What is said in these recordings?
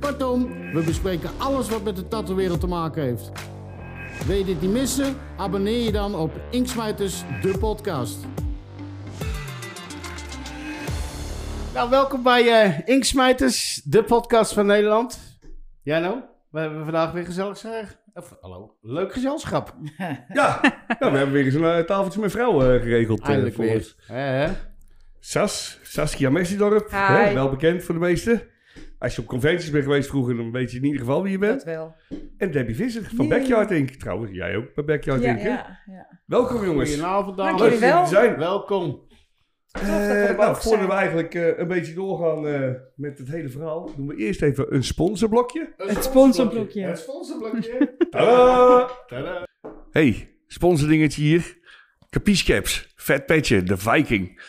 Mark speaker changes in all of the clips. Speaker 1: Kortom, we bespreken alles wat met de tattoo-wereld te maken heeft. Wil je dit niet missen? Abonneer je dan op Inksmijters, de podcast. Nou, welkom bij eh, Inksmijters, de podcast van Nederland. Ja, nou, we hebben vandaag weer gezellig zeg. Of, hallo, leuk gezelschap.
Speaker 2: Ja, ja, we hebben weer eens een eh, tafeltje met vrouwen eh, geregeld. eh,
Speaker 1: Eindelijk
Speaker 2: voor
Speaker 1: weer.
Speaker 2: ons.
Speaker 1: Hè, hè?
Speaker 2: Sas, Saskia Messendorp,
Speaker 3: Hi.
Speaker 2: hè, wel bekend voor de meesten. Als je op conventies bent geweest vroeger, dan weet je in ieder geval wie je
Speaker 3: Dat
Speaker 2: bent.
Speaker 3: wel.
Speaker 2: En Debbie Visser van
Speaker 3: Yeah.
Speaker 2: Backyard Inc. Trouwens, jij ook bij Backyard
Speaker 3: Ja,
Speaker 2: Inc. hè?
Speaker 3: ja, ja.
Speaker 2: Welkom jongens.
Speaker 1: Goedenavond, dames.
Speaker 3: Dank
Speaker 2: Leuk dat
Speaker 3: jullie
Speaker 2: jullie
Speaker 3: wel.
Speaker 2: er zijn.
Speaker 1: Welkom.
Speaker 3: dat we
Speaker 2: Eh,
Speaker 3: er
Speaker 2: nou,
Speaker 3: mogen
Speaker 2: voordat
Speaker 3: zijn.
Speaker 2: we eigenlijk eh, een beetje doorgaan eh, met het hele verhaal, doen we eerst even een sponsorblokje.
Speaker 1: Het
Speaker 3: sponsorblokje.
Speaker 1: Het sponsorblokje.
Speaker 2: Tadaa!
Speaker 1: Tadaa.
Speaker 2: Hey, sponsordingetje hier. Capiescaps, vet petje, de Viking.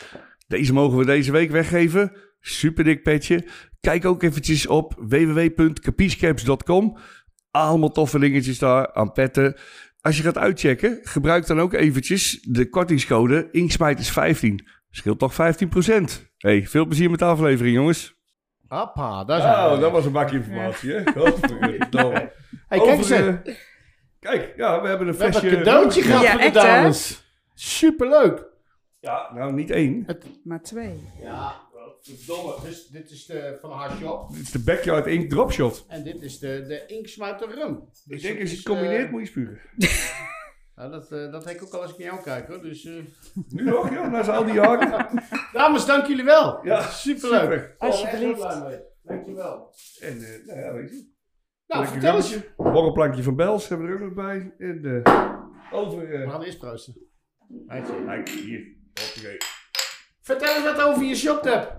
Speaker 2: Deze mogen we deze week weggeven. Super dik petje. Kijk ook eventjes op www.capiescaps.com. Allemaal toffe dingetjes daar aan petten. Als je gaat uitchecken, gebruik dan ook eventjes de kortingscode Inksmijters15. Scheelt toch 15%. Hey, veel plezier met de aflevering, jongens.
Speaker 1: Hoppa, daar zijn we.
Speaker 2: was een bakje
Speaker 3: informatie,
Speaker 2: hè? eh,
Speaker 1: Hey, kijk eens. even.
Speaker 2: Kijk, ja, we hebben een
Speaker 1: We hebben
Speaker 2: flesje...
Speaker 1: een cadeautje gehad
Speaker 3: Ja,
Speaker 1: voor de
Speaker 3: echt, hè?
Speaker 1: dames. Superleuk.
Speaker 2: Ja, nou, niet één.
Speaker 3: Maar twee.
Speaker 1: Ja, verdomme. Dus dit is de van haar shop.
Speaker 2: Dit is de Backyard Ink Dropshot.
Speaker 1: En dit is de, de inksmuiter rum.
Speaker 2: Ik
Speaker 1: Dus
Speaker 2: denk,
Speaker 1: dat
Speaker 2: als je het
Speaker 1: is,
Speaker 2: combineert,
Speaker 1: eh,
Speaker 2: moet je spugen.
Speaker 1: nou, dat, eh, dat heb ik ook al eens naar jou kijken. Hoor. Dus, eh,
Speaker 2: Nu nog, ja, na al die jaren.
Speaker 1: dames, dank jullie wel.
Speaker 2: Ja,
Speaker 1: superleuk.
Speaker 2: super.
Speaker 3: Alsjeblieft.
Speaker 1: Dankjewel.
Speaker 2: En, eh, nou ja, weet je.
Speaker 1: Nou,
Speaker 2: Lekker
Speaker 1: vertel eens.
Speaker 2: rammetje. Borrelplankje van Bels hebben we er ook nog bij. En eh, over...
Speaker 1: We
Speaker 2: eh,
Speaker 1: gaan eerst proosten. Meidje.
Speaker 2: Kijk, hier. Hoppakee.
Speaker 1: Vertel eens wat over je shop hebt.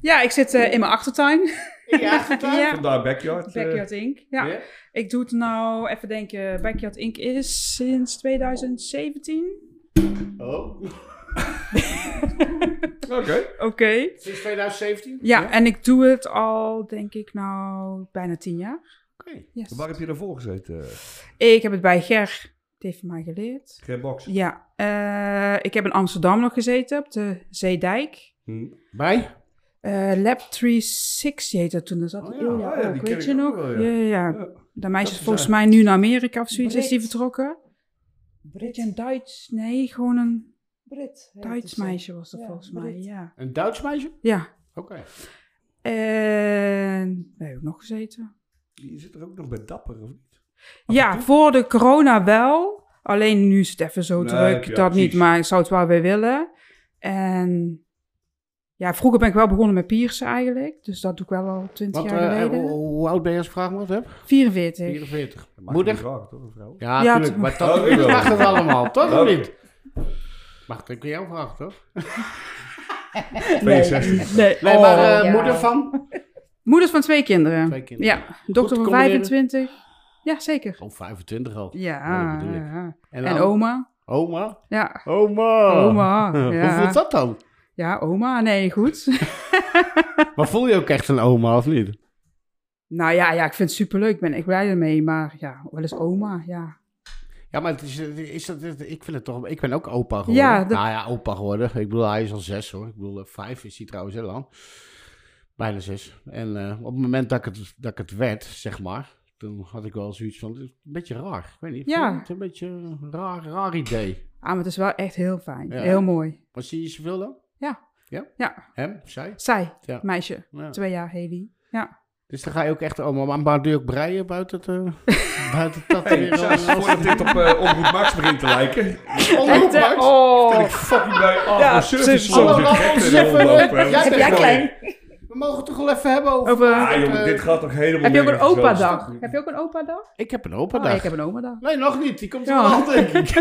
Speaker 3: Ja, ik zit eh, in mijn achtertuin.
Speaker 1: In je achtertuin.
Speaker 3: Ja.
Speaker 2: Vandaar Backyard. eh,
Speaker 3: Backyard Inc. Ja.
Speaker 1: Ja.
Speaker 3: Ik doe het nou, even denken, Backyard Inc. is sinds 2017.
Speaker 1: Oh.
Speaker 2: Oké.
Speaker 3: Oké.
Speaker 1: Sinds 2017?
Speaker 3: Ja, en ik doe het al, denk ik nou, bijna tien jaar.
Speaker 1: Oké.
Speaker 3: Yes.
Speaker 2: Waar heb je daarvoor gezeten? eh,
Speaker 3: Ik heb het bij Ger, die heeft mij geleerd.
Speaker 2: Geen box.
Speaker 3: Ja, eh, ik heb in Amsterdam nog gezeten, op de Zeedijk.
Speaker 2: Hm.
Speaker 1: Bij?
Speaker 3: Eh, Lab 360 heette dat toen, dat zat
Speaker 1: Oh ja,
Speaker 3: Ilja
Speaker 2: oh ja,
Speaker 3: ook,
Speaker 2: die ken ik
Speaker 3: weet je
Speaker 2: ook
Speaker 3: nog?
Speaker 2: wel, ja.
Speaker 3: ja, ja. ja.
Speaker 2: Ja.
Speaker 3: Dat meisje
Speaker 2: Dat
Speaker 3: is
Speaker 2: is
Speaker 3: volgens
Speaker 2: raar.
Speaker 3: mij nu naar Amerika of zoiets. Is die
Speaker 4: Brit.
Speaker 3: vertrokken? Brit en Duits? Nee, gewoon een
Speaker 4: Brit. heet
Speaker 3: Duits
Speaker 4: het dus, zo.
Speaker 3: meisje was dat
Speaker 4: Ja,
Speaker 3: volgens
Speaker 4: Brit.
Speaker 3: mij. Ja.
Speaker 1: Een Duits meisje?
Speaker 3: ja.
Speaker 1: Oké.
Speaker 3: En wij hebben nog gezeten.
Speaker 2: Je zit er ook nog bij Dapper, of niet?
Speaker 3: ja, voor de corona wel. Alleen nu is het even zo
Speaker 2: Nee,
Speaker 3: druk.
Speaker 2: ja,
Speaker 3: dat
Speaker 2: precies.
Speaker 3: niet, maar ik zou het wel weer willen. En ja, vroeger ben ik wel begonnen met piercen eigenlijk. Dus dat doe ik wel al 20
Speaker 1: Want
Speaker 3: jaar
Speaker 1: eh,
Speaker 3: geleden.
Speaker 1: hoe, hoe oud ben je als ik vraag me wat heb?
Speaker 3: 44.
Speaker 1: 44.
Speaker 2: Dat maakt
Speaker 1: Moeder?
Speaker 2: niet raar, toch, een vrouw?
Speaker 1: Ja,
Speaker 3: Ja,
Speaker 1: natuurlijk.
Speaker 3: toch.
Speaker 1: Maar dat
Speaker 2: Oh, ik wel.
Speaker 1: mag het allemaal, toch of
Speaker 2: Oké.
Speaker 1: niet? Mag ik aan jou vragen, toch?
Speaker 4: Nee.
Speaker 2: 62.
Speaker 3: Nee.
Speaker 1: Nee, maar eh,
Speaker 4: ja.
Speaker 1: moeder van?
Speaker 3: Moeder van twee kinderen.
Speaker 1: Twee kinderen.
Speaker 3: Ja, dokter
Speaker 1: Goed te
Speaker 3: van
Speaker 1: combineren.
Speaker 3: 25. Ja, zeker.
Speaker 1: Gewoon 25 Oh, al. Ja,
Speaker 3: Ja,
Speaker 1: dat bedoel ik.
Speaker 3: ja.
Speaker 1: En,
Speaker 3: en
Speaker 1: dan-
Speaker 3: oma.
Speaker 1: Oma?
Speaker 3: Ja,
Speaker 1: Oma.
Speaker 3: oma.
Speaker 1: Hoe voelt
Speaker 3: Ja.
Speaker 1: dat dan?
Speaker 3: ja, oma. Nee, goed.
Speaker 1: Maar voel je ook echt een oma, of niet?
Speaker 3: nou ja, ja, ik vind het superleuk. Ik ben echt blij ermee. Maar ja, wel eens oma. Ja,
Speaker 1: Ja, maar het is, is dat, ik vind het toch... Ik ben ook opa geworden.
Speaker 3: Ja, dat-
Speaker 1: Nou ja, opa geworden. Ik bedoel, hij is al zes, hoor. Ik bedoel, eh, vijf is hij trouwens heel lang. Bijna zes. En eh, op het moment dat ik het, dat ik het werd, zeg maar... Toen had ik wel zoiets van, het is een beetje raar. Ik weet niet, ik
Speaker 3: Ja.
Speaker 1: vond het een beetje een raar, raar idee.
Speaker 3: ah, maar het is wel echt heel fijn.
Speaker 1: Ja.
Speaker 3: Heel mooi.
Speaker 1: Maar zie je zoveel dan?
Speaker 3: Ja.
Speaker 1: Ja?
Speaker 3: Ja.
Speaker 1: Hem? Zij?
Speaker 3: Zij,
Speaker 1: Ja.
Speaker 3: meisje.
Speaker 1: Ja.
Speaker 3: Twee jaar, Haley. Ja.
Speaker 1: Dus dan ga je ook echt oma... Maar, maar doe je ook breien buiten het... eh, buiten het dat
Speaker 2: Hey, Sas, voordat dit op eh Omroep Max begint te lijken.
Speaker 3: Echt, hè?
Speaker 2: Ben
Speaker 3: oh.
Speaker 2: ik fucking bij Afro
Speaker 3: Ja,
Speaker 2: Service
Speaker 3: Hallo,
Speaker 2: Zone.
Speaker 1: laat
Speaker 2: Gek
Speaker 1: ons
Speaker 2: met de
Speaker 1: even-
Speaker 2: omlopen, hè.
Speaker 1: Jij
Speaker 2: Dat is
Speaker 1: bent
Speaker 2: echt
Speaker 4: jij
Speaker 2: mooi.
Speaker 4: klein.
Speaker 1: We mogen het toch wel even hebben over...
Speaker 3: Over-
Speaker 2: Ah, jongen,
Speaker 1: Eh,
Speaker 2: dit gaat toch helemaal
Speaker 3: Heb je ook een
Speaker 2: nergens over.
Speaker 3: opa-dag? Heb je ook een opa-dag?
Speaker 1: Ik heb een opa
Speaker 3: Oh, nee, ik heb een oma-dag.
Speaker 1: Nee, nog niet. Die komt er
Speaker 3: Ja.
Speaker 1: wel, denk ik.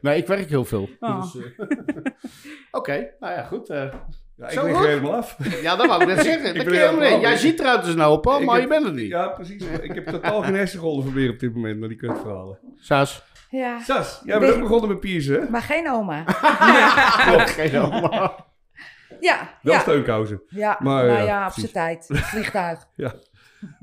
Speaker 1: nee, ik werk heel veel.
Speaker 3: Oh.
Speaker 4: Ah.
Speaker 1: Dus, eh, Oké, nou ja, goed. eh,
Speaker 2: Ja, ik
Speaker 1: Zo
Speaker 2: lig
Speaker 1: goed?
Speaker 2: er helemaal af.
Speaker 1: Ja, dat wou ik net zeggen.
Speaker 2: ben
Speaker 1: Dat kun je helemaal
Speaker 2: helemaal
Speaker 1: niet. Jij
Speaker 2: niet.
Speaker 1: ziet eruit als een hoop,
Speaker 2: Ik
Speaker 1: maar
Speaker 2: heb-
Speaker 1: je bent het niet.
Speaker 2: Ja, precies. Ik heb totaal geen hersenrollen voor meer op dit moment naar die kutverhalen.
Speaker 1: Saas.
Speaker 4: Ja.
Speaker 2: Sas, jij bent ook begonnen met piercen, hè?
Speaker 4: Maar geen oma.
Speaker 1: Geen allemaal.
Speaker 4: Ja.
Speaker 2: Wel
Speaker 4: ja.
Speaker 2: steunkousen.
Speaker 4: Ja,
Speaker 2: Maar,
Speaker 4: nou
Speaker 2: ja,
Speaker 4: ja, op zijn
Speaker 2: precies.
Speaker 4: tijd. Het Vliegtuig.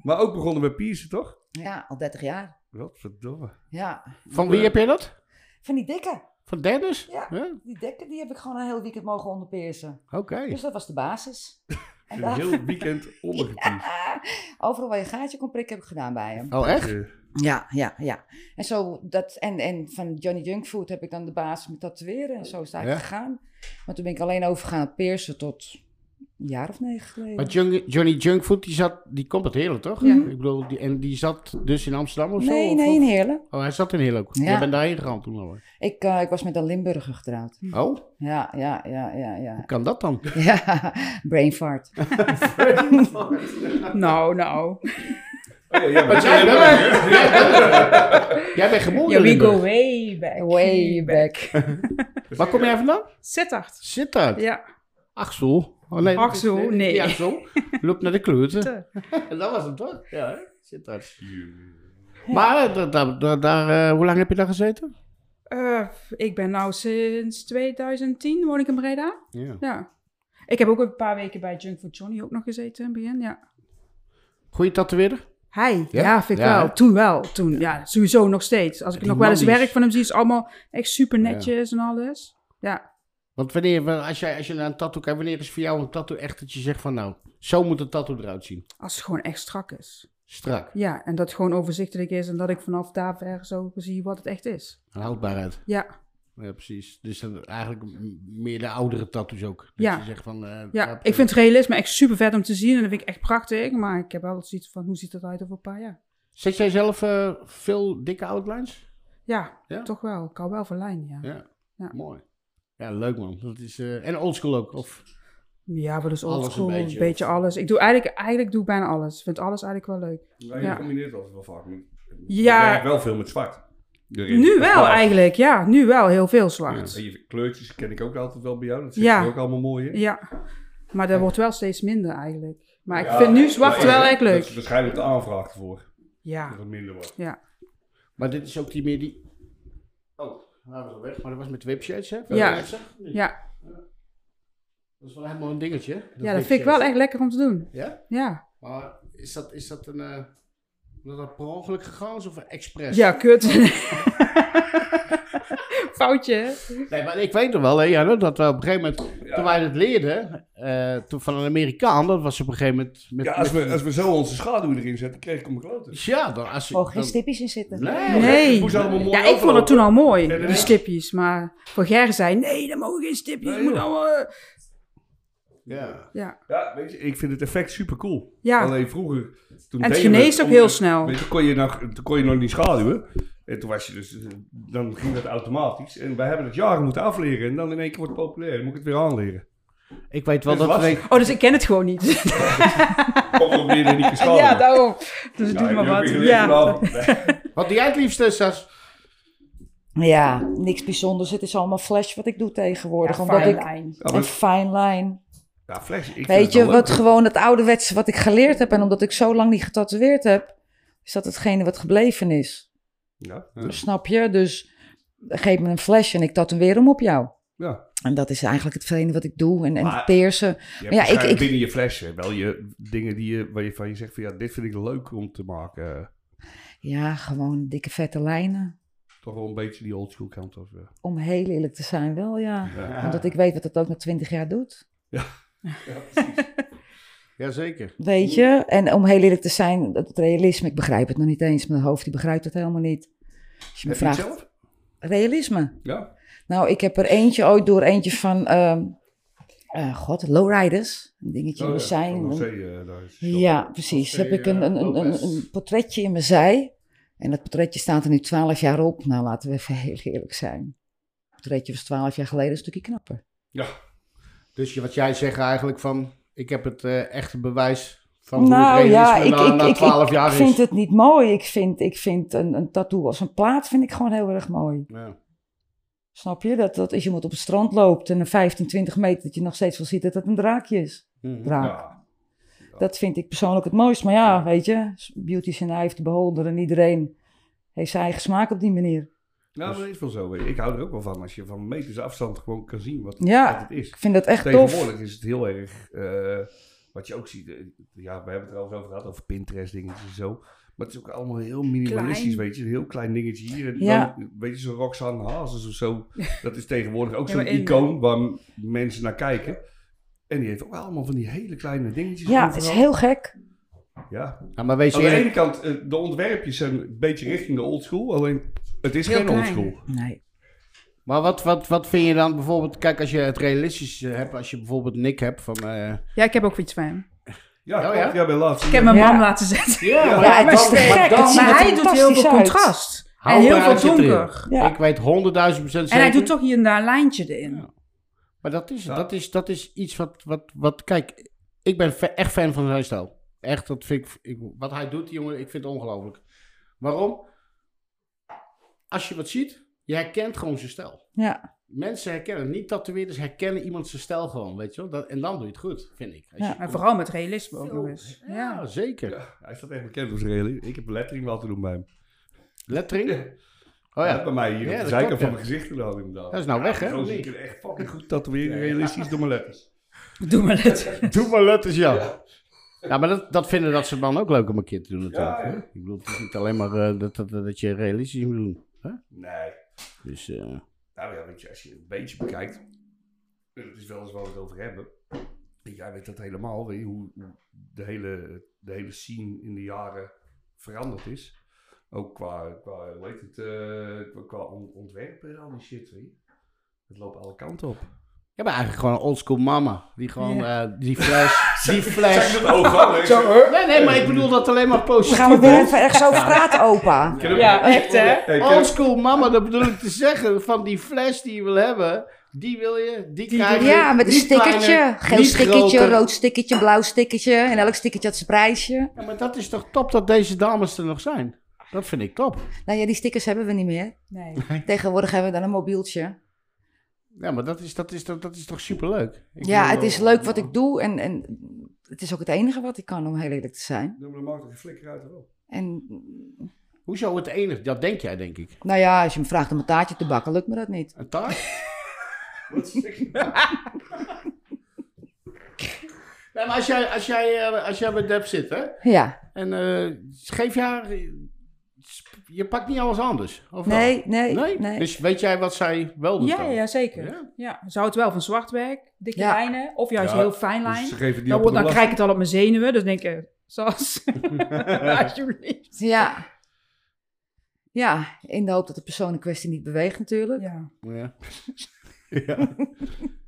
Speaker 2: Maar ook begonnen met piercen, toch?
Speaker 4: Ja, al 30 jaar.
Speaker 2: Wat verdomme.
Speaker 4: Ja.
Speaker 1: Van wie heb jij dat?
Speaker 4: Van die dikke.
Speaker 1: Van Dennis?
Speaker 4: Ja. Die dikke, die heb ik gewoon een heel weekend mogen onderpeersen.
Speaker 1: Oké.
Speaker 4: Dus dat was de basis. En
Speaker 2: Een
Speaker 4: daar-
Speaker 2: heel weekend ondergepiest.
Speaker 4: Overal waar je gaatje kon prikken, heb ik gedaan bij hem.
Speaker 1: Oh, echt?
Speaker 2: Eh,
Speaker 4: Ja, ja, ja. En, zo dat, en, en van Johnny Junkfood heb ik dan de basis met tatoeëren. En zo is het eigenlijk gegaan. Maar toen ben ik alleen overgegaan op Pearson tot een jaar of negen geleden.
Speaker 1: Maar Jung- Johnny Junkfoot, die, zat, die komt uit Heerlen, toch?
Speaker 4: Ja.
Speaker 1: Ik bedoel, die, en die zat dus in Amsterdam of zo?
Speaker 4: nee,
Speaker 1: Of-
Speaker 4: nee, in Heerlen.
Speaker 1: Oh, hij zat in Heerlen ook.
Speaker 4: Ja.
Speaker 1: Jij bent daarheen gegaan toen al. hoor.
Speaker 4: Ik, eh, ik was met een Limburger getrouwd.
Speaker 2: Hm.
Speaker 1: Oh,
Speaker 4: Ja, ja, ja, ja, ja.
Speaker 1: hoe kan dat dan?
Speaker 4: Ja, brain fart.
Speaker 3: Nou, nou.
Speaker 2: Oh ja, ja,
Speaker 1: Wat
Speaker 2: maar
Speaker 1: jij bent? Jij bent- Jij bent geboren
Speaker 3: Ja,
Speaker 1: in
Speaker 3: we go
Speaker 1: Limburg.
Speaker 3: way back.
Speaker 4: Way back.
Speaker 1: Waar kom jij vandaan?
Speaker 3: Sittard.
Speaker 1: Zit daar.
Speaker 3: Ja.
Speaker 1: Axel. Oh, nee, dat is-
Speaker 3: Axel, nee.
Speaker 1: Ja, Axel. Loop naar de kleuter.
Speaker 3: Te.
Speaker 1: En dat was hem toch? Ja, hè? zit daar. Maar eh, daar, daar, daar, daar, eh, hoe lang heb je daar gezeten?
Speaker 3: Eh, ik ben nou sinds 2010 woon ik in Breda.
Speaker 1: Ja.
Speaker 3: Ja. Ik heb ook een paar weken bij Junk for Johnny ook nog gezeten in het begin, ja.
Speaker 1: Goeie tatoeëerder?
Speaker 3: Hij?
Speaker 1: Ja?
Speaker 3: Ja, vind ik
Speaker 1: Ja, hè?
Speaker 3: wel. Toen wel. Toen, ja, sowieso nog steeds. Als ik
Speaker 1: Die
Speaker 3: nog wel eens
Speaker 1: man die is-
Speaker 3: werk van hem zie, is het allemaal echt super netjes en alles. Ja.
Speaker 1: Want wanneer, wa- als, jij, als je naar een tattoo kijkt, wanneer is voor jou een tattoo echt dat je zegt van nou, zo moet een tattoo eruit zien?
Speaker 3: Als het gewoon echt strak is.
Speaker 1: Strak.
Speaker 3: Ja, en dat het gewoon overzichtelijk is en dat ik vanaf daar ver zo zie wat het echt is.
Speaker 1: En houdbaarheid.
Speaker 3: Ja,
Speaker 1: Ja, precies. Dus dan eigenlijk m- meer de oudere tattoos ook. Dat
Speaker 3: Ja.
Speaker 1: je zegt van... eh,
Speaker 3: ja.
Speaker 1: daar-
Speaker 3: ik vind het realisme echt super vet om te zien en dat vind ik echt prachtig. Maar ik heb wel zoiets van, hoe ziet het uit over een paar jaar?
Speaker 1: Zet jij zelf eh, veel dikke outlines?
Speaker 3: Ja,
Speaker 1: Ja?
Speaker 3: toch wel. Ik hou wel van lijn, ja.
Speaker 1: Ja.
Speaker 3: Ja.
Speaker 1: Mooi. Ja, leuk man. Dat is, eh, en oldschool ook. Of,
Speaker 3: Ja, maar dus
Speaker 1: Alles een
Speaker 3: oldschool, een
Speaker 1: beetje,
Speaker 3: beetje,
Speaker 1: of-
Speaker 3: alles. Ik doe eigenlijk, eigenlijk doe ik bijna alles. Ik vind alles eigenlijk wel leuk.
Speaker 2: je combineert altijd wel vaak. maar
Speaker 3: Ja.
Speaker 2: Je werkt wel veel met zwart. Erin.
Speaker 3: Nu
Speaker 2: Dat
Speaker 3: wel
Speaker 2: is
Speaker 3: eigenlijk, ja. Nu wel heel veel zwart.
Speaker 2: En je kleurtjes ken ik ook altijd wel bij jou. Dat zit
Speaker 3: Ja.
Speaker 2: er ook allemaal mooi in.
Speaker 3: Ja, maar dat wordt wel steeds minder eigenlijk. Maar ik
Speaker 2: Ja,
Speaker 3: vind nu
Speaker 2: maar
Speaker 3: zwart
Speaker 2: is-
Speaker 3: wel echt
Speaker 2: Dat is
Speaker 3: leuk.
Speaker 2: waarschijnlijk de aanvraag ervoor. Dat
Speaker 3: Ja,
Speaker 2: het minder wordt.
Speaker 3: ja.
Speaker 1: maar dit is ook die meer die... Oh, nou was al weg. Maar dat was met webshades hè?
Speaker 3: Ja.
Speaker 1: Dat
Speaker 3: Ja.
Speaker 1: is wel helemaal een dingetje.
Speaker 3: ja, dat vind ik wel echt lekker om te doen.
Speaker 1: Ja?
Speaker 3: Ja,
Speaker 1: Maar is dat, is dat een... eh, dat dat per ongeluk gegaan is of een expres?
Speaker 3: ja kut. Foutje. hè?
Speaker 1: Nee, maar ik weet nog wel, hè, Janne, dat we op een gegeven moment, toen wij het leerden, eh, toen van een Amerikaan, dat was op een gegeven moment... Met,
Speaker 2: Ja, als
Speaker 1: met-
Speaker 2: we, als we zo onze schaduw erin zetten, kreeg ik hem kloten.
Speaker 1: ja, dan als je...
Speaker 4: Mogen geen
Speaker 1: dan-
Speaker 4: stipjes in zitten.
Speaker 1: Nee.
Speaker 3: Nee.
Speaker 2: Hoe zou het allemaal mooi
Speaker 3: Ja, ik vond het toen al
Speaker 2: Ja, ja.
Speaker 3: mooi, die stipjes. Maar voor Ger zei, nee, dan mogen geen stipjes.
Speaker 2: Nee,
Speaker 3: moet
Speaker 2: joh.
Speaker 3: allemaal, eh.
Speaker 1: Ja.
Speaker 3: Ja,
Speaker 2: Ja, weet je, ik vind het effect super cool.
Speaker 3: ja.
Speaker 2: Alleen vroeger... Toen
Speaker 3: En het
Speaker 2: deden we
Speaker 3: geneest ook
Speaker 2: om-
Speaker 3: heel snel.
Speaker 2: Weet je, kon je nog, toen kon je nog niet schaduwen. En toen was je dus... Dan ging dat automatisch. En wij hebben het jaren moeten afleren. En dan in één keer wordt het populair. Dan moet ik het weer aanleren.
Speaker 1: Ik weet wel
Speaker 2: Dus
Speaker 1: dat
Speaker 2: was-
Speaker 1: we...
Speaker 3: Oh, dus ik ken het gewoon niet.
Speaker 2: Kom op weer in die schaduw.
Speaker 3: Ja, daarom. Dus het
Speaker 2: Oh. Ja, heb
Speaker 3: doet maar
Speaker 2: je ook
Speaker 3: wat.
Speaker 2: weer geleerd
Speaker 3: Ja.
Speaker 2: vanavond. Nee.
Speaker 1: Wat doe jij het liefste, Sas?
Speaker 4: Ja, niks bijzonders. Het is allemaal flash wat ik doe tegenwoordig.
Speaker 3: Ja,
Speaker 4: omdat
Speaker 3: fine
Speaker 4: ik,
Speaker 3: line.
Speaker 2: Ja,
Speaker 4: Een
Speaker 2: maar-
Speaker 4: fine line.
Speaker 2: Ja, flash. ik vind het
Speaker 4: Weet je,
Speaker 2: wel leuk.
Speaker 4: wat gewoon het ouderwetse wat ik geleerd heb. En omdat ik zo lang niet getatoeëerd heb, is dat hetgene wat gebleven is.
Speaker 2: Ja, ja.
Speaker 4: Snap je? Dus geef me een flash en ik tatoeëer hem op jou.
Speaker 2: ja.
Speaker 4: En dat is eigenlijk hetgene wat ik doe. En, en
Speaker 2: Maar-
Speaker 4: het peersen.
Speaker 2: Je
Speaker 4: ja,
Speaker 2: hebt
Speaker 4: ik-
Speaker 2: ja,
Speaker 4: ik-
Speaker 2: binnen je flash hè, wel je dingen die je, waar je van je zegt van ja, dit vind ik leuk om te maken. Eh,
Speaker 4: Ja, gewoon dikke vette lijnen.
Speaker 2: toch wel een beetje die oldschool kant of ja.
Speaker 4: Om heel eerlijk te zijn wel, ja.
Speaker 2: Ja.
Speaker 4: Omdat ik weet wat het ook na twintig jaar doet.
Speaker 1: Jazeker.
Speaker 4: Weet je? En om heel eerlijk te zijn, het realisme, ik begrijp het nog niet eens. Mijn hoofd die begrijpt het helemaal niet. Als je me
Speaker 2: Heb je het
Speaker 4: vraagt,
Speaker 2: zelf?
Speaker 4: realisme.
Speaker 2: Ja.
Speaker 4: Nou, ik heb er eentje ooit door eentje van, ehm, eh, god, lowriders. Een dingetje in
Speaker 2: Oh,
Speaker 4: mijn
Speaker 2: ja, van
Speaker 4: zijn.
Speaker 2: Rosé, eh, daar is het shop.
Speaker 4: Ja, precies.
Speaker 1: José,
Speaker 4: Heb ik een,
Speaker 1: eh,
Speaker 4: een, een,
Speaker 1: Lopez.
Speaker 4: een, een portretje in mijn zij. En dat portretje staat er nu twaalf jaar op. Nou, laten we even heel eerlijk zijn. Het portretje was twaalf jaar geleden een stukje knapper.
Speaker 1: Dus je, wat jij zegt eigenlijk van, ik heb het eh, echte bewijs van hoe
Speaker 4: nou
Speaker 1: het
Speaker 4: ja,
Speaker 1: realisme
Speaker 4: ik,
Speaker 1: na, na
Speaker 4: ik, ik,
Speaker 1: 12
Speaker 4: ik
Speaker 1: jaar is.
Speaker 4: vind het niet mooi. Ik vind, ik vind een, een tattoo als een plaat vind ik gewoon heel erg mooi.
Speaker 1: Ja.
Speaker 4: Snap je? Dat, dat als je moet op het strand loopt en een 15, 20 meter, dat je nog steeds wel ziet dat het een draakje is.
Speaker 1: Mhm.
Speaker 4: Draak.
Speaker 2: Ja.
Speaker 4: Dat vind ik persoonlijk het mooist. Maar ja, weet je, beauty is in eye of the beholder en iedereen heeft zijn eigen smaak op die manier.
Speaker 2: Nou, maar dat is wel zo. weet je. Ik hou er ook wel van als je van meters afstand gewoon kan zien wat,
Speaker 4: Ja.
Speaker 2: wat het is.
Speaker 4: Ik vind dat echt tof.
Speaker 2: Tegenwoordig is het heel erg, eh, wat je ook ziet, eh, ja, we hebben het er al eens over gehad, over Pinterest dingetjes en zo. Maar het is ook allemaal heel minimalistisch,
Speaker 3: Klein.
Speaker 2: weet je. Een heel klein dingetje hier. En
Speaker 4: Ja.
Speaker 2: dan, weet je, zo'n Roxanne Hazes of zo. Dat is tegenwoordig ook
Speaker 3: Ja,
Speaker 2: zo'n
Speaker 3: maar in-
Speaker 2: icoon waar m- mensen naar kijken. En die heeft ook allemaal van die hele kleine dingetjes.
Speaker 4: Ja, het
Speaker 2: overal.
Speaker 4: is heel gek.
Speaker 2: Ja.
Speaker 1: Ja, maar weet je
Speaker 2: Aan de
Speaker 1: eerlijk,
Speaker 2: ene kant, eh, de ontwerpjes zijn een beetje richting de oldschool. Alleen, het is
Speaker 3: Heel
Speaker 2: geen
Speaker 3: klein.
Speaker 2: oldschool.
Speaker 4: Nee.
Speaker 1: maar wat, wat, wat vind je dan bijvoorbeeld, kijk als je het realistisch eh, hebt, als je bijvoorbeeld Nick hebt van... eh,
Speaker 3: Ja, ik heb ook iets van hem.
Speaker 2: Ja,
Speaker 1: Oh,
Speaker 2: klopt.
Speaker 1: ja?
Speaker 2: Jij bent laatst.
Speaker 3: Ik heb mijn
Speaker 4: Ja.
Speaker 3: man laten zetten.
Speaker 2: Ja,
Speaker 1: maar
Speaker 4: Ja, het is
Speaker 1: dan-
Speaker 4: te
Speaker 1: maar
Speaker 4: gek.
Speaker 1: dan-
Speaker 4: Het ziet
Speaker 3: Maar
Speaker 4: er
Speaker 3: hij doet heel veel
Speaker 4: fantastisch uit.
Speaker 3: contrast.
Speaker 1: Hou
Speaker 3: En heel veel
Speaker 1: praatje erin.
Speaker 3: donker.
Speaker 4: Ja.
Speaker 1: Ik weet 100.000 procent
Speaker 3: En
Speaker 1: zeker.
Speaker 3: hij doet toch hier en daar een lijntje erin.
Speaker 1: Maar dat is,
Speaker 2: Ja.
Speaker 1: dat is, dat is iets wat, wat, wat... Kijk, ik ben fa- echt fan van zijn stijl. Echt, dat vind ik, ik- Wat hij doet, die jongen, ik vind het ongelooflijk. Waarom? Als je wat ziet, je herkent gewoon zijn stijl.
Speaker 4: Ja,
Speaker 1: Mensen herkennen, niet tatoeëerders herkennen iemand zijn stijl gewoon, weet je wel. Dat, en dan doe je het goed, vind ik. Als
Speaker 4: Ja,
Speaker 1: je-
Speaker 3: En vooral met realisme ook nog eens.
Speaker 1: Ja,
Speaker 3: Ja.
Speaker 1: zeker.
Speaker 2: Ja, hij staat echt bekend als rally. Ik heb lettering wel te doen bij hem.
Speaker 1: Lettering? Oh
Speaker 2: Oh
Speaker 1: ja.
Speaker 2: ja. Bij mij hier
Speaker 1: Ja,
Speaker 2: op de
Speaker 1: dat
Speaker 2: zijkant
Speaker 1: klopt,
Speaker 2: van
Speaker 1: ja.
Speaker 2: mijn gezicht gedaan inderdaad.
Speaker 1: Dat is nou weg, hè,
Speaker 2: Zo
Speaker 1: of
Speaker 2: zie ik
Speaker 1: niet?
Speaker 2: er echt fucking goed tatoeëren, realistisch door mijn letters.
Speaker 3: Doe maar het.
Speaker 1: Doe maar letters, ja. Ja, maar dat, dat vinden dat ze dan ook leuk om een keer te doen natuurlijk.
Speaker 2: Ja,
Speaker 1: hè?
Speaker 2: ja.
Speaker 1: Ik bedoel, het is niet alleen maar eh, dat, dat, dat je realistisch moet doen. Hè?
Speaker 2: Nee.
Speaker 1: Dus eh,
Speaker 2: Nou ja, weet je, als je het een beetje bekijkt, en het is wel eens waar we het over hebben. En Jij weet dat helemaal, weet je, hoe hoe de hele, de hele scene in de jaren veranderd is. Ook qua, qua hoe heet het, eh, qua- qua on- ontwerpen en al die shit, weet je. Het loopt alle kanten op.
Speaker 1: ja, maar eigenlijk gewoon een oldschool mama. Die gewoon, eh, die flash, die flash.
Speaker 2: Zijn dat ook wel, hè?
Speaker 1: Nee, nee, maar ik bedoel dat alleen maar
Speaker 4: we
Speaker 1: positief.
Speaker 4: gaan we weer
Speaker 1: hè?
Speaker 4: even echt zo praten, opa.
Speaker 2: Kunnen we-
Speaker 3: Ja, echt, hè? Oh.
Speaker 2: Hey, kunnen we-
Speaker 1: Oldschool mama, dat bedoel ik te zeggen. Van die flash die je wil hebben, die wil je, die, krijg je.
Speaker 4: Ja, met een
Speaker 1: niet
Speaker 4: stickertje.
Speaker 1: kleiner,
Speaker 4: Geel
Speaker 1: niet
Speaker 4: stickertje,
Speaker 1: groter.
Speaker 4: rood stickertje, blauw stickertje. En elk stickertje had zijn prijsje.
Speaker 1: Ja, maar dat is toch top dat deze dames er nog zijn? Dat vind ik top.
Speaker 4: Nou ja, die stickers hebben we niet meer.
Speaker 3: Nee.
Speaker 4: Tegenwoordig hebben we dan een mobieltje.
Speaker 1: Ja, maar dat is, dat is, dat, dat is toch superleuk? Ik
Speaker 4: Ja,
Speaker 1: bedoel,
Speaker 4: het is leuk wat ik doe. En, en het is ook het enige wat ik kan, om heel eerlijk te zijn.
Speaker 2: Doe maar dan maakt er geen flikker uit wel.
Speaker 4: En
Speaker 1: Hoezo het enige? Dat denk jij, denk ik.
Speaker 4: nou ja, als je me vraagt om een taartje te bakken, lukt me dat niet.
Speaker 1: Een taart?
Speaker 2: Wat zeg je?
Speaker 1: nee, maar als jij, als jij, eh, als jij bij Deb zit, hè?
Speaker 4: Ja,
Speaker 1: En eh, geef je haar... eh, sp- Je pakt niet alles anders, of wel?
Speaker 4: nee, nee, nee.
Speaker 1: Dus weet jij wat zij wel doet
Speaker 3: Ja,
Speaker 1: dan?
Speaker 3: ja, zeker.
Speaker 1: Ja?
Speaker 3: Ja. Ze houdt wel van zwart werk, dikke
Speaker 4: Ja.
Speaker 3: lijnen, of juist
Speaker 2: Ja,
Speaker 3: heel fijn lijn.
Speaker 2: Dus ze geven die
Speaker 3: dan
Speaker 2: op
Speaker 3: wordt-
Speaker 2: de
Speaker 3: dan
Speaker 2: last.
Speaker 3: krijg ik het al op mijn zenuwen, dus denk ik, Sas, alsjeblieft.
Speaker 4: Ja. Ja, in de hoop dat de persoon in kwestie niet beweegt natuurlijk.
Speaker 3: Ja.
Speaker 1: Ja.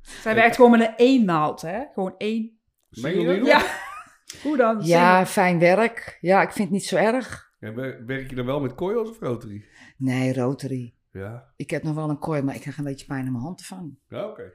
Speaker 3: Zij werkt gewoon met een eenmaald, hè? Gewoon één.
Speaker 2: Meen je dat?
Speaker 3: Ja. Hoe dan?
Speaker 4: Ja, fijn werk. Ja, ik vind het niet zo erg.
Speaker 2: En wer- werk je dan wel met coils of rotary?
Speaker 4: Nee, Rotary.
Speaker 2: Ja.
Speaker 4: Ik heb nog wel een kooi, maar ik krijg een beetje pijn aan mijn hand ervan.
Speaker 2: Ja, oké.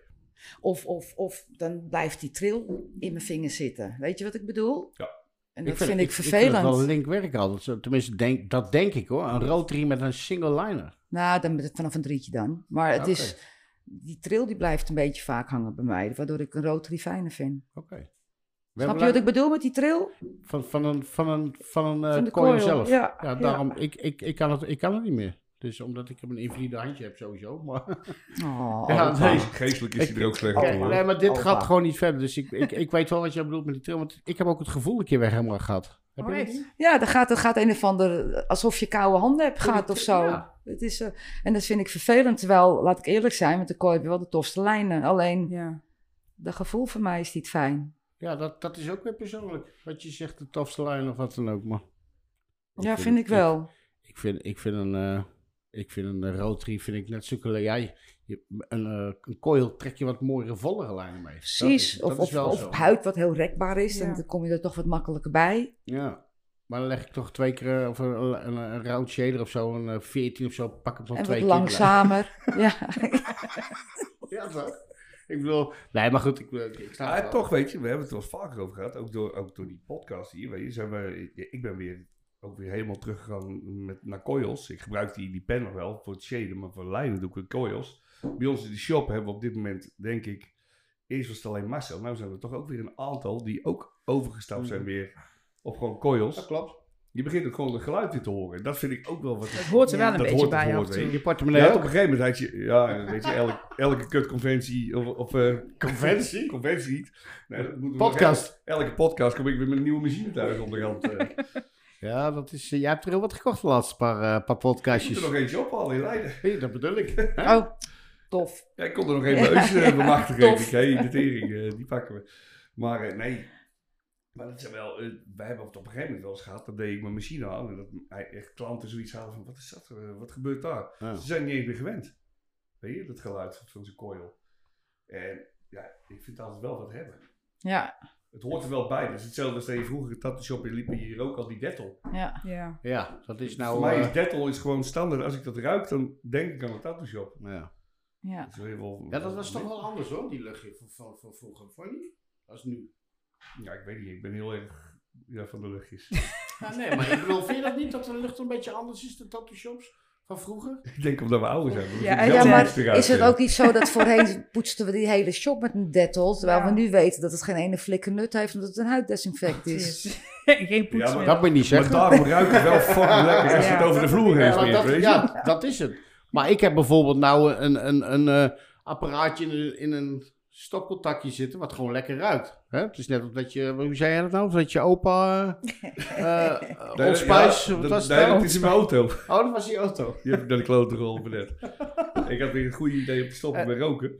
Speaker 4: Of, of, of dan blijft die tril in mijn vinger zitten. Weet je wat ik bedoel?
Speaker 2: Ja.
Speaker 4: En dat vind,
Speaker 1: het-
Speaker 4: ik
Speaker 1: Ik vind het
Speaker 4: vervelend.
Speaker 1: wel een link werk altijd. Zo, Tenminste, denk, dat denk ik hoor. Een rotary met een single liner.
Speaker 4: Nou, dan met het vanaf een drietje dan. Maar het
Speaker 2: Oké.
Speaker 4: is, die tril die blijft een beetje vaak hangen bij mij. Waardoor ik een Rotary fijner vind.
Speaker 1: Oké. We
Speaker 4: Snap
Speaker 1: hebben
Speaker 4: je wat ik bedoel met die tril?
Speaker 1: Van, van een, van een, van een eh,
Speaker 4: Van de
Speaker 1: coil,
Speaker 4: coil,
Speaker 1: zelf.
Speaker 4: ja. Ja.
Speaker 1: daarom, Ik, ik, ik, kan het, ik kan het niet meer. Dus omdat ik een invalide handje heb sowieso. Maar,
Speaker 4: Oh.
Speaker 1: Ja,
Speaker 2: Oh,
Speaker 1: nee.
Speaker 2: Geestelijk is hij er ook slecht
Speaker 1: Oké,
Speaker 2: aan hoor.
Speaker 1: nee, maar dit
Speaker 4: Opa.
Speaker 1: gaat gewoon niet verder. Dus ik, ik, ik weet wel wat jij bedoelt met die trill. Want ik heb ook het gevoel een keer weg helemaal gehad. Heb
Speaker 4: Oh,
Speaker 1: je dat niet?
Speaker 4: Ja, dan gaat, dan gaat een of ander alsof je koude handen hebt gaat of zo.
Speaker 1: Ja.
Speaker 4: Het is, eh, en dat vind ik vervelend. Terwijl, laat ik eerlijk zijn, met de kooi heb je wel de tofste lijnen. Alleen,
Speaker 3: Ja.
Speaker 4: dat gevoel voor mij is niet fijn.
Speaker 1: Ja, dat, dat is ook weer persoonlijk. Wat je zegt, de tofste lijn of wat dan ook. Maar
Speaker 4: ja, vind ik wel.
Speaker 1: Ik vind, ik vind een, eh ik vind een eh, rotary vind ik net zulke... Ja, je- je- een, eh, een coil trek je wat mooiere, vollere lijnen mee. Dat is-
Speaker 4: Precies.
Speaker 1: dat
Speaker 4: of
Speaker 1: is
Speaker 4: of,
Speaker 1: wel
Speaker 4: of
Speaker 1: zo.
Speaker 4: huid wat heel rekbaar is.
Speaker 3: Ja.
Speaker 4: En dan kom je er toch wat makkelijker bij.
Speaker 1: Ja. Maar dan leg ik toch twee keer eh, of een, een, een round shader of zo, een eh, 14 of zo, pak hem dan
Speaker 4: en
Speaker 1: twee
Speaker 4: wat
Speaker 1: keer.
Speaker 4: langzamer. ja.
Speaker 1: Ja, toch? Ik bedoel, nee, maar goed, ik, ik, ik sta
Speaker 2: Maar
Speaker 1: er wel.
Speaker 2: toch, weet je, we hebben het er wel vaker over gehad. Ook door, ook door die podcast hier. Weet je, zijn we, ik ben weer, ook weer helemaal teruggegaan met, naar coils. Ik gebruik die, die pen nog wel voor het shaden, maar voor lijnen doe ik het coils. Bij ons in de shop hebben we op dit moment, denk ik, eerst was het alleen Marcel. Nou zijn er toch ook weer een aantal die ook
Speaker 1: Hmm.
Speaker 2: overgestapt zijn weer op gewoon
Speaker 1: Dat
Speaker 2: coils.
Speaker 1: klopt.
Speaker 2: Je begint ook gewoon het geluid weer te horen. Dat vind ik ook wel wat...
Speaker 3: Het hoort er wel
Speaker 2: Ja,
Speaker 3: een
Speaker 2: dat
Speaker 3: beetje
Speaker 2: hoort
Speaker 3: bij
Speaker 2: er
Speaker 3: af en
Speaker 2: hoort,
Speaker 3: toe.
Speaker 2: hè.
Speaker 1: Je portemonnee
Speaker 2: Ja, op
Speaker 1: ook.
Speaker 2: een gegeven moment had je, ja, weet je, elke, elke kutconventie of, of eh,
Speaker 1: Conventie?
Speaker 2: conventie niet. Nee, dat moeten we
Speaker 1: Podcast.
Speaker 2: nog even- Elke podcast kom ik weer met een nieuwe machine thuis op de hand. eh.
Speaker 1: Ja, dat is... eh, jij hebt er heel wat gekocht de laatste paar, eh, paar
Speaker 2: Ik moet
Speaker 1: podcastjes.
Speaker 2: er nog eentje ophalen in Leiden.
Speaker 1: Hé, dat bedoel ik.
Speaker 4: Oh, tof.
Speaker 2: Ja, ik kon er nog even heus eh, bemachtigen.
Speaker 4: tof.
Speaker 2: Ik denk, hey, de tering, eh, die pakken we. Maar eh, nee, maar dat zijn wel, eh, wij hebben het op een gegeven moment wel eens gehad. Dan deed ik mijn machine aan en dat hij echt klanten zoiets hadden van, wat is dat? eh, Wat gebeurt daar?
Speaker 1: Ja.
Speaker 2: Ze zijn niet eens meer gewend. Weet je, dat geluid van zo'n coil. En ja, ik vind het altijd wel wat hebben.
Speaker 4: Ja,
Speaker 2: Het hoort er wel bij. Dat is hetzelfde als dat je vroeger een tattoo shop in liep en je rook al die dettel.
Speaker 4: ja.
Speaker 3: Ja.
Speaker 1: Ja, dat is
Speaker 2: Voor
Speaker 1: nou...
Speaker 2: mij is
Speaker 1: eh,
Speaker 2: dettel is gewoon standaard. Als ik dat ruik, dan denk ik aan een tattoo shop.
Speaker 1: ja.
Speaker 4: ja.
Speaker 2: is weer wel-
Speaker 1: ja, dat was toch wel anders hoor, die luchtje van, van, van vroeger. Vond je niet? Als nu.
Speaker 2: Ja, ik weet niet. Ik ben heel erg ja, van de luchtjes.
Speaker 1: Ja, nee, maar ik bedoel, vind je dat niet dat de lucht een beetje anders is dan tattoo shops van vroeger?
Speaker 2: Ik denk omdat we ouder zijn. want
Speaker 3: Ja,
Speaker 2: we
Speaker 3: en
Speaker 4: Ja,
Speaker 2: zelf
Speaker 3: dan
Speaker 4: maar
Speaker 2: niks eruit
Speaker 4: is het
Speaker 2: vinden.
Speaker 4: ook niet zo dat voorheen poetsten we die hele shop met een dettol, terwijl
Speaker 3: Ja.
Speaker 4: we nu weten dat het geen ene flikker nut heeft omdat het een huiddesinfect is.
Speaker 3: Dus. Geen poets
Speaker 2: Ja, maar
Speaker 3: meer.
Speaker 1: Dat moet je niet
Speaker 2: Maar
Speaker 1: zeggen.
Speaker 2: daarom ruikt het wel fucking lekker als je het
Speaker 3: Ja.
Speaker 2: over de vloer heen
Speaker 1: Ja, maar
Speaker 2: smeert,
Speaker 1: dat,
Speaker 2: weet je?
Speaker 1: ja, dat is het. Maar ik heb bijvoorbeeld nou een, een, een eh, apparaatje in, een- in een stopcontactje zitten, wat gewoon lekker ruikt. Hè? Het is net omdat je, hoe zei jij dat nou? Of dat je opa eh eh,
Speaker 2: Nee,
Speaker 1: Old
Speaker 2: ja,
Speaker 1: Spice, wat
Speaker 2: dat-
Speaker 1: was het
Speaker 2: nee,
Speaker 1: nou?
Speaker 2: dat is mijn auto.
Speaker 1: Oh, dat was die auto.
Speaker 2: Je hebt naar de klote geholpen net. ik had weer het goede idee om te
Speaker 1: Eh.
Speaker 2: stoppen met roken.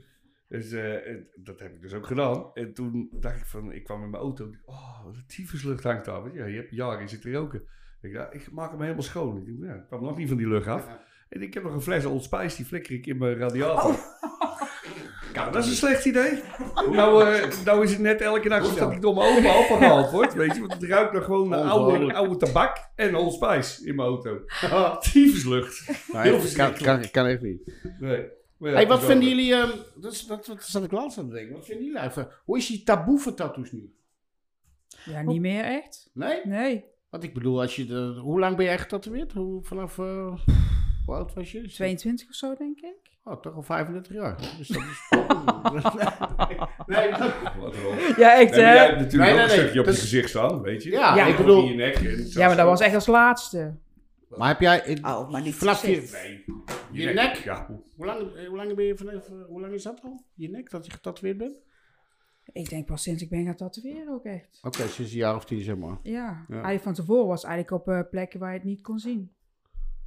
Speaker 2: Dus eh, en dat heb ik dus ook gedaan. En toen dacht ik van, ik kwam in mijn auto. Oh, wat een tyfuslucht hangt daar. Want ja, je hebt jaren in zitten roken. Ik dacht, ik maak hem helemaal schoon. Ik, dacht, ja, ik kwam nog niet van die lucht af. En ik heb nog een fles Old Spice, die flikker ik in mijn radiator.
Speaker 1: Oh.
Speaker 2: Nou, dat is een slecht idee. Nou, eh, nou is het net elke nacht
Speaker 1: Hoezo?
Speaker 2: dat die domme oma opgehaald wordt. Weet je, want het ruikt nog gewoon naar oude,
Speaker 1: Ongelooflijk.
Speaker 2: oude tabak en Old Spice in mijn auto. Tyfuslucht. Heel
Speaker 1: kan,
Speaker 2: verschrikkelijk.
Speaker 1: kan, kan echt niet.
Speaker 2: Nee. Maar ja,
Speaker 1: Hey, wat
Speaker 2: zo.
Speaker 1: vinden jullie, ehm, dat, is- dat, dat zat ik laatst aan te denken, wat vinden jullie eigenlijk? Hoe is die taboe voor tattoos nu?
Speaker 3: Ja, niet meer echt.
Speaker 1: Nee?
Speaker 3: Nee,
Speaker 1: Want ik bedoel, als je de, hoe lang ben je echt getatoeëerd? Hoe, vanaf, eh, hoe oud was je?
Speaker 3: 22 of zo denk ik.
Speaker 1: Oh, toch al 35 jaar. Dus dat is... nee, dat-
Speaker 2: Wat erop.
Speaker 3: Ja, echt
Speaker 2: Nee, maar jij
Speaker 3: hè?
Speaker 2: hebt
Speaker 1: Nee,
Speaker 2: natuurlijk ook
Speaker 1: nee,
Speaker 2: een
Speaker 1: nee.
Speaker 2: stukje op
Speaker 1: Dus-
Speaker 2: je gezicht staan, weet je?
Speaker 1: Ja,
Speaker 3: Ja.
Speaker 2: En
Speaker 1: ik
Speaker 2: ook
Speaker 1: bedoel-
Speaker 2: in je nek. En zo.
Speaker 3: Ja, maar dat was echt als laatste.
Speaker 1: maar heb jij... in-
Speaker 4: Oh, maar niet
Speaker 1: vanaf je,
Speaker 2: Nee.
Speaker 1: je nek?
Speaker 2: Ja. hoe-
Speaker 1: Hoe lang, eh, hoe lang ben je vanaf... eh, Hoe lang is dat al? Je nek, dat je getatoeëerd bent?
Speaker 3: Ik denk pas sinds ik ben gaan tatoeëren ook echt.
Speaker 1: Oké, sinds een jaar of tien, zeg maar.
Speaker 3: Ja,
Speaker 1: Ja.
Speaker 3: eigenlijk van tevoren was het eigenlijk op eh, plekken waar je het niet kon zien.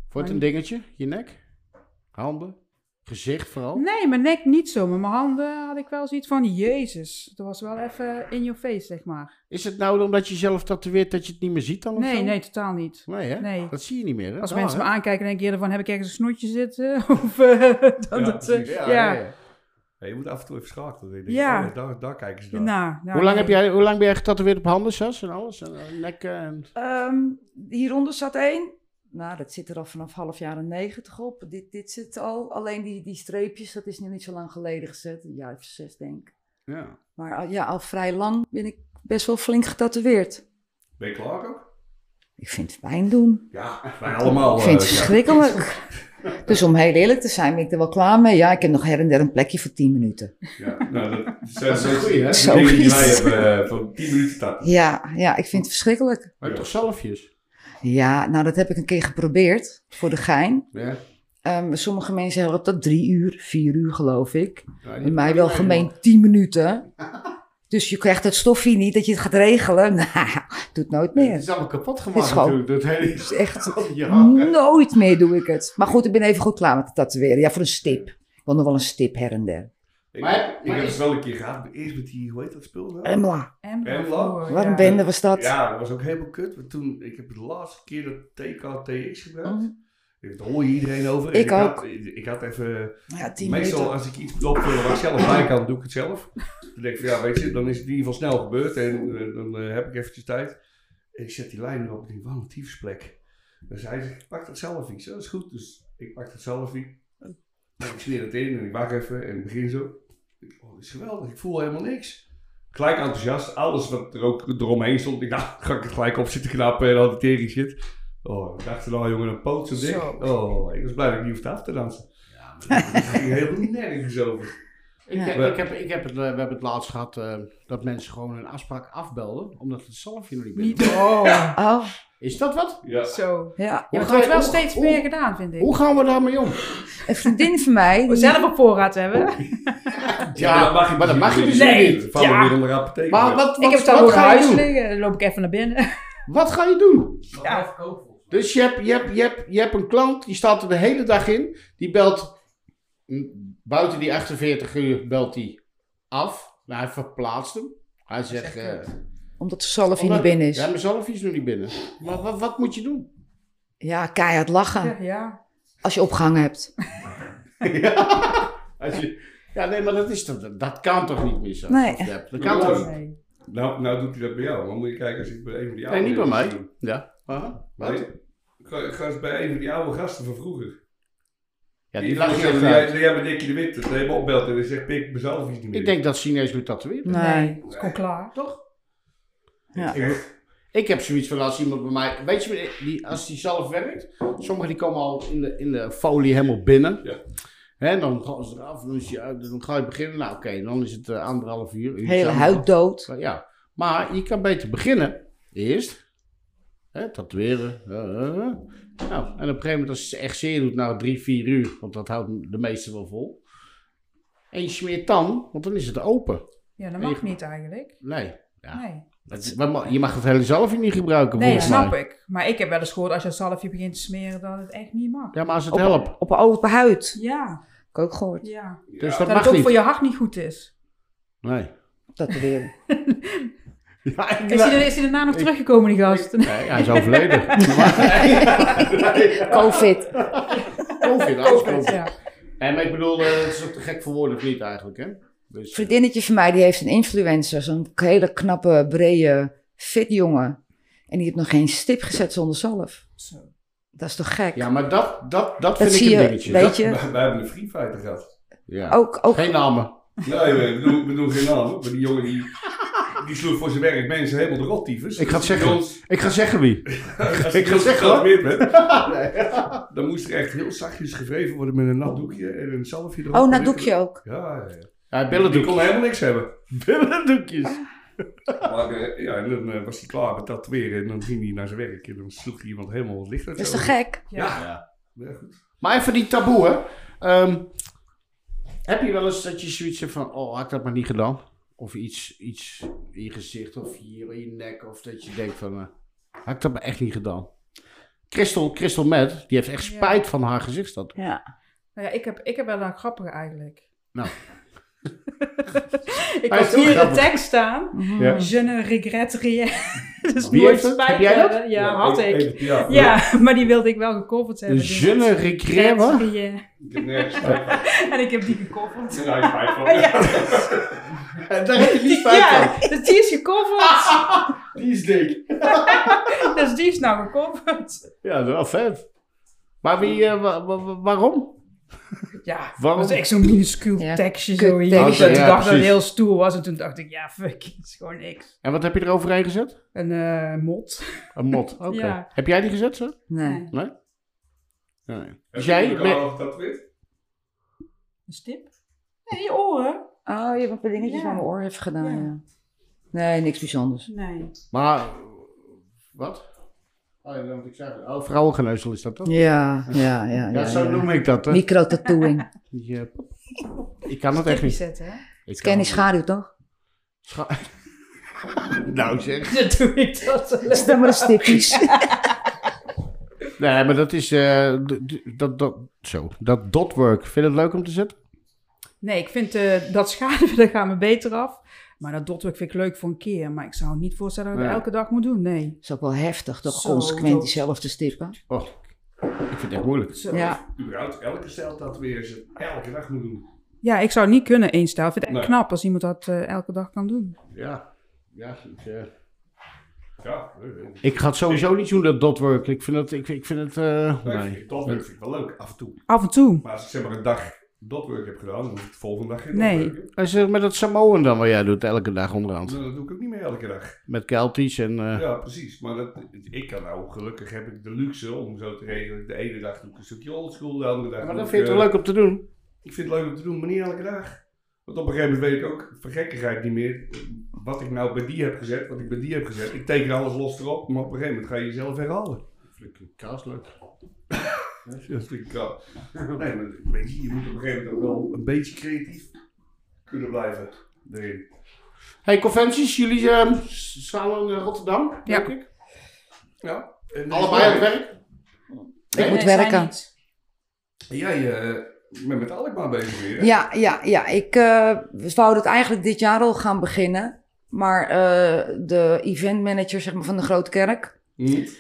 Speaker 1: Wordt een dingetje? Je nek? Handen? Gezicht vooral?
Speaker 3: Nee, mijn nek niet zo, maar mijn handen had ik wel zoiets van, jezus. Dat was wel even in your face, zeg maar.
Speaker 1: Is het nou omdat je zelf tatoeëert dat je het niet meer ziet dan? of
Speaker 3: Nee,
Speaker 1: zo?
Speaker 3: nee, totaal niet.
Speaker 1: Nee, hè?
Speaker 3: Nee.
Speaker 1: Dat zie je niet meer, hè?
Speaker 3: Als
Speaker 1: Raar,
Speaker 3: mensen
Speaker 1: hè?
Speaker 3: me aankijken, denk ik eerder van, heb ik ergens een snoetje zitten? Of eh, dan
Speaker 2: Ja,
Speaker 3: dat... eh,
Speaker 2: precies.
Speaker 3: ja,
Speaker 1: ja, ja.
Speaker 2: Ja, je moet af en toe even schakelen. denk ik.
Speaker 3: Ja.
Speaker 2: Oh, daar, daar kijken ze naar.
Speaker 3: Nou, nou,
Speaker 1: hoe, lang
Speaker 3: nee.
Speaker 1: heb jij, hoe lang ben jij getatoeëerd op handen, Sas? En alles? En, eh, nek eh, en...
Speaker 4: Ehm, hieronder zat één. Nou, dat zit er al vanaf half jaren negentig op. Dit, dit zit al. Alleen die, die streepjes, dat is nu niet zo lang geleden gezet. Een jaar of zes, denk ik.
Speaker 1: Ja.
Speaker 4: Maar al- ja, al vrij lang ben ik best wel flink getatoeëerd.
Speaker 2: Ben je klaar ook?
Speaker 4: Ik vind het fijn doen.
Speaker 2: Ja, wij allemaal.
Speaker 4: ik vind
Speaker 2: eh,
Speaker 4: het
Speaker 2: ja.
Speaker 4: verschrikkelijk. Dus om heel eerlijk te zijn, ben ik er wel klaar mee. Ja, ik heb nog her en der een plekje voor tien minuten.
Speaker 2: Ja, nou, dat zijn
Speaker 1: is een
Speaker 2: zo'n-
Speaker 1: goeie, hè?
Speaker 2: die
Speaker 4: Zo
Speaker 2: dingen die wij
Speaker 4: vies.
Speaker 2: hebben eh, van 10 minuten tappen.
Speaker 4: Ja, ja, ik vind het verschrikkelijk.
Speaker 1: Maar je hebt toch zelfjes?
Speaker 4: Ja, nou, dat heb ik een keer geprobeerd voor de gein.
Speaker 1: Ja.
Speaker 4: Ehm, sommige mensen hebben dat drie uur, vier uur geloof ik.
Speaker 1: Ja,
Speaker 4: Bij mij wel gemeen tien minuten. Dus je krijgt het stofje niet dat je het gaat regelen. Nou, doe het nooit
Speaker 1: Het
Speaker 4: meer.
Speaker 1: is allemaal kapot gemaakt
Speaker 4: Het is gewoon-
Speaker 1: natuurlijk. Dat hele...
Speaker 4: Dus echt
Speaker 1: Ja.
Speaker 4: nooit meer doe ik het. Maar goed, ik ben even goed klaar met het tatoeëren. Ja, voor een stip. Ik wil nog wel een stip her en der.
Speaker 2: Ik,
Speaker 1: Maar-
Speaker 2: ik
Speaker 1: maar
Speaker 2: heb
Speaker 1: is-
Speaker 2: het wel een keer gehad. maar Eerst met die, hoe heet dat spul nou?
Speaker 4: Emla,
Speaker 3: En
Speaker 2: En
Speaker 3: daarvoor,
Speaker 4: wat een
Speaker 3: ja.
Speaker 4: bende was dat.
Speaker 2: Ja, dat was ook helemaal kut. Want toen, ik heb de laatste keer dat TKTX gebruikt.
Speaker 3: Oh.
Speaker 4: Mhm.
Speaker 2: Daar hoor je iedereen over. En
Speaker 4: Ik
Speaker 2: Had, ik had even...
Speaker 4: Ja, tien
Speaker 2: Meestal
Speaker 4: minuten.
Speaker 2: als ik iets klop waar ik zelf bij kan, doe ik het zelf. Dan denk ik van ja, weet je, dan is het in ieder geval snel gebeurd en eh, dan eh, heb ik eventjes tijd. En ik zet die lijn erop en denk, wat een tyfusplek. Dus hij zegt, ik pak dat zelf iets, dat is goed. Dus ik pak dat zelf iets. En Nou, ik smeer het in en ik wacht even en ik begin zo. Ik denk, Oh, dit is geweldig, ik voel helemaal niks. Gelijk enthousiast, alles wat er ook eromheen stond. Ik dacht, ga ik het gelijk op zitten knappen en al die tering shit. Oh, ik dacht er nou jongen, een poot zo dik.
Speaker 4: Zo.
Speaker 2: Oh, ik was blij dat ik niet hoefde af te dansen. Ja, dat ging helemaal nergens over.
Speaker 1: Ik, heb,
Speaker 2: Ja.
Speaker 1: ik, heb, ik heb het, eh, we hebben het laatst gehad eh, dat mensen gewoon een afspraak afbelden, omdat het zalfje nog niet binnen
Speaker 3: Niet
Speaker 1: was.
Speaker 3: oh,
Speaker 4: Oh,
Speaker 1: Is dat wat?
Speaker 2: Ja.
Speaker 3: zo.
Speaker 4: ja.
Speaker 3: Ja, maar het
Speaker 1: ga je-
Speaker 3: wordt wel
Speaker 1: hoe-
Speaker 3: steeds
Speaker 1: hoe-
Speaker 3: meer gedaan, vind ik.
Speaker 1: Hoe gaan we daarmee om?
Speaker 4: Een vriendin van mij.
Speaker 3: We
Speaker 4: die-
Speaker 3: zelf op voorraad hebben.
Speaker 1: Ja, maar dat mag je dus
Speaker 3: Nee.
Speaker 1: niet.
Speaker 2: Vallen
Speaker 3: Ja.
Speaker 2: weer onder apotheek.
Speaker 1: Maar wat, wat,
Speaker 3: ik heb het
Speaker 1: wat,
Speaker 3: al over
Speaker 1: ga je
Speaker 3: huis
Speaker 1: doen?
Speaker 3: liggen. Dan loop ik even naar binnen.
Speaker 1: Wat ga je doen?
Speaker 3: Ja.
Speaker 1: Dus je hebt, je, hebt, je, hebt, je hebt een klant, die staat er de hele dag in, die belt mm, buiten die 48 uur belt die af. Nou, hij verplaatst hem. Hij zegt... eh,
Speaker 4: Omdat de zalfie niet
Speaker 1: omdat-
Speaker 4: binnen is.
Speaker 1: Ja,
Speaker 4: Ja,
Speaker 1: mijn zalfje is nog niet binnen. Maar wat, wat moet je doen?
Speaker 4: keihard lachen.
Speaker 3: Ja, ja.
Speaker 4: Als je opgang hebt.
Speaker 1: Als je, ja, nee, maar dat, is, toch- dat, dat kan toch niet meer zo?
Speaker 4: Nee.
Speaker 1: Of je hebt- Dat kan toch niet?
Speaker 3: Nee.
Speaker 2: Nou, nou doet hij dat bij jou. Maar moet je kijken als ik bij een van die
Speaker 1: Nee,
Speaker 2: oude...
Speaker 1: niet bij mij. Ja.
Speaker 2: Nee. Ik ga- ik ga eens bij een van die oude gasten van vroeger.
Speaker 1: Ja,
Speaker 2: die
Speaker 1: die lag
Speaker 2: die,
Speaker 1: echt
Speaker 2: die,
Speaker 1: uit.
Speaker 2: die hebben Dikkie de Wit. Dat hij hem opbelt en hij zegt, pik mezelf iets niet meer.
Speaker 1: Ik denk dat Chinees moet tatoeëren.
Speaker 4: Nee.
Speaker 3: Nee, het is gewoon klaar.
Speaker 1: Toch?
Speaker 4: Ja.
Speaker 2: Echt?
Speaker 1: Ik heb zoiets van als iemand bij mij. Weet je, die, als die zelf werkt. Sommigen die komen al in de, in de folie helemaal binnen.
Speaker 2: Ja.
Speaker 1: Hè, dan gaan ze eraf, dan, is je, uit, dan ga je beginnen. Nou, oké, dan is het eh, anderhalf uur. uurtje,
Speaker 4: Hele huid
Speaker 1: anderhalf.
Speaker 4: dood.
Speaker 1: Ja, maar je kan beter beginnen. Eerst. Hè, tatoeëren. eh, eh, eh. Nou, en op een gegeven moment, als het echt zeer doet, nou drie, vier uur. Want dat houdt de meeste wel vol. En je smeert dan, want dan is het open.
Speaker 3: Ja, dat mag niet eigenlijk.
Speaker 1: Nee. Ja.
Speaker 3: Nee.
Speaker 1: Dat is- maar ma- je mag het hele zelf niet gebruiken,
Speaker 3: Nee,
Speaker 1: volgens
Speaker 3: snap
Speaker 1: mij.
Speaker 3: ik. Maar ik heb wel eens gehoord als je het zalfje begint te smeren dat het echt niet mag.
Speaker 1: Ja, maar als het
Speaker 4: Op,
Speaker 1: helpt.
Speaker 4: op, open huid. Heb
Speaker 3: Ja,
Speaker 4: ik ook gehoord.
Speaker 3: ja.
Speaker 1: Dus
Speaker 2: Ja.
Speaker 1: dat,
Speaker 3: Dat,
Speaker 1: mag
Speaker 3: het ook
Speaker 1: niet.
Speaker 3: voor je hart niet goed is.
Speaker 1: Nee.
Speaker 4: Dat weer.
Speaker 1: Ja, ik-
Speaker 3: Is hij, er- is hij daarna nog teruggekomen, die gast?
Speaker 1: Nee, hij is overleden. Maar-
Speaker 4: Covid.
Speaker 1: Covid, alles Covid.
Speaker 3: Ja.
Speaker 1: Nee, maar ik bedoel, eh, het is ook te gek voor woorden of niet eigenlijk, hè? Dus, eh,
Speaker 4: vriendinnetje van mij die heeft een influencer. Zo'n hele knappe, brede, fit jongen. En die heeft nog geen stip gezet zonder zalf.
Speaker 3: Zo.
Speaker 4: Dat is toch gek?
Speaker 1: ja, maar dat, dat, dat
Speaker 4: dat
Speaker 1: vind
Speaker 4: zie
Speaker 1: ik een
Speaker 4: je,
Speaker 1: dingetje.
Speaker 4: weet
Speaker 2: Wij
Speaker 4: je.
Speaker 2: wij hebben een free fighter gehad.
Speaker 1: Ja.
Speaker 4: Ook, Oh, ook
Speaker 1: Geen namen.
Speaker 2: Nee, we doen, we doen geen naam. hoor. Maar die jongen die, die sloeg voor zijn werk mensen helemaal de rottyfus.
Speaker 1: Ik ga het zeggen.
Speaker 2: Die ons-
Speaker 1: Ik ga zeggen wie. Ik
Speaker 2: Als ik
Speaker 1: ga
Speaker 2: dat
Speaker 1: zeggen,
Speaker 2: gegraveerd bent, dan moest er echt heel zachtjes gewreven worden met een nat doekje en een zalfje erop.
Speaker 4: Oh, doekje ook.
Speaker 2: Ja, ja, ja.
Speaker 1: Ja,
Speaker 2: Die
Speaker 1: billendoekjes.
Speaker 2: kon helemaal niks hebben.
Speaker 1: Billendoekjes.
Speaker 2: Maar, eh, ja, en dan eh, was hij klaar met tatoeëren en dan ging hij naar zijn werk en dan sloeg hij iemand helemaal het licht uit.
Speaker 4: Dat is
Speaker 2: zijn
Speaker 4: toch
Speaker 2: ogen.
Speaker 4: gek?
Speaker 3: Ja.
Speaker 2: Ja, goed.
Speaker 1: Maar even die taboe, hè. Ehm, heb je wel eens dat je zoiets hebt van, oh, had ik dat maar niet gedaan? Of iets, iets in je gezicht of hier in je nek. Of dat je denkt van, eh, had ik dat maar echt niet gedaan? Crystal, Crystal Mad, die heeft echt
Speaker 3: Ja.
Speaker 1: spijt van haar gezichtstad.
Speaker 4: Ja.
Speaker 3: Nou ja, ik heb, ik heb wel een grappige eigenlijk.
Speaker 1: Nou.
Speaker 3: ik
Speaker 1: Hij is
Speaker 3: had
Speaker 1: heel
Speaker 3: hier
Speaker 1: grappig.
Speaker 3: de tekst staan.
Speaker 4: Mhm.
Speaker 1: Ja.
Speaker 3: Je ne regrette rien. dus
Speaker 1: Wie
Speaker 3: nooit
Speaker 1: heeft dat?
Speaker 3: spijt
Speaker 1: Heb jij dat? oh,
Speaker 3: hebben. Ja, had ik.
Speaker 2: even- ja,
Speaker 3: Ja, maar die wilde ik wel gecoverd hebben. dus
Speaker 1: Je ne regret, wat?
Speaker 3: regrette rien.
Speaker 2: Ik heb nergens spijt van.
Speaker 3: En ik heb die gecoverd.
Speaker 2: Daar heb ik spijt van.
Speaker 3: Oh, Ja.
Speaker 1: Daar heb je niet spijt Ah. van.
Speaker 3: Ja, dus die is gecoverd.
Speaker 1: Die is dik.
Speaker 3: Dus die is nou gecoverd.
Speaker 1: Ja, dat is wel vet. Maar wie, eh, wa- wa- wa- waarom?
Speaker 3: Ja,
Speaker 1: Waarom?
Speaker 3: dat was echt zo'n minuscuul
Speaker 4: Ja,
Speaker 3: tekstje.
Speaker 4: kut
Speaker 3: Zo hier.
Speaker 4: tekstje.
Speaker 3: dat ik
Speaker 1: Oh. Ja,
Speaker 3: dacht dat het
Speaker 1: precies.
Speaker 3: heel stoer was. En toen dacht ik, ja, fuck, het is gewoon niks.
Speaker 1: En wat heb je eroverheen gezet?
Speaker 3: Een eh, mot.
Speaker 1: Een mot. Oké.
Speaker 3: Ja.
Speaker 1: Heb jij die gezet, zo?
Speaker 4: Nee.
Speaker 1: Nee.
Speaker 2: Heb
Speaker 1: Dus jij...
Speaker 2: je
Speaker 1: met-
Speaker 2: al getatoeëerd?
Speaker 3: Een stip? Nee, je oren.
Speaker 4: Oh, je hebt een paar dingetjes
Speaker 3: Ja.
Speaker 4: aan mijn oor heeft gedaan,
Speaker 3: Ja.
Speaker 4: ja. Nee, niks bijzonders.
Speaker 3: Nee.
Speaker 1: Maar, wat? Oh, ja, want ik zei, oh, vrouwengeneuzel is dat toch?
Speaker 4: Ja, ja, ja.
Speaker 1: Ja, zo noem ik dat, hè?
Speaker 4: Micro-tattooing.
Speaker 1: Die, eh, ik kan het echt
Speaker 3: Stipjes
Speaker 1: niet.
Speaker 3: zetten, hè?
Speaker 1: Ik
Speaker 4: Ken
Speaker 1: kan
Speaker 4: die
Speaker 1: het
Speaker 4: schaduw toch?
Speaker 1: niet. nou zeg.
Speaker 3: Dat doe ik dat.
Speaker 4: Stem maar de stippies.
Speaker 1: Nee, maar dat is, eh, d- d- dat, dat, zo, dat dotwork. Vind je het leuk om te zetten?
Speaker 3: Nee, ik vind eh, dat schaduwen, daar gaan we beter af. Maar dat dotwerk vind ik leuk voor een keer. Maar ik zou het niet voorstellen dat ik
Speaker 1: Nee.
Speaker 3: dat elke dag moet doen. Nee.
Speaker 4: Dat is ook wel heftig, toch?
Speaker 3: Zo,
Speaker 4: consequent
Speaker 3: zo.
Speaker 4: jezelf te stippen.
Speaker 1: Oh, ik vind het echt moeilijk.
Speaker 3: Zo.
Speaker 4: Ja.
Speaker 2: Überhaupt, elke stijl tatoeëren ze elke dag moet doen.
Speaker 3: ja, ik zou het niet kunnen één stijl. Ik vind het echt
Speaker 2: Nee.
Speaker 3: knap als iemand dat eh, elke dag kan doen.
Speaker 1: Ja. Ja, ik, eh,
Speaker 2: Ja, eh, eh.
Speaker 1: ik ga het sowieso niet doen, dat dotwork. Ik vind het, ik, ik vind het, eh,
Speaker 2: Nee,
Speaker 1: nee.
Speaker 2: Dat vind ik wel leuk, af en toe.
Speaker 3: Af en toe.
Speaker 2: Maar als ik zeg maar een dag dotwork heb gedaan, dan hoef ik de volgende dag geen
Speaker 3: Nee.
Speaker 2: dotwork.
Speaker 1: Als je met dat Samoan dan wat jij doet elke dag onderhand.
Speaker 2: Nou, Dat doe ik ook niet meer elke dag.
Speaker 1: Met Keltisch en... eh,
Speaker 2: Ja, precies. Maar dat, ik kan nou, gelukkig heb ik de luxe om zo te regelen. De ene dag doe ik een stukje oldschool, de andere dag
Speaker 1: Maar
Speaker 2: doe
Speaker 1: dat
Speaker 2: ik,
Speaker 1: vind je
Speaker 2: eh,
Speaker 1: toch leuk om te doen?
Speaker 2: Ik vind het leuk om te doen, maar niet elke dag. Want op een gegeven moment weet ik ook, van gekkigheid niet meer, eh, wat ik nou bij die heb gezet, wat ik bij die heb gezet. Ik teken alles los erop, maar op een gegeven moment ga je jezelf herhalen.
Speaker 1: Flikker kaas leuk.
Speaker 2: Ja, dat vind ik wel. Nee, maar weet je, je moet op een gegeven moment ook wel een beetje creatief kunnen blijven erin.
Speaker 1: Hey, conventies, jullie eh, s- samen in Rotterdam,
Speaker 3: Ja.
Speaker 1: denk ik?
Speaker 2: Ja. En eh,
Speaker 1: Allebei aan het werk?
Speaker 4: Ik moet
Speaker 3: zij
Speaker 4: werken.
Speaker 3: niet.
Speaker 2: En Jij eh, bent met Alkmaar bezig weer. hè?
Speaker 4: Ja, ja, ja. Ik eh, we zouden het eigenlijk dit jaar al gaan beginnen. Maar eh, de eventmanager zeg maar, van de Grote Kerk,
Speaker 2: Niet. Mm.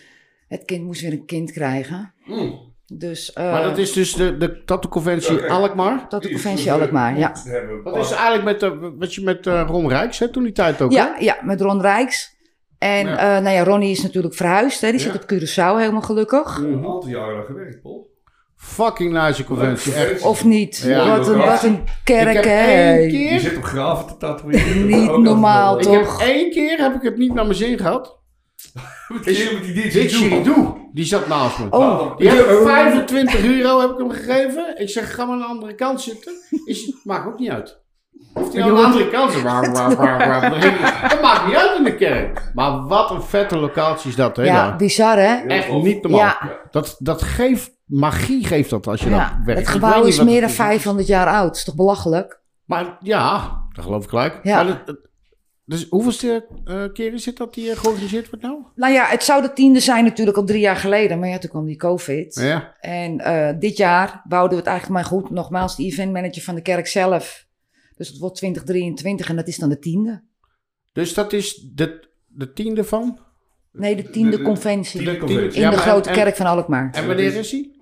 Speaker 4: het kind moest weer een kind krijgen. Dus eh,
Speaker 1: maar dat is dus de, de tattoo-conventie
Speaker 2: Oké.
Speaker 1: Alkmaar.
Speaker 4: dat de conventie Alkmaar, ja.
Speaker 1: Dat is eigenlijk met, eh, wat je met eh Ron Rijks, hè, toen die tijd ook, hè?
Speaker 4: Ja, ja, met Ron Rijks. En
Speaker 1: Ja.
Speaker 4: eh, nou ja, Ronnie is natuurlijk verhuisd. Hè. Die
Speaker 1: Ja.
Speaker 4: zit op Curaçao helemaal gelukkig.
Speaker 2: een aantal jaren aan gewerkt, Paul.
Speaker 1: Fucking nice conventie, echt.
Speaker 4: Of niet?
Speaker 1: Ja.
Speaker 4: wat, een, wat een kerk,
Speaker 1: ik heb
Speaker 4: hè?
Speaker 1: één
Speaker 2: Je
Speaker 1: keer,
Speaker 2: zit op graven te tatoeëren.
Speaker 4: Niet
Speaker 2: Ook
Speaker 4: normaal,
Speaker 2: altijd
Speaker 1: ik
Speaker 2: wel.
Speaker 1: heb
Speaker 4: toch?
Speaker 1: één keer heb ik het niet naar mijn zin gehad.
Speaker 2: eh, Wat is met die dit?
Speaker 1: Dit Shiridou, die zat naast me.
Speaker 4: Oh,
Speaker 1: Die heb ik 25 euro heb ik hem gegeven. Ik zeg, ga maar aan de andere kant zitten. Is, maakt ook niet uit. Of die aan de andere kant zit. waar, waar, waar, waar, waar. Dat maakt niet uit in de kerk. Maar wat een vette locatie is dat, hè?
Speaker 4: ja,
Speaker 1: daar.
Speaker 4: bizar, hè?
Speaker 1: Echt niet normaal.
Speaker 4: Ja.
Speaker 1: Dat, dat geeft, magie geeft dat als je
Speaker 4: Ja,
Speaker 1: dat werkt.
Speaker 4: het
Speaker 1: Ik
Speaker 4: gebouw
Speaker 1: weet niet
Speaker 4: is
Speaker 1: wat
Speaker 4: meer dan
Speaker 1: het
Speaker 4: 500 jaar oud. is toch belachelijk?
Speaker 1: Maar ja, dat geloof ik gelijk.
Speaker 4: Ja.
Speaker 1: Maar dat- dat- dus hoeveelste eh, keer is het dat die eh, georganiseerd wordt nou?
Speaker 4: Nou ja, het zou de tiende zijn natuurlijk al drie jaar geleden. Maar ja, toen kwam die COVID.
Speaker 1: Ja.
Speaker 4: En eh, dit jaar wouden we het eigenlijk maar goed. Nogmaals, de eventmanager van de kerk zelf. Dus het wordt 2023 en dat is dan de tiende.
Speaker 1: Dus dat is de, de tiende van?
Speaker 4: Nee, de tiende
Speaker 2: De- de-
Speaker 4: conventie.
Speaker 2: tiende
Speaker 4: In
Speaker 2: conventie.
Speaker 1: Ja,
Speaker 4: de
Speaker 1: maar
Speaker 4: grote
Speaker 1: en-
Speaker 4: kerk van Alkmaar.
Speaker 1: En wanneer is die?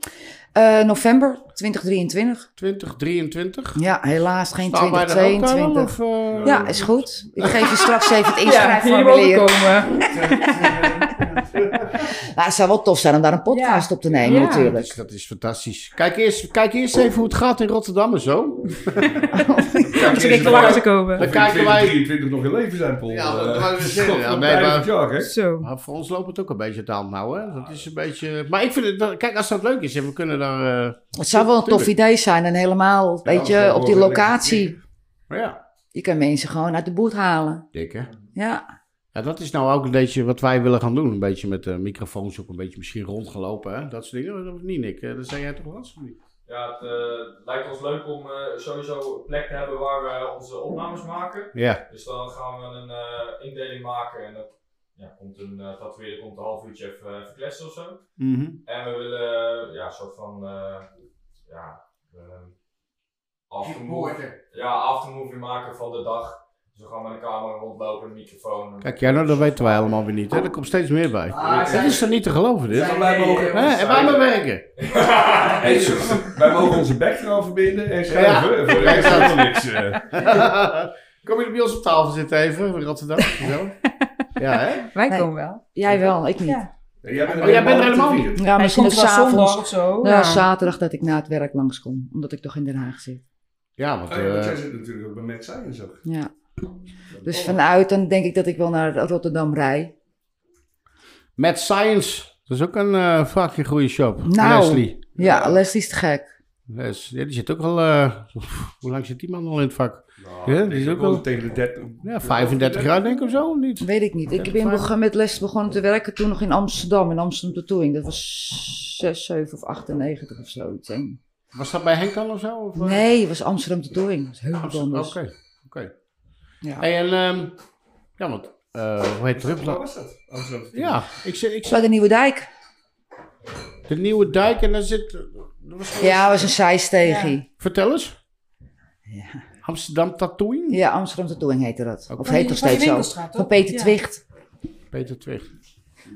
Speaker 4: Eh, november 2023.
Speaker 1: 2023?
Speaker 4: Ja, helaas geen
Speaker 1: Staan wij daar Nou, ook aan,
Speaker 4: 2022.
Speaker 1: of, eh,
Speaker 4: Ja, is goed. Ik geef je straks even het
Speaker 3: Ja, hier
Speaker 4: inschrijfformulier.
Speaker 3: ook komen.
Speaker 4: eh, nou, het zou wel tof zijn om daar een podcast op te nemen
Speaker 3: Ja.
Speaker 1: dat
Speaker 4: natuurlijk.
Speaker 1: is- Dat is fantastisch. Kijk eerst, kijk eerst even hoe het gaat in Rotterdam en zo.
Speaker 3: Om ze een keer langs te komen.
Speaker 1: Dan kijken wij-
Speaker 2: 23 nog in leven zijn, Paul.
Speaker 1: Ja,
Speaker 2: Eh,
Speaker 1: dat wou ik zeggen.
Speaker 2: God,
Speaker 1: Ja,
Speaker 2: wat
Speaker 1: nee,
Speaker 2: een
Speaker 1: maar-
Speaker 2: duizend jaar, hè?
Speaker 3: Zo.
Speaker 1: Maar voor ons loopt het ook een beetje het aan nou, hè. Dat is een beetje... Maar ik vind het... dat- Kijk, als dat leuk is en we kunnen daar... eh,
Speaker 4: Het zou wel een tof
Speaker 1: Tuurlijk.
Speaker 4: idee zijn. En helemaal, weet
Speaker 2: dat
Speaker 4: je, op
Speaker 2: horen
Speaker 4: die
Speaker 2: we
Speaker 4: locatie.
Speaker 1: Maar ja,
Speaker 4: Je kan mensen gewoon uit de boot halen.
Speaker 1: dik, hè.
Speaker 4: Ja,
Speaker 1: Ja, dat is nou ook een beetje wat wij willen gaan doen. Een beetje met de microfoons ook een beetje misschien rondgelopen, hè. Dat soort dingen. Of niet, Nick? Eh, Dat zei jij toch wel eens, of niet?
Speaker 5: Ja, het eh, lijkt ons leuk om eh, sowieso een plek te hebben waar we onze opnames maken.
Speaker 1: Ja.
Speaker 5: Dus dan gaan we een eh, indeling maken en dan ja, komt een eh tatoeëerder komt een half uurtje even eh, verkletsen of zo. En we willen eh, ja, een soort van eh ja, eh, aftermovie, ja, aftermovie maken van de dag. Dus we gaan met een camera rondlopen, een microfoon.
Speaker 1: Kijk, ja, nou, dat weten wij allemaal weer niet, hè. Er komt steeds meer bij.
Speaker 5: Ah,
Speaker 1: dat
Speaker 5: zij-
Speaker 1: is toch niet te geloven, dit?
Speaker 5: Zij-
Speaker 2: Wij mogen-
Speaker 1: Hè? En wij maar werken.
Speaker 2: Hey, zo- wij mogen onze bek eraan verbinden en schuiven. En voor de rest
Speaker 1: Ja.
Speaker 2: helemaal niks. eh.
Speaker 1: Kom je bij ons op tafel zitten even, in Rotterdam? Zo. ja, hè?
Speaker 3: Wij
Speaker 4: Nee.
Speaker 3: komen wel.
Speaker 4: jij wel, ik niet. Ja,
Speaker 3: Ja.
Speaker 2: En Jij bent
Speaker 1: Oh, jij bent er helemaal niet.
Speaker 3: Hij
Speaker 4: misschien ook
Speaker 3: komt wel zondag
Speaker 4: s'avonds.
Speaker 3: of zo.
Speaker 4: Ja,
Speaker 3: Ja.
Speaker 4: zaterdag dat ik na het werk langskom. Omdat ik toch in Den Haag zit.
Speaker 1: Ja, want...
Speaker 2: Oh ja, want
Speaker 1: eh,
Speaker 2: jij zit natuurlijk ook bij Matt Science ook.
Speaker 1: Ah,
Speaker 4: Ja. Dus vanuit dan denk ik dat ik wel naar Rotterdam rij.
Speaker 1: Mad Science. Dat is ook een eh fucking goede shop.
Speaker 4: Nou.
Speaker 1: Leslie.
Speaker 4: Ja, Leslie is te gek.
Speaker 1: Les, ja, die zit ook al... eh, pff, hoe lang zit die man al in het vak?
Speaker 2: Nou,
Speaker 1: Ja,
Speaker 2: ik
Speaker 1: die is
Speaker 2: denk
Speaker 1: ook wel-
Speaker 2: tegen de 30.
Speaker 1: Ja, 35 jaar denk ik of zo, of niet?
Speaker 4: Weet ik niet. Ik ben begon, met les begonnen te werken toen nog in Amsterdam, in Amsterdam Tattooing. Dat was 6, 7 of 98 of zoiets. hè.
Speaker 1: Was dat bij Henk dan of zo? Of, eh?
Speaker 4: Nee, dus. het was Amsterdam Tattooing. Dat is heel wat
Speaker 1: Amsterdam, Oké,
Speaker 4: anders.
Speaker 1: oké.
Speaker 4: Ja.
Speaker 1: Hey, en... ehm, ja, want... eh, hoe heet het?
Speaker 2: Waar
Speaker 1: Rupla-
Speaker 2: was dat? Oh, Amsterdam.
Speaker 1: Ja, ik zit, ik
Speaker 4: Dus bij de Nieuwe Dijk.
Speaker 1: zit de Nieuwe Dijk en daar zit... eh, dat was-
Speaker 4: Ja, was een zijstegie.
Speaker 1: Vertel eens. Amsterdam Tattooing?
Speaker 4: Ja. Amsterdam Tattooing heette dat. Of
Speaker 3: Van
Speaker 4: heet
Speaker 3: die-
Speaker 4: nog
Speaker 3: van die
Speaker 4: steeds zo.
Speaker 3: winkelstraat, toch?
Speaker 4: Van Peter
Speaker 3: Ja.
Speaker 4: Twicht.
Speaker 1: Peter Twicht.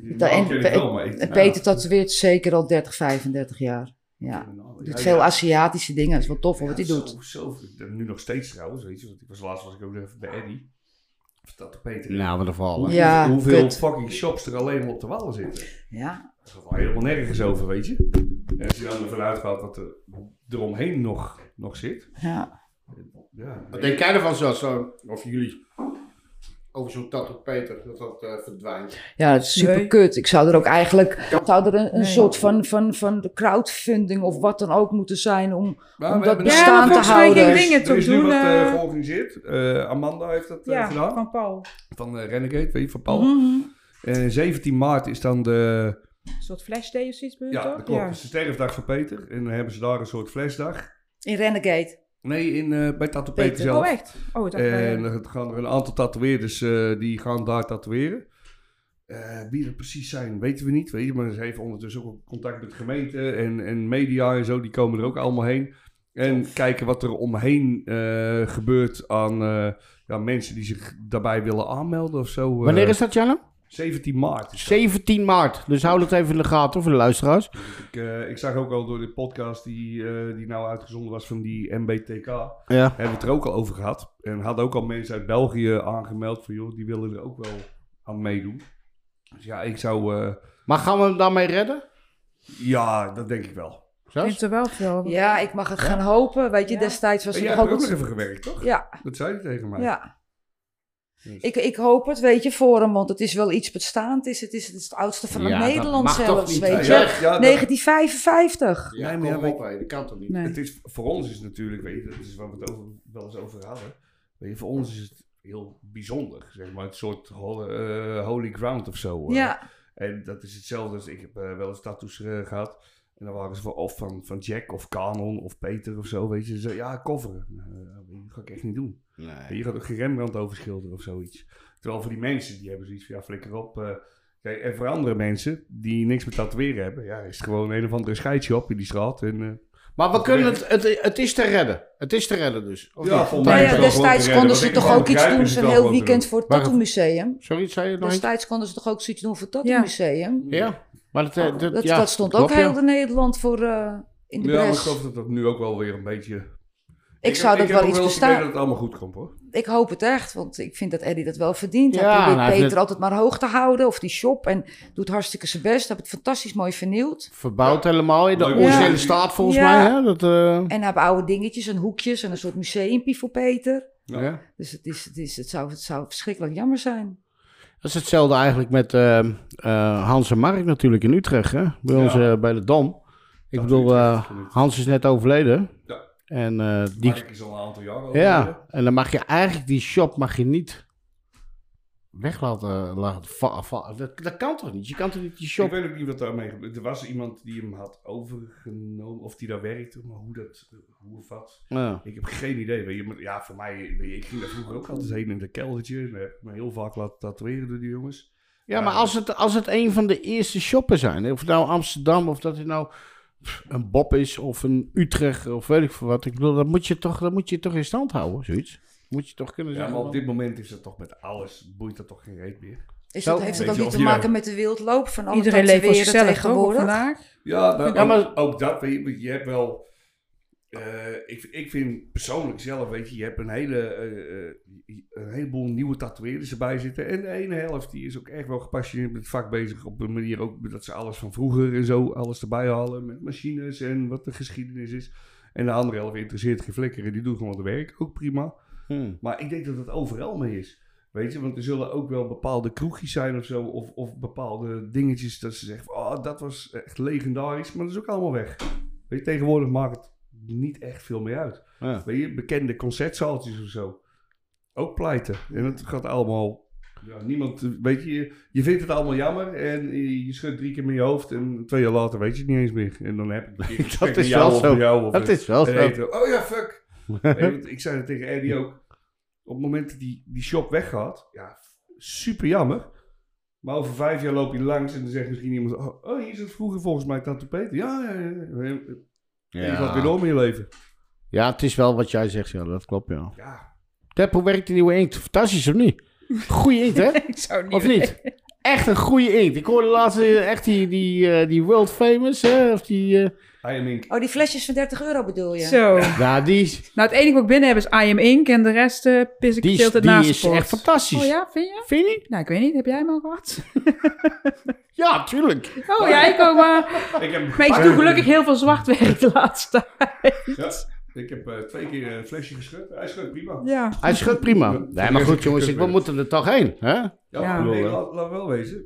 Speaker 2: Die
Speaker 4: en-
Speaker 2: ken ik wel, maar ik-
Speaker 4: En Peter tatoeëert zeker al 30, 35 jaar. Ja. Doet veel Aziatische dingen. Dat is wel tof hoor, wat hij doet.
Speaker 2: Zo, zo, nu nog steeds trouwens, weet je. Want ik was laatst was ik ook nog even bij Eddie. Of dat de Peter.
Speaker 1: Nou, wat een verhaal. hè?
Speaker 4: Ja,
Speaker 2: hoeveel
Speaker 4: kut.
Speaker 2: fucking shops er alleen maar op de wallen zitten.
Speaker 4: Ja.
Speaker 2: Dat gaat helemaal nergens over, weet je. En als je dan ervan uitgaat dat er eromheen nog, nog zit.
Speaker 4: Ja.
Speaker 2: Ja,
Speaker 1: Wat denk jij ervan, zo, zo, of jullie? Over zo'n tattoo Peter, dat dat eh, verdwijnt.
Speaker 4: ja, dat is super
Speaker 3: Nee.
Speaker 4: kut. Ik zou er ook eigenlijk zou er een, een
Speaker 3: Nee.
Speaker 4: soort van, van, van crowdfunding of wat dan ook moeten zijn om.
Speaker 2: Maar
Speaker 4: Om
Speaker 2: we hebben-
Speaker 4: dat
Speaker 2: nou-
Speaker 4: bestaan
Speaker 3: Ja, maar
Speaker 4: te
Speaker 3: volgens mij
Speaker 4: houden.
Speaker 3: ging dingen
Speaker 2: Er
Speaker 3: toch
Speaker 2: is nu
Speaker 3: doen.
Speaker 2: wat eh,
Speaker 3: eh,
Speaker 2: georganiseerd. Eh, Amanda heeft dat eh,
Speaker 3: ja,
Speaker 2: gedaan.
Speaker 3: van Paul.
Speaker 2: Van eh, Renegade, weet je, van Paul.
Speaker 3: Mhm.
Speaker 2: En 17 maart is dan de...
Speaker 3: Een soort flashday of zoiets bij u,
Speaker 2: Ja,
Speaker 3: toch?
Speaker 2: dat klopt. Het is de sterfdag van Peter. En dan hebben ze daar een soort flesdag.
Speaker 4: In Renegade.
Speaker 2: Nee, in, eh, bij Tattoo Peter,
Speaker 4: Peter.
Speaker 2: zelf.
Speaker 3: Oh, echt? Oh, dat
Speaker 2: En eh, er gaan er een aantal tatoeëerders eh, die gaan daar tatoeëren. Eh, wie dat precies zijn, weten we niet. Weet je, maar ze heeft ondertussen ook contact met de gemeente en, en media en zo. Die komen er ook allemaal heen. En kijken wat er omheen eh, gebeurt aan eh, ja, mensen die zich daarbij willen aanmelden of zo. Eh,
Speaker 1: Wanneer is dat, Janne?
Speaker 2: 17 maart. Dus is dat.
Speaker 1: 17 maart. Dus hou dat even in de gaten voor de luisteraars.
Speaker 2: Ik, eh, ik zag ook al door de podcast die, eh, die nou uitgezonden was van die MBTK.
Speaker 1: Ja.
Speaker 2: hebben we het er ook al over gehad. En hadden ook al mensen uit België aangemeld van, joh, die willen er ook wel aan meedoen. Dus ja, ik zou... eh,
Speaker 1: Maar gaan we hem daarmee redden?
Speaker 2: ja, dat denk ik wel.
Speaker 3: Ik
Speaker 1: Zelfs?
Speaker 3: vind er wel veel.
Speaker 4: Ja, ik mag het gaan hopen. Weet je,
Speaker 3: Ja.
Speaker 4: destijds was
Speaker 2: En
Speaker 4: het
Speaker 2: jij
Speaker 4: nog
Speaker 2: hebt er
Speaker 4: ook...
Speaker 2: ook nog
Speaker 4: het-
Speaker 2: even gewerkt, toch?
Speaker 4: Ja,
Speaker 2: Dat zei je tegen mij.
Speaker 4: ja.
Speaker 2: Dus-
Speaker 4: Ik, ik hoop het, weet je, voor hem. Want het is wel iets bestaand. Is. Het, is, het is het oudste van
Speaker 1: Ja, dat
Speaker 4: Nederland
Speaker 1: mag toch
Speaker 4: zelfs,
Speaker 1: niet,
Speaker 2: Ja,
Speaker 4: weet je.
Speaker 2: ja, ja, dat-
Speaker 4: 1955.
Speaker 1: Ja,
Speaker 2: Nee,
Speaker 1: nee,
Speaker 2: maar ja,
Speaker 1: maar op, hé, dat kan toch niet?
Speaker 3: Nee.
Speaker 2: het is, voor ons is het natuurlijk, weet je, dat is waar we het over, wel eens over hadden. Weet je, voor ons is het heel bijzonder, zeg maar. Het soort hol- eh, holy ground of zo. eh.
Speaker 4: Ja,
Speaker 2: En dat is hetzelfde als ik heb eh, wel eens tattoos eh, gehad. En dan waren ze van, of van, van Jack of Canon of Peter of zo. Weet je, ze zeiden, ja, coveren. Eh, dat ga ik echt niet doen.
Speaker 1: Nee.
Speaker 2: Je gaat ook geen Rembrandt overschilderen of zoiets. Terwijl voor die mensen, die hebben zoiets van, ja, flikker op. eh. Kijk, en voor andere mensen die niks met tatoeëren hebben, ja, is het gewoon een of andere scheidje op in die straat. En, eh,
Speaker 1: Maar we kunnen het, het, het is te redden. Het is te redden dus. Of niet?
Speaker 2: Oh, volgens
Speaker 4: nou
Speaker 2: mij is
Speaker 4: ja,
Speaker 2: het wel gewoon te
Speaker 4: destijds
Speaker 2: redden.
Speaker 4: konden
Speaker 2: Wat
Speaker 4: ze
Speaker 2: ik
Speaker 4: toch
Speaker 2: ervan
Speaker 4: ook iets
Speaker 2: begrijp,
Speaker 4: doen.
Speaker 2: is het
Speaker 4: Een
Speaker 2: wel
Speaker 4: heel
Speaker 2: gewoon te
Speaker 4: weekend voor het
Speaker 1: Wacht.
Speaker 4: Tattoo Museum.
Speaker 1: Sorry, zei je nog iets?
Speaker 4: Destijds konden ze toch ook zoiets doen voor het Tattoo
Speaker 3: Ja.
Speaker 4: Museum.
Speaker 2: doen.
Speaker 1: Ja. Maar dat, eh, dat,
Speaker 4: Dat,
Speaker 1: ja,
Speaker 4: dat stond ook
Speaker 1: klopt,
Speaker 4: heel
Speaker 1: ja.
Speaker 4: de Nederland voor eh, in de
Speaker 2: Ja, maar ik
Speaker 4: pres.
Speaker 2: geloof dat dat nu ook wel weer een beetje...
Speaker 4: Ik zou
Speaker 2: heb-
Speaker 4: dat
Speaker 2: ik heb
Speaker 4: wel
Speaker 2: ook het
Speaker 4: iets
Speaker 2: idee
Speaker 4: bestaan.
Speaker 2: dat het allemaal goed komt, hoor.
Speaker 4: Ik hoop het echt, want ik vind dat Eddie dat wel verdient.
Speaker 1: Ja,
Speaker 4: hij
Speaker 1: en hij
Speaker 4: probeert Peter
Speaker 1: vindt-
Speaker 4: altijd maar hoog te houden, of die shop. En doet hartstikke zijn best. Hij heeft het fantastisch mooi vernieuwd.
Speaker 1: Verbouwd helemaal in de
Speaker 2: Ja.
Speaker 1: originele staat volgens
Speaker 3: Ja.
Speaker 1: mij. Hè? Dat, eh,
Speaker 4: En hij heeft oude dingetjes en hoekjes en een soort museumpje voor Peter.
Speaker 2: Ja.
Speaker 1: ja.
Speaker 4: Dus het, is, het, is, het, zou, het zou verschrikkelijk jammer zijn.
Speaker 1: Dat is hetzelfde eigenlijk met eh, eh, Hans en Mark natuurlijk in Utrecht, hè? bij
Speaker 2: Ja.
Speaker 1: ons eh, bij de Dam. Ik
Speaker 2: Dat
Speaker 1: bedoel,
Speaker 2: Utrecht
Speaker 1: eh,
Speaker 2: is genoeg.
Speaker 1: Hans is net overleden.
Speaker 2: Ja.
Speaker 1: En, eh, die,
Speaker 2: Die... is al een aantal jaar al.
Speaker 1: ja, en dan mag je eigenlijk die shop mag je niet weg laten, laten va- va- Dat, dat kan toch niet? Je kan toch niet die
Speaker 2: Ik
Speaker 1: shop...
Speaker 2: weet ook niet wat daarmee gebeurt. Er was iemand die hem had overgenomen, of die daar werkte, maar hoe dat, hoe of wat.
Speaker 1: Ja.
Speaker 2: Ik heb geen idee. Weet je, maar ja, voor mij, weet je, ik ging daar vroeger ook altijd heen in de keldertje. En heb me heel vaak laten tatoeëren door die jongens.
Speaker 1: Ja, maar als het, als het een van de eerste shoppen zijn, of het nou Amsterdam, of dat het nou pff, een Bob is, of een Utrecht, of weet ik veel wat. Ik bedoel, dat moet je toch, dat moet je toch in stand houden, zoiets. Moet je toch kunnen
Speaker 2: Ja,
Speaker 1: zeggen...
Speaker 2: maar op
Speaker 1: van-
Speaker 2: dit moment is dat toch met alles, boeit dat toch geen reet meer.
Speaker 4: Is
Speaker 1: Zo,
Speaker 4: dat, heeft het
Speaker 2: weet
Speaker 4: ook
Speaker 2: je,
Speaker 4: niet
Speaker 2: of
Speaker 4: te
Speaker 2: je-
Speaker 4: maken met de wildloop van alle
Speaker 3: Iedereen leeft voor
Speaker 4: tatoeëren
Speaker 3: zichzelf toch, ook
Speaker 4: tegenwoordig?
Speaker 3: vandaag.
Speaker 2: Ja, nou,
Speaker 1: Ja,
Speaker 2: ook-
Speaker 1: maar-
Speaker 2: ook, dat, weet je, je hebt wel... eh, ik, ik vind persoonlijk zelf, weet je, je hebt een, hele, eh, eh, een heleboel nieuwe tatoeëerders erbij zitten. En de ene helft die is ook echt wel gepassioneerd met het vak bezig. Op een manier ook dat ze alles van vroeger en zo, alles erbij halen. Met machines en wat de geschiedenis is. En de andere helft interesseert geen flikker en die doet gewoon het werk. Ook prima.
Speaker 1: Hmm.
Speaker 2: Maar ik denk dat het overal mee is. Weet je, want er zullen ook wel bepaalde kroegjes zijn of zo. Of, of bepaalde dingetjes dat ze zeggen: van, oh, dat was echt legendarisch. Maar dat is ook allemaal weg. Weet je, tegenwoordig maakt het niet echt veel meer uit.
Speaker 1: Ja.
Speaker 2: Weet je, bekende concertzaaltjes of zo. Ook pleiten. En het gaat allemaal. Ja, niemand, weet je, je vindt het allemaal jammer en je je schudt drie keer met je hoofd en twee jaar later weet je het niet eens meer. En dan heb ik een keer gesprek
Speaker 1: is
Speaker 2: met
Speaker 1: wel
Speaker 2: jou of
Speaker 1: zo.
Speaker 2: met jou. Of
Speaker 1: Dat is wel
Speaker 2: en
Speaker 1: zo.
Speaker 2: eten. Oh ja, fuck. Nee, want ik zei het tegen Eddie ook. Op het moment dat die, die shop weggaat, ja, super jammer. Maar over vijf jaar loop je langs en dan zegt misschien iemand: Oh, oh hier zat vroeger volgens mij Tante Peter. Ja, ja, ja. ja. En je gaat weer door met je leven.
Speaker 1: ja, het is wel wat jij zegt, ja, dat klopt, ja.
Speaker 2: Ja,
Speaker 1: Tep, hoe werkt die nieuwe inkt? Fantastisch, of niet? Goeie inkt, hè?
Speaker 3: Ik zou niet
Speaker 1: Of niet? echt een goede inkt. Ik hoorde laatst eh, echt die, die, eh, die world famous, hè, of die... eh,
Speaker 2: I am ink.
Speaker 4: Oh, die flesjes van 30 euro bedoel je?
Speaker 3: Zo.
Speaker 1: ja, die, is-
Speaker 3: Nou, het enige wat ik binnen heb is I am Ink en de rest eh, pis ik
Speaker 1: die,
Speaker 3: de
Speaker 1: is,
Speaker 3: hele tijd
Speaker 1: die
Speaker 3: naast
Speaker 1: is
Speaker 3: de pot.
Speaker 1: echt fantastisch.
Speaker 3: Oh ja, vind je?
Speaker 1: Vind je niet?
Speaker 3: Nou, ik weet niet. Heb jij hem al gehad?
Speaker 1: Ja, tuurlijk.
Speaker 3: Oh ja, ik ook maar.
Speaker 2: Ik heb,
Speaker 3: Maar ik doe gelukkig heel veel zwart werk de laatste tijd.
Speaker 2: Ja, ik heb eh, twee keer een flesje geschud. Hij schudt prima.
Speaker 3: Ja.
Speaker 1: Hij schudt prima.
Speaker 2: Ja.
Speaker 1: Nee, maar goed jongens, ik- we moeten er toch heen. Hè?
Speaker 2: Ja,
Speaker 3: Ja.
Speaker 2: maar nee,
Speaker 1: Lul, hè?
Speaker 2: laat, laat wel wezen.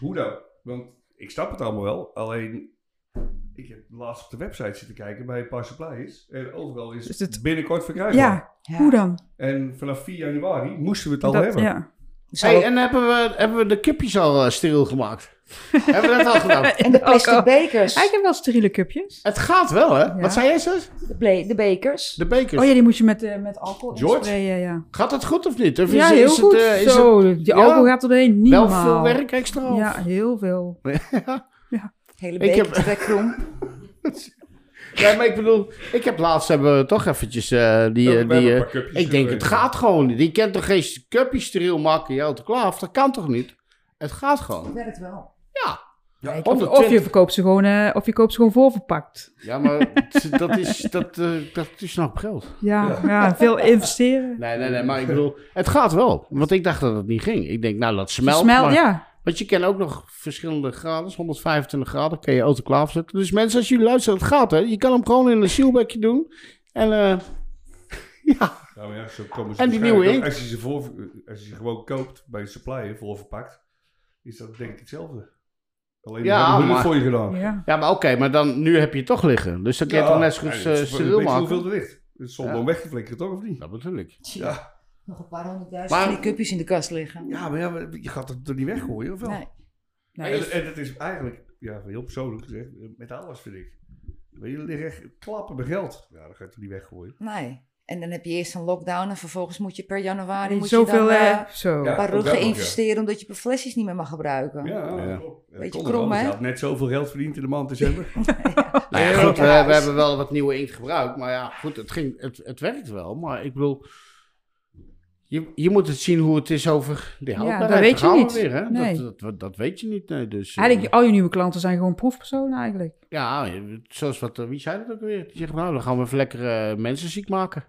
Speaker 2: Hoe dan? Want ik snap het allemaal wel. Alleen, ik heb laatst op de website zitten kijken bij een paar suppliers. En overal is
Speaker 3: Is
Speaker 2: het
Speaker 3: Dus het-
Speaker 2: binnenkort verkrijgbaar.
Speaker 3: ja,
Speaker 4: Ja.
Speaker 3: hoe dan?
Speaker 2: En vanaf 4 januari moesten we het al
Speaker 3: Dat-
Speaker 2: hebben.
Speaker 3: ja.
Speaker 4: Zal
Speaker 1: Hey,
Speaker 4: ook-
Speaker 1: en hebben we, hebben we de kipjes al eh, steriel gemaakt? hebben we dat al gedaan?
Speaker 4: en de plastic
Speaker 3: Ook al.
Speaker 4: bekers.
Speaker 3: Ah, Ik heb wel steriele cupjes.
Speaker 1: Het gaat wel, hè? Wat zei jij, zus?
Speaker 4: De, ble- de bekers.
Speaker 1: De bekers.
Speaker 3: Oh ja, die moet je met, eh, met alcohol in
Speaker 1: George?
Speaker 3: sprayen, ja.
Speaker 1: Gaat het goed of niet? Of
Speaker 3: ja,
Speaker 1: is,
Speaker 3: heel
Speaker 1: is
Speaker 3: goed.
Speaker 1: Het, eh, is het
Speaker 3: Zo, die
Speaker 1: ja?
Speaker 3: alcohol gaat er doorheen. Niet
Speaker 1: wel
Speaker 3: normaal.
Speaker 1: veel werk extra? of-
Speaker 3: Ja, heel veel.
Speaker 4: Hele
Speaker 1: Ik
Speaker 4: bekers.
Speaker 1: heb-
Speaker 4: Ik krom.
Speaker 1: Nee, maar ik bedoel, ik heb laatst hebben we toch eventjes eh, die...
Speaker 2: Ook,
Speaker 1: eh,
Speaker 2: we
Speaker 1: die
Speaker 2: hebben een
Speaker 1: eh,
Speaker 2: paar cupjes
Speaker 1: ik denk, het
Speaker 2: erbij.
Speaker 1: gaat gewoon niet. Die kent toch geen cupjes steriel maken, jou te klaar? Dat kan toch niet? Het gaat gewoon.
Speaker 4: werkt wel.
Speaker 1: Ja,
Speaker 3: Of, of je verkoopt ze gewoon, eh, of je koopt ze gewoon voorverpakt.
Speaker 1: Ja, maar t- dat is, dat, eh, dat is nog geld.
Speaker 3: Ja, ja. veel investeren.
Speaker 1: Nee, nee, nee, maar ik bedoel, het gaat wel. Want ik dacht dat het niet ging. Ik denk, nou, dat smelt.
Speaker 3: Smel,
Speaker 1: maar-
Speaker 3: ja.
Speaker 1: Want je kan ook nog verschillende graden, 125 graden, kan je autoclaaf zetten. Dus mensen, als jullie luisteren, het gaat, hè. Je kan hem gewoon in een zielbekje doen. En eh, ja,
Speaker 2: Nou ja, zo komen ze
Speaker 1: En die
Speaker 2: waarschijnlijk
Speaker 1: nieuwe
Speaker 2: ook.
Speaker 1: inkt.
Speaker 2: Als je, ze voor, als je ze gewoon koopt bij een supplier, voorverpakt, is dat denk ik hetzelfde. Alleen
Speaker 1: Ja,
Speaker 2: ja, hebben we
Speaker 1: maar-
Speaker 2: het voor je gedaan.
Speaker 3: ja.
Speaker 1: ja maar oké, maar dan, nu heb je het toch liggen. Dus dan kan je toch net zo goed eh, steriel
Speaker 2: maken.
Speaker 1: maken.
Speaker 2: hoeveel er ligt. Het is
Speaker 1: Ja.
Speaker 2: gewoon weggeflikkerd, toch? Of niet?
Speaker 1: Dat bedoel ik.
Speaker 4: Zie je,
Speaker 2: Ja.
Speaker 4: Nog een paar honderdduizend
Speaker 1: Maar-
Speaker 4: van die cupjes in de kast liggen.
Speaker 2: Ja, maar ja, maar je gaat het er niet weggooien, of wel?
Speaker 4: Nee.
Speaker 3: Nee,
Speaker 2: en, en het is eigenlijk, ja, heel persoonlijk gezegd, eh, met alles vind ik. Maar jullie liggen echt klappen met geld. Ja, dat gaat er niet weggooien.
Speaker 4: Nee. En dan heb je eerst een lockdown en vervolgens moet je per januari moet je
Speaker 3: Zoveel,
Speaker 4: dan, eh,
Speaker 3: eh, zo.
Speaker 4: een
Speaker 2: Ja,
Speaker 4: paar
Speaker 2: ook dat
Speaker 4: ruggen
Speaker 2: nog, ja.
Speaker 4: investeren omdat je per flesjes niet meer mag gebruiken.
Speaker 2: Ja,
Speaker 1: Ja.
Speaker 2: klopt. Ja,
Speaker 4: Beetje
Speaker 2: kon er
Speaker 4: krom,
Speaker 2: wel.
Speaker 4: hè?
Speaker 2: Je had net zoveel geld verdiend in de maand december.
Speaker 1: Nou ja,
Speaker 4: Ja,
Speaker 1: goed, we,
Speaker 4: ja,
Speaker 1: we
Speaker 4: is-
Speaker 1: hebben wel wat nieuwe inkt gebruikt. Maar ja, goed, het, ging, het, het werkt wel. Maar ik bedoel, je, je moet het zien hoe het is over de houdbaarheid.
Speaker 3: dat weet je
Speaker 1: Daar gaan we
Speaker 3: niet.
Speaker 1: Weer, hè?
Speaker 3: Nee.
Speaker 1: Dat, dat, dat weet je niet. Nee, dus, eh,
Speaker 3: Eigenlijk, al je nieuwe klanten zijn gewoon proefpersonen eigenlijk.
Speaker 1: Ja, zoals wat, eh, wie zei dat ook weer? Die zegt, nou, dan gaan we even lekker eh, mensen ziek maken.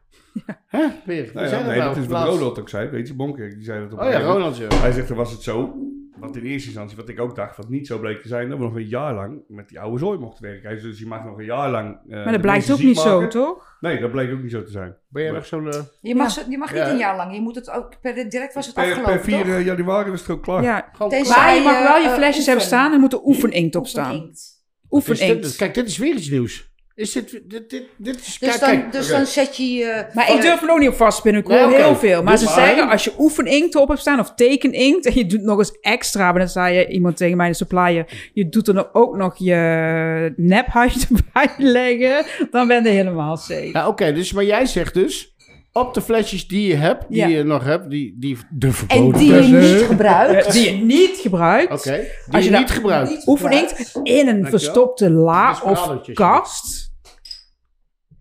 Speaker 1: Hè? Weer, wie
Speaker 2: Nou ja,
Speaker 1: zei
Speaker 2: nee,
Speaker 1: nou
Speaker 2: dat is wat
Speaker 1: laatst?
Speaker 2: Ronald ook zei. Weet je, Bonkerk, die zei dat op
Speaker 1: Oh
Speaker 2: een
Speaker 1: ja,
Speaker 2: gegeven moment.
Speaker 1: Ronald, ja.
Speaker 2: Hij zegt, dan was het zo, wat in eerste instantie, wat ik ook dacht, wat niet zo bleek te zijn, dat we nog een jaar lang met die oude zooi mochten werken. Hij zei, dus je mag nog een jaar lang... eh,
Speaker 3: Maar dat blijkt
Speaker 2: mensen
Speaker 3: ook
Speaker 2: ziek
Speaker 3: niet zo,
Speaker 2: maken.
Speaker 3: toch?
Speaker 2: Nee, dat bleek ook niet zo te zijn.
Speaker 1: Ben jij nog zo'n... eh,
Speaker 4: Je mag,
Speaker 3: Ja.
Speaker 4: zo- je mag
Speaker 1: Ja.
Speaker 4: niet een jaar lang. Je moet het ook, per, direct was het
Speaker 2: Per,
Speaker 4: afgelopen,
Speaker 2: per 4
Speaker 4: toch?
Speaker 2: januari was het ook klaar.
Speaker 3: Ja.
Speaker 1: gewoon
Speaker 4: Deze-
Speaker 1: klaar?
Speaker 3: Maar je
Speaker 4: Zij,
Speaker 3: mag wel je
Speaker 4: eh,
Speaker 3: flesjes hebben
Speaker 4: oefenen.
Speaker 3: staan en moet er oefeninkt op staan.
Speaker 4: Oefeninkt.
Speaker 1: Is dus dit-
Speaker 3: Oefeninkt.
Speaker 1: Kijk, dit is weer iets nieuws. Is dit... Dit, dit, dit is...
Speaker 4: Dus,
Speaker 1: kijk, kijk.
Speaker 4: dan, dus
Speaker 2: Oké.
Speaker 4: dan zet je je...
Speaker 3: Maar ik durf er ook niet op vastpinnen. Ik hoor
Speaker 1: Nee, oké.
Speaker 3: heel veel. Maar
Speaker 1: Doe
Speaker 3: ze
Speaker 1: maar.
Speaker 3: zeggen, als je oefeninkt op hebt staan of tekeninkt... en je doet nog eens extra... maar dan zei je iemand tegen mij, de supplier... je doet er nou ook nog je nephuid bij leggen... dan ben je helemaal safe.
Speaker 1: Ja, oké, dus, maar jij zegt dus... Op de flesjes die je hebt, die
Speaker 3: Ja.
Speaker 1: je nog hebt, die... die de
Speaker 4: En die je niet gebruikt.
Speaker 3: Die Eh, je niet gebruikt.
Speaker 1: Oké, die je,
Speaker 3: Als je dat
Speaker 1: niet gebruikt.
Speaker 4: niet
Speaker 3: Oefeninkt in een verstopte la
Speaker 1: Dat is
Speaker 3: of
Speaker 1: radertjes,
Speaker 3: kast.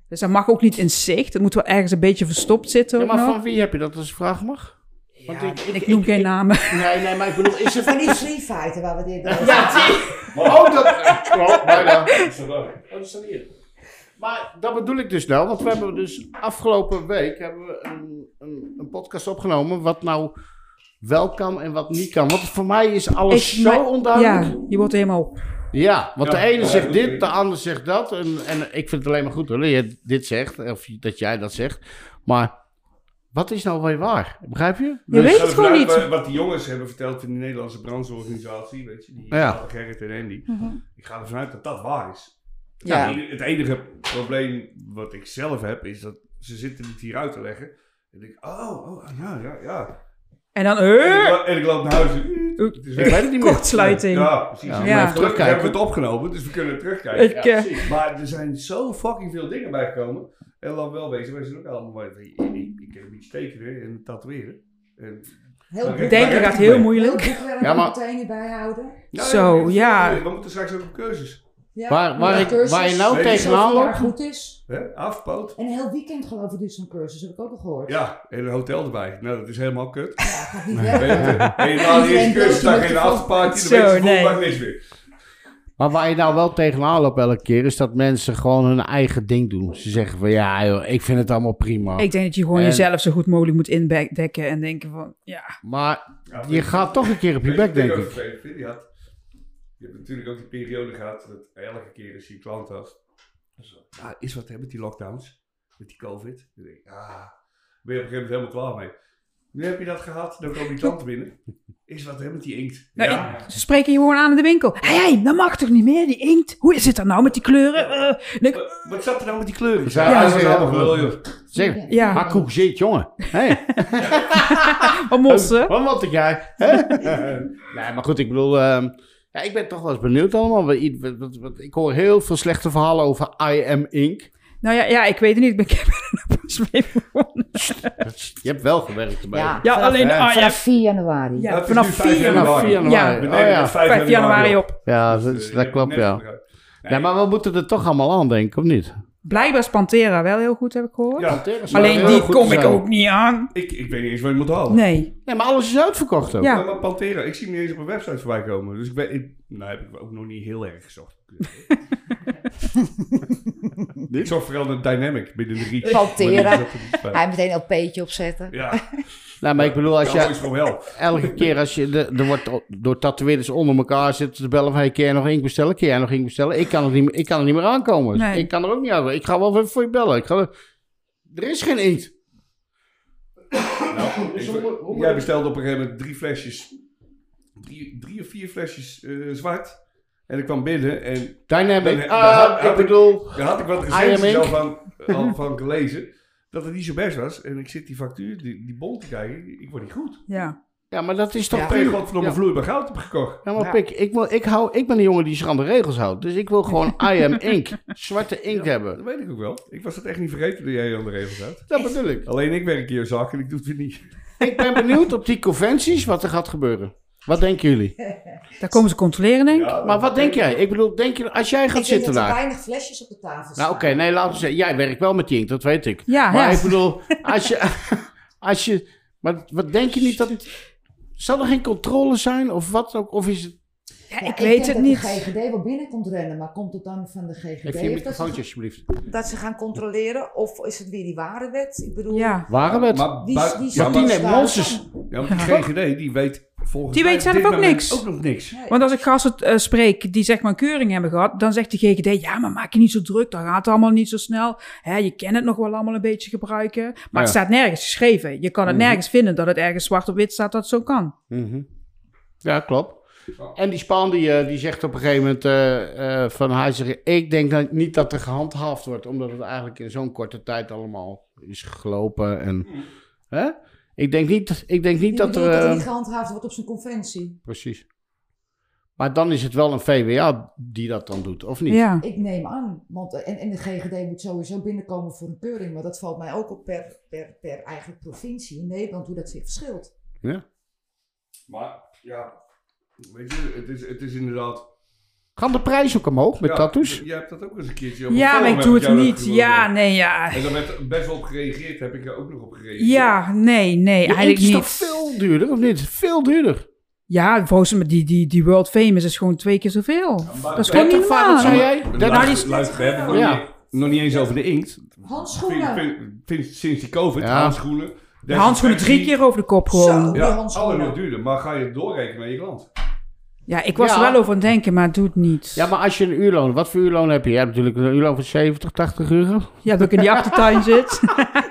Speaker 3: Dus dat mag ook niet in zicht. Het moet wel ergens een beetje verstopt zitten.
Speaker 1: Ja,
Speaker 3: ook
Speaker 1: maar
Speaker 3: nog.
Speaker 1: van wie heb je dat als vraag mag? Want ik,
Speaker 3: ik, noem geen namen.
Speaker 1: Nee, nee, maar ik bedoel, is het...
Speaker 4: Van die free fighter waar we dit over
Speaker 1: Oh, dat... Oh, bijna.
Speaker 2: Ja.
Speaker 1: Oh, dat staat hier. Maar dat bedoel ik dus nou, want we hebben dus afgelopen week hebben we een, een, een podcast opgenomen wat nou wel kan en wat niet kan. Want voor mij is alles
Speaker 3: Ik-
Speaker 1: zo
Speaker 3: maar-
Speaker 1: onduidelijk.
Speaker 3: Ja,
Speaker 1: Ja,
Speaker 3: je wordt helemaal...
Speaker 1: want
Speaker 2: Ja,
Speaker 1: de ene
Speaker 2: ja,
Speaker 1: zegt
Speaker 2: dat
Speaker 1: dit,
Speaker 2: weet
Speaker 1: de
Speaker 2: ik.
Speaker 1: ander zegt dat. En, en ik vind het alleen maar goed hoor, dat je dit zegt, of dat jij dat zegt. Maar wat is nou weer waar? Begrijp je? Dus-
Speaker 3: Je weet het
Speaker 2: Nou,
Speaker 3: gewoon
Speaker 2: vanuit
Speaker 3: niet.
Speaker 2: Wat, wat die jongens hebben verteld in de Nederlandse brancheorganisatie, weet je, die
Speaker 1: Ja.
Speaker 2: Gerrit Gerrit en Andy.
Speaker 3: Mhm.
Speaker 2: Ik ga ervan uit dat dat waar is. Nou,
Speaker 4: Ja.
Speaker 2: Het enige- Het enige probleem wat ik zelf heb, is dat ze zitten het hier uit te leggen. En ik denk, oh, oh ja, ja, ja.
Speaker 3: En dan...
Speaker 2: En ik,
Speaker 3: eh,
Speaker 2: lo- en ik loop naar huis. en- eh,
Speaker 3: Oeh.
Speaker 2: Het is
Speaker 1: Ik
Speaker 2: weg.
Speaker 1: weet het niet meer.
Speaker 3: Kortsluiting.
Speaker 2: Ja, precies.
Speaker 1: Ja,
Speaker 2: Ja,
Speaker 1: maar
Speaker 2: terugkijken.
Speaker 3: even
Speaker 1: terugkijken.
Speaker 2: hebben we het opgenomen, dus we kunnen het terugkijken.
Speaker 3: Ik, eh,
Speaker 2: Maar er zijn zo fucking veel dingen bijgekomen. En laat wel wezen, wij zijn ook allemaal... maar Ik, ik, ik heb iets tekenen en tatoeëren. En,
Speaker 4: Heel
Speaker 2: Oké.
Speaker 4: goed.
Speaker 3: denken gaat heel
Speaker 2: Heel
Speaker 3: moeilijk.
Speaker 4: boekwerk
Speaker 1: Ja, maar-
Speaker 4: meteen bijhouden.
Speaker 2: Nou,
Speaker 3: Zo,
Speaker 2: ik-
Speaker 3: ja.
Speaker 2: We moeten straks ook een cursus.
Speaker 4: Ja,
Speaker 1: Waar- waar
Speaker 4: een
Speaker 1: ik-
Speaker 4: cursus
Speaker 1: waar je nou
Speaker 4: die
Speaker 1: tegenaan
Speaker 4: zoveel jaar
Speaker 1: loopt?
Speaker 4: goed is.
Speaker 2: Hè? Afpoot?
Speaker 4: En een heel weekend geloof ik dus zo'n cursus, heb ik ook al gehoord.
Speaker 2: Ja, en een hotel erbij. Nou, dat is helemaal kut.
Speaker 4: Gaat niet werken.
Speaker 2: En na de eerste cursus sta je in een afterparty, dan
Speaker 3: Zo,
Speaker 2: weet je
Speaker 3: nee.
Speaker 2: volgende dag niks meer.
Speaker 1: Maar waar je nou wel tegenaan loopt elke keer, is dat mensen gewoon hun eigen ding doen. Ze zeggen van ja, joh, ik vind het allemaal prima.
Speaker 3: Ik denk dat je gewoon
Speaker 1: En-
Speaker 3: jezelf zo goed mogelijk moet indekken en denken van, ja,
Speaker 1: Maar
Speaker 2: Ja,
Speaker 1: je gaat toch een keer op je
Speaker 2: Weet
Speaker 1: bek,
Speaker 2: wat
Speaker 1: denk
Speaker 2: ook
Speaker 1: ik.
Speaker 2: vervelend vind? Je had- je hebt natuurlijk ook die periode gehad dat elke keer als je een klant had. dus, ah, is wat hè, met die lockdowns, met die COVID. Dan denk ik, ah, ben je op een gegeven moment helemaal klaar mee. Nu heb je dat gehad, dan komen die klanten binnen. Is wat hè, met die inkt.
Speaker 3: Nou,
Speaker 2: ja,
Speaker 3: ze spreken je gewoon aan in de winkel. Hé, hey, dat mag toch niet meer, die inkt? Hoe zit dat nou met die kleuren? Eh, denk ik,
Speaker 2: wat, wat zat er nou met die kleuren?
Speaker 1: Ja,
Speaker 2: Ja,
Speaker 1: dat
Speaker 2: dat
Speaker 1: is
Speaker 2: is
Speaker 1: helemaal
Speaker 2: allemaal
Speaker 1: goed.
Speaker 2: joh.
Speaker 1: Zeg,
Speaker 3: Ja.
Speaker 1: hakkoek zit, jongen. Hey.
Speaker 3: wat mossen.
Speaker 1: Wat wat ik jij? Hè? nee, maar goed, ik bedoel... ehm, ja, ik ben toch wel eens benieuwd allemaal. Wat, wat, wat- wat- ik hoor heel veel slechte verhalen over I Am Inc.
Speaker 3: Nou ja, ja, ik weet het niet, ik ben- ik ben er pas mee begonnen.
Speaker 1: Je hebt wel gewerkt erbij.
Speaker 4: Ja,
Speaker 3: Ja,
Speaker 4: vanaf,
Speaker 3: alleen,
Speaker 1: Ja.
Speaker 3: ah, ja,
Speaker 4: vanaf 4 januari.
Speaker 3: ja,
Speaker 2: Dat is
Speaker 3: vanaf
Speaker 2: nu
Speaker 3: 4
Speaker 2: 5
Speaker 3: januari.
Speaker 1: Vanaf 4 januari.
Speaker 2: We
Speaker 1: Oh,
Speaker 2: nemen
Speaker 1: ja.
Speaker 2: het 5
Speaker 3: 5 januari op.
Speaker 1: Ja, dat,
Speaker 2: Dus,
Speaker 1: is-
Speaker 2: eh,
Speaker 1: dat
Speaker 2: je
Speaker 1: klopt,
Speaker 2: hebt net
Speaker 1: ja.
Speaker 2: gebruikt.
Speaker 1: Nee, maar we moeten er toch allemaal aan denken, of niet?
Speaker 3: Blijkbaar is Pantera wel heel goed, heb ik gehoord.
Speaker 2: Ja,
Speaker 3: Alleen die kom
Speaker 1: kom
Speaker 3: ik ook niet aan.
Speaker 2: ik, ik weet niet eens waar je moet halen.
Speaker 3: Nee.
Speaker 1: Nee, maar alles is uitverkocht ook.
Speaker 3: Ja.
Speaker 2: Ja. Maar Pantera, ik zie hem niet eens op een website voorbij komen. Dus ik ben, ik, nou heb ik ook nog niet heel erg gezocht. ik zocht vooral de dynamic binnen de reach.
Speaker 4: Pantera.
Speaker 2: Maar die zat er niet bij.
Speaker 4: Hij meteen een LP'tje opzetten.
Speaker 2: Ja,
Speaker 1: Nou, maar ik bedoel, als
Speaker 2: dat is
Speaker 1: je
Speaker 2: gewoon wel.
Speaker 1: elke keer als je... de- Er wordt o- door tatoeëerders onder elkaar zitten te bellen van... Hey, kun jij nog ink bestellen? Kun jij nog ink bestellen? Ik kan er niet, meer- ik kan er niet meer aankomen.
Speaker 3: Nee.
Speaker 1: Ik kan er ook niet aan. Ik ga wel even voor je bellen. Ik ga er, er is geen inkt.
Speaker 2: Nou, ik-
Speaker 1: hoe- hoe-
Speaker 2: jij bestelde op een gegeven moment drie flesjes, drie, drie of vier flesjes eh, zwart. En ik kwam binnen en
Speaker 1: Dynamic.
Speaker 2: Dan- dan
Speaker 1: Ah,
Speaker 2: had- had
Speaker 1: ik
Speaker 2: ik-
Speaker 1: bedoel...
Speaker 2: Daar had ik wat
Speaker 1: I
Speaker 2: recensies
Speaker 1: am
Speaker 2: al
Speaker 1: Inc.
Speaker 2: van, al van gelezen. Dat het niet zo best was. En ik zit die factuur, die, die bon te kijken. Ik word niet goed.
Speaker 3: Ja.
Speaker 1: Ja, maar dat is toch
Speaker 4: Ja.
Speaker 2: Ik
Speaker 1: puur...
Speaker 2: godverdomme
Speaker 1: Ja.
Speaker 2: vloeibaar goud heb gekocht.
Speaker 1: Ja, maar
Speaker 4: Ja.
Speaker 1: pik, ik, wil, ik, hou, ik ben een jongen die zich aan de regels houdt. Dus ik wil gewoon I am ink. Zwarte inkt
Speaker 2: Dat
Speaker 1: hebben.
Speaker 2: weet ik ook wel. Ik was het echt niet vergeten dat jij aan de regels had.
Speaker 1: Dat bedoel ik.
Speaker 2: Alleen ik werk hier zak en ik doe het weer niet.
Speaker 1: Ik ben benieuwd op die conventies wat er gaat gebeuren. Wat denken jullie?
Speaker 3: Daar komen ze controleren, denk ik.
Speaker 1: Maar wat denk jij? Ik bedoel, denk je, als jij gaat
Speaker 4: Ik denk
Speaker 1: zitten
Speaker 4: dat er
Speaker 1: daar.
Speaker 4: weinig flesjes op de tafel staan.
Speaker 1: Nou, oké, nee, laten we zeggen. Jij werkt wel met die inkt, dat weet ik.
Speaker 3: Ja,
Speaker 1: maar
Speaker 3: ja.
Speaker 1: ik bedoel, als je. Als je maar wat denk je niet dat. het- Zal er geen controle zijn of wat ook? Of is het.
Speaker 3: Ja,
Speaker 4: Ja,
Speaker 3: ik weet
Speaker 4: denk
Speaker 3: het
Speaker 4: dat
Speaker 3: niet.
Speaker 4: de GGD wel binnen komt rennen, maar komt het dan van de GGD?
Speaker 1: Even je
Speaker 4: of dat,
Speaker 1: microfoontje,
Speaker 4: ze,
Speaker 1: alsjeblieft.
Speaker 4: dat ze gaan controleren? Of is het weer die ware wet? Ik bedoel,
Speaker 3: Ja.
Speaker 1: Waren we het?
Speaker 2: Maar,
Speaker 4: die,
Speaker 2: maar-
Speaker 4: die
Speaker 2: ja,
Speaker 1: Martine
Speaker 2: maar,
Speaker 1: heeft monsters.
Speaker 2: ja, maar die GGD, die weet volgens
Speaker 3: Die
Speaker 2: mij
Speaker 3: weet
Speaker 2: op
Speaker 3: zelf
Speaker 2: dit
Speaker 3: ook
Speaker 2: moment
Speaker 3: niks.
Speaker 2: Ook nog niks.
Speaker 3: Want als ik gasten eh, spreek die zeg maar een keuring hebben gehad, dan zegt de GGD, ja, maar maak je niet zo druk, dan gaat het allemaal niet zo snel. Hè, je kan het nog wel allemaal een beetje gebruiken. Maar
Speaker 1: Ja.
Speaker 3: het staat nergens geschreven. Je kan het nergens vinden dat het ergens zwart op wit staat dat het zo kan.
Speaker 1: Mhm. Ja, klopt. En die Spaan die, eh, die zegt op een gegeven moment eh, eh, van hij zegt, ik denk dat, niet dat er gehandhaafd wordt, omdat het eigenlijk in zo'n korte tijd allemaal is gelopen. En, hè? Ik denk niet, ik denk niet
Speaker 4: die
Speaker 1: dat er...
Speaker 4: bedoelt
Speaker 1: eh,
Speaker 4: niet gehandhaafd wordt op zijn conventie.
Speaker 1: Precies. Maar dan is het wel een VWA die dat dan doet, of niet?
Speaker 3: Ja.
Speaker 4: Ik neem aan, want eh, en, en de GGD moet sowieso binnenkomen voor een keuring, maar dat valt mij ook op per, per, per eigen provincie in Nederland, hoe dat zich verschilt.
Speaker 2: Maar ja, weet je, het is, het is inderdaad...
Speaker 1: Gaan de prijzen ook omhoog met
Speaker 2: ja,
Speaker 1: tattoos?
Speaker 2: d- Jij hebt dat ook eens een keertje op een
Speaker 3: Ja,
Speaker 2: forum
Speaker 3: maar ik
Speaker 2: heb
Speaker 3: doe het
Speaker 2: jou dat
Speaker 3: niet.
Speaker 2: gewoon-
Speaker 3: Ja, nee, ja.
Speaker 2: En daar werd best wel op gereageerd, heb ik er ook nog op gereageerd.
Speaker 3: Ja, nee, nee,
Speaker 1: Die inkt
Speaker 3: eigenlijk
Speaker 1: is
Speaker 3: niet.
Speaker 1: toch veel duurder, of niet? Veel duurder.
Speaker 3: Ja, volgens mij, die, die, die world famous is gewoon twee keer zoveel.
Speaker 2: maar-
Speaker 3: dat is gewoon niet
Speaker 1: 30 vader,
Speaker 3: normaal.
Speaker 1: zei jij?
Speaker 2: Luister,
Speaker 3: Nou, die is-
Speaker 2: luister, we hebben het nog,
Speaker 1: Ja.
Speaker 2: niet, nog niet eens over de inkt. Vind-
Speaker 4: Handschoenen!
Speaker 2: vind- vind- Sinds die covid,
Speaker 1: Ja.
Speaker 2: handschoenen.
Speaker 3: De handschoenen drie keer over de kop gewoon.
Speaker 4: Zo.
Speaker 2: Ja,
Speaker 4: Die handschoenen.
Speaker 2: allemaal duurder. Maar ga je het doorrekenen aan je klant?
Speaker 3: Ja, ik was
Speaker 1: Ja.
Speaker 3: er wel over aan het denken, maar het doet niet.
Speaker 1: Ja, maar als je een uurloon, wat voor uurloon heb je? Je hebt natuurlijk een uurloon van 70, 80 euro.
Speaker 3: Ja, dat ik in die achtertuin zit.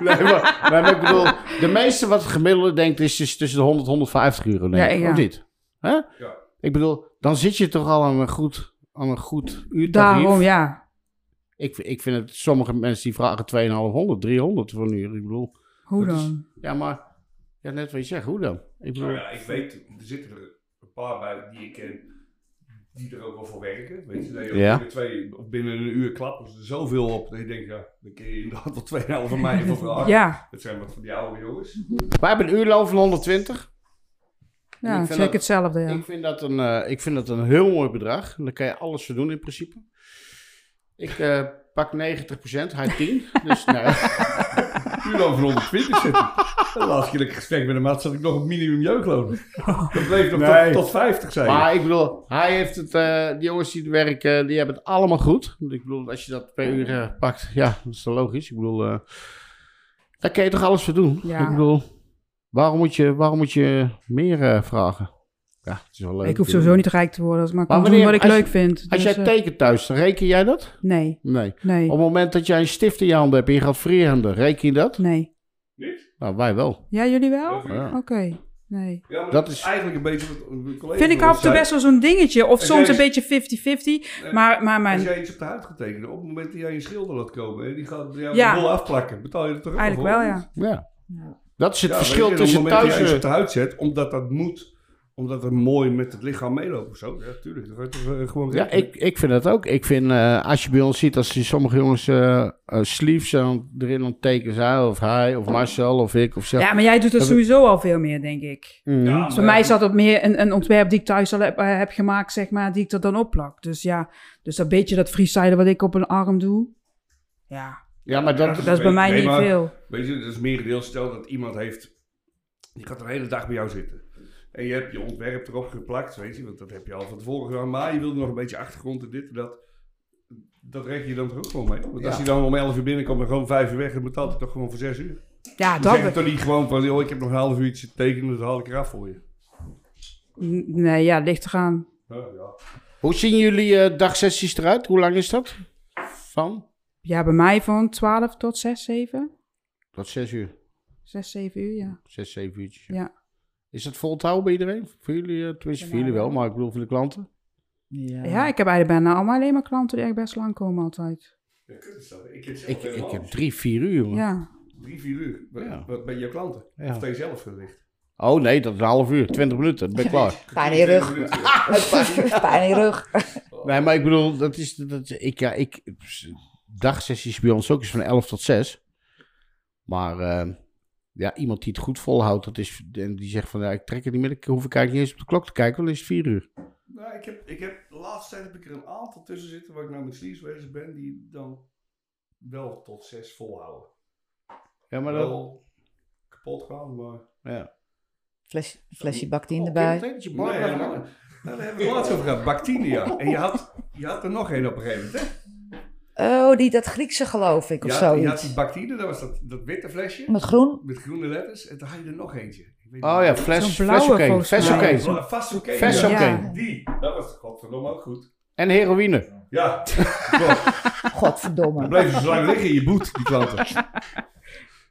Speaker 1: Nee, maar, nee, maar ik bedoel, de meeste wat het gemiddelde denkt is, is tussen de 100 en 150 euro, denk
Speaker 3: Ja,
Speaker 1: ik,
Speaker 3: ja.
Speaker 1: of niet? Hè?
Speaker 2: Ja.
Speaker 1: Ik bedoel, dan zit je toch al aan een goed, aan een goed uurtarief.
Speaker 3: Daarom, ja.
Speaker 1: ik, ik vind het, sommige mensen die vragen 2,500, 300 voor een uur. Ik bedoel,
Speaker 3: Hoe
Speaker 1: Dat is-
Speaker 3: dan?
Speaker 1: ja, maar ja, net wat je zegt, hoe dan? Ik bedoel,
Speaker 2: Nou ja, ik weet, er zitten er een paar bij die ik ken, die er ook wel voor werken. Weet je, dat je
Speaker 1: Ja.
Speaker 2: binnen, twee, of binnen een uur klappen ze er zoveel op. Dat je denkt, ja, dan kun je inderdaad wel 2,5 van mij voor vragen.
Speaker 3: Ja.
Speaker 2: Dat zijn wat van die oude jongens.
Speaker 1: wij hebben een uurloon van 120. En ik
Speaker 3: Ja,
Speaker 1: vind
Speaker 3: zeker
Speaker 1: dat-
Speaker 3: hetzelfde, ja.
Speaker 1: Ik, vind dat een, eh, ik vind dat een heel mooi bedrag. En daar kan je alles voor doen in principe. Ik eh, pak 90%, hij 10. dus nou, ja.
Speaker 2: Nu over 120 zitten. De laatste keer dat ik gesprek met hem had, zat ik nog op minimum jeugdloon. Dat bleef nog
Speaker 1: Nee.
Speaker 2: tot, tot 50, zei je.
Speaker 1: maar ik bedoel, hij heeft het, eh, die jongens die er werken, die hebben het allemaal goed. Want Ik bedoel, als je dat per uur eh, pakt, ja, dat is dan logisch. Ik bedoel, eh, daar kan je toch alles voor doen.
Speaker 3: Ja.
Speaker 1: Ik bedoel, waarom moet je, waarom moet je meer eh, vragen? Ja, het is wel leuk.
Speaker 3: Ik hoef
Speaker 1: natuurlijk.
Speaker 3: sowieso niet rijk te worden, als ik maar,
Speaker 1: Maar
Speaker 3: kan doen
Speaker 1: wanneer-
Speaker 3: wat ik
Speaker 1: als-
Speaker 3: leuk vind.
Speaker 1: Als
Speaker 3: Dus,
Speaker 1: jij
Speaker 3: eh,
Speaker 1: tekent thuis, dan reken jij dat?
Speaker 3: nee,
Speaker 1: Nee.
Speaker 3: nee,
Speaker 1: Op het moment dat jij een stift in je handen hebt en je gaat freehanden, reken je dat?
Speaker 3: nee.
Speaker 1: Nou, wij wel.
Speaker 3: Ja, jullie wel? Oké,
Speaker 1: Ja.
Speaker 3: nee.
Speaker 2: Ja, maar
Speaker 1: dat
Speaker 2: dat is
Speaker 1: is-
Speaker 2: eigenlijk een beetje wat een collega
Speaker 3: Vind ik
Speaker 2: al
Speaker 3: af en toe
Speaker 2: zei.
Speaker 3: best wel zo'n dingetje. Of
Speaker 2: En
Speaker 3: soms een
Speaker 2: jij-
Speaker 3: beetje 50-50.
Speaker 2: Nee.
Speaker 3: Maar, maar
Speaker 2: Als
Speaker 3: mijn,
Speaker 2: jij iets op de huid gaat tekenen, op het moment dat jij een schilder laat komen en die gaat jou
Speaker 3: Ja.
Speaker 2: de bol afplakken, betaal je er toch ook
Speaker 3: eigenlijk
Speaker 2: voor?
Speaker 3: wel, ja.
Speaker 1: Ja.
Speaker 4: Ja.
Speaker 1: Dat is het
Speaker 2: Ja,
Speaker 1: verschil
Speaker 2: weet je,
Speaker 1: tussen
Speaker 2: Op het moment
Speaker 1: thuis
Speaker 2: dat
Speaker 1: eh,
Speaker 2: je iets op
Speaker 1: en...
Speaker 2: de huid zet, omdat dat moet, omdat het mooi met het lichaam meeloopt of zo. Ja, tuurlijk. Dat gaat toch, eh, gewoon
Speaker 1: Ja, ik, ik vind dat ook. Ik vind, eh, als je bij ons ziet, als die sommige jongens eh eh, sleeves aan- erin aan het tekenen zijn, of hij, of Marcel, of ik, of zo.
Speaker 3: Ja, maar jij doet dat
Speaker 1: Dat-
Speaker 3: sowieso al veel meer, denk ik.
Speaker 1: Mhm.
Speaker 2: Ja,
Speaker 3: Dus
Speaker 2: maar
Speaker 3: voor mij zat dat meer een, een ontwerp die ik thuis al heb, eh, heb gemaakt, zeg maar, die ik er dan opplak. Dus ja, dus dat beetje dat freestylen wat ik op een arm doe, ja,
Speaker 1: Ja, maar dat...
Speaker 3: dat is bij mij
Speaker 2: Nee,
Speaker 3: niet
Speaker 2: maar-
Speaker 3: veel.
Speaker 2: Weet je, dat is merendeel. Stel dat iemand heeft, die gaat een hele dag bij jou zitten. En je hebt je ontwerp erop geplakt, weet je, want dat heb je al van tevoren gedaan. Maar je wilde nog een beetje achtergrond en dit en dat. Dat reken je dan toch ook gewoon mee. Want als
Speaker 1: Ja.
Speaker 2: je dan om 11 uur binnenkomt en gewoon 5 uur weg, dan betaalt hij toch gewoon voor 6 uur.
Speaker 3: Ja,
Speaker 2: Dan
Speaker 3: dat...
Speaker 2: zeg je toch niet gewoon van, joh, ik heb nog een half uurtje te tekenen, dat haal ik eraf voor je.
Speaker 3: N- Nee, ja, ligt eraan.
Speaker 2: Ja, ja.
Speaker 1: Hoe zien jullie eh, dagsessies eruit? Hoe lang is dat? Van?
Speaker 3: Ja, bij mij van 12 tot 6, 7.
Speaker 1: Tot zes uur.
Speaker 3: 6, 7 uur, ja.
Speaker 1: Zes, zeven uurtjes.
Speaker 3: Ja.
Speaker 1: Is dat vol te houden bij iedereen? Voor jullie, eh, tenminste
Speaker 3: Bij
Speaker 1: voor jullie
Speaker 3: mij
Speaker 1: wel,
Speaker 3: wel.
Speaker 1: maar ik bedoel voor de klanten.
Speaker 4: Ja.
Speaker 3: Ja, ik heb eigenlijk bijna allemaal alleen maar klanten die echt best lang komen altijd.
Speaker 2: Ja, kut is dat. Ik heb zelf
Speaker 1: Ik,
Speaker 2: helemaal
Speaker 1: ik heb drie, vier uur, man.
Speaker 3: Ja,
Speaker 2: drie, vier uur. Wat,
Speaker 1: Ja.
Speaker 2: wat bij jouw klanten.
Speaker 1: Ja.
Speaker 2: Of tegen jezelf gericht.
Speaker 1: Oh nee, dat is een half uur, twintig minuten, dan ben ik klaar.
Speaker 4: Pijn in je rug. Pijn in je rug.
Speaker 1: Nee, maar ik bedoel, dat is, dat is- ik, ja, ik, dagsessies bij ons ook is van 11 tot 6. Maar eh, ja, iemand die het goed volhoudt, dat is, en die zegt van, ja, ik trek het niet meer, ik hoef ik eigenlijk niet eens op de klok te kijken, want dan is het 4 uur.
Speaker 2: Nou, ik heb, ik heb, de laatste tijd heb ik er een aantal tussen zitten waar ik nou met sleeves bezig ben, die dan wel tot zes volhouden.
Speaker 1: Ja, maar dat...
Speaker 2: wel kapot gaan, maar...
Speaker 1: Ja.
Speaker 4: Fles, flesje bactine erbij.
Speaker 1: dat je
Speaker 2: Nee,
Speaker 1: bar
Speaker 2: maar- Nou, daar hebben we het laatst over gehad. Bactinia. En je had, je had er nog één op een gegeven moment, hè?
Speaker 4: Oh, die, dat Griekse geloof ik of
Speaker 2: Je had, je had
Speaker 4: zoiets.
Speaker 2: die Bactinia, dat was dat, dat witte flesje
Speaker 4: Met groen.
Speaker 2: met groene letters. En toen had je er nog eentje. Ik weet
Speaker 1: Oh
Speaker 2: niet-
Speaker 1: ja, fles,
Speaker 3: Zo'n
Speaker 1: fles
Speaker 3: blauwe
Speaker 1: oké,
Speaker 3: volgens
Speaker 1: fles
Speaker 3: mij.
Speaker 1: oké.
Speaker 2: Ja, Vast oké.
Speaker 1: Fles
Speaker 2: ja.
Speaker 1: oké.
Speaker 3: Ja.
Speaker 2: Die, dat was godverdomme ook goed.
Speaker 1: En heroïne.
Speaker 2: Ja, klopt. dan
Speaker 4: Godverdomme.
Speaker 2: bleven ze zo lang liggen in je boet, die klanten.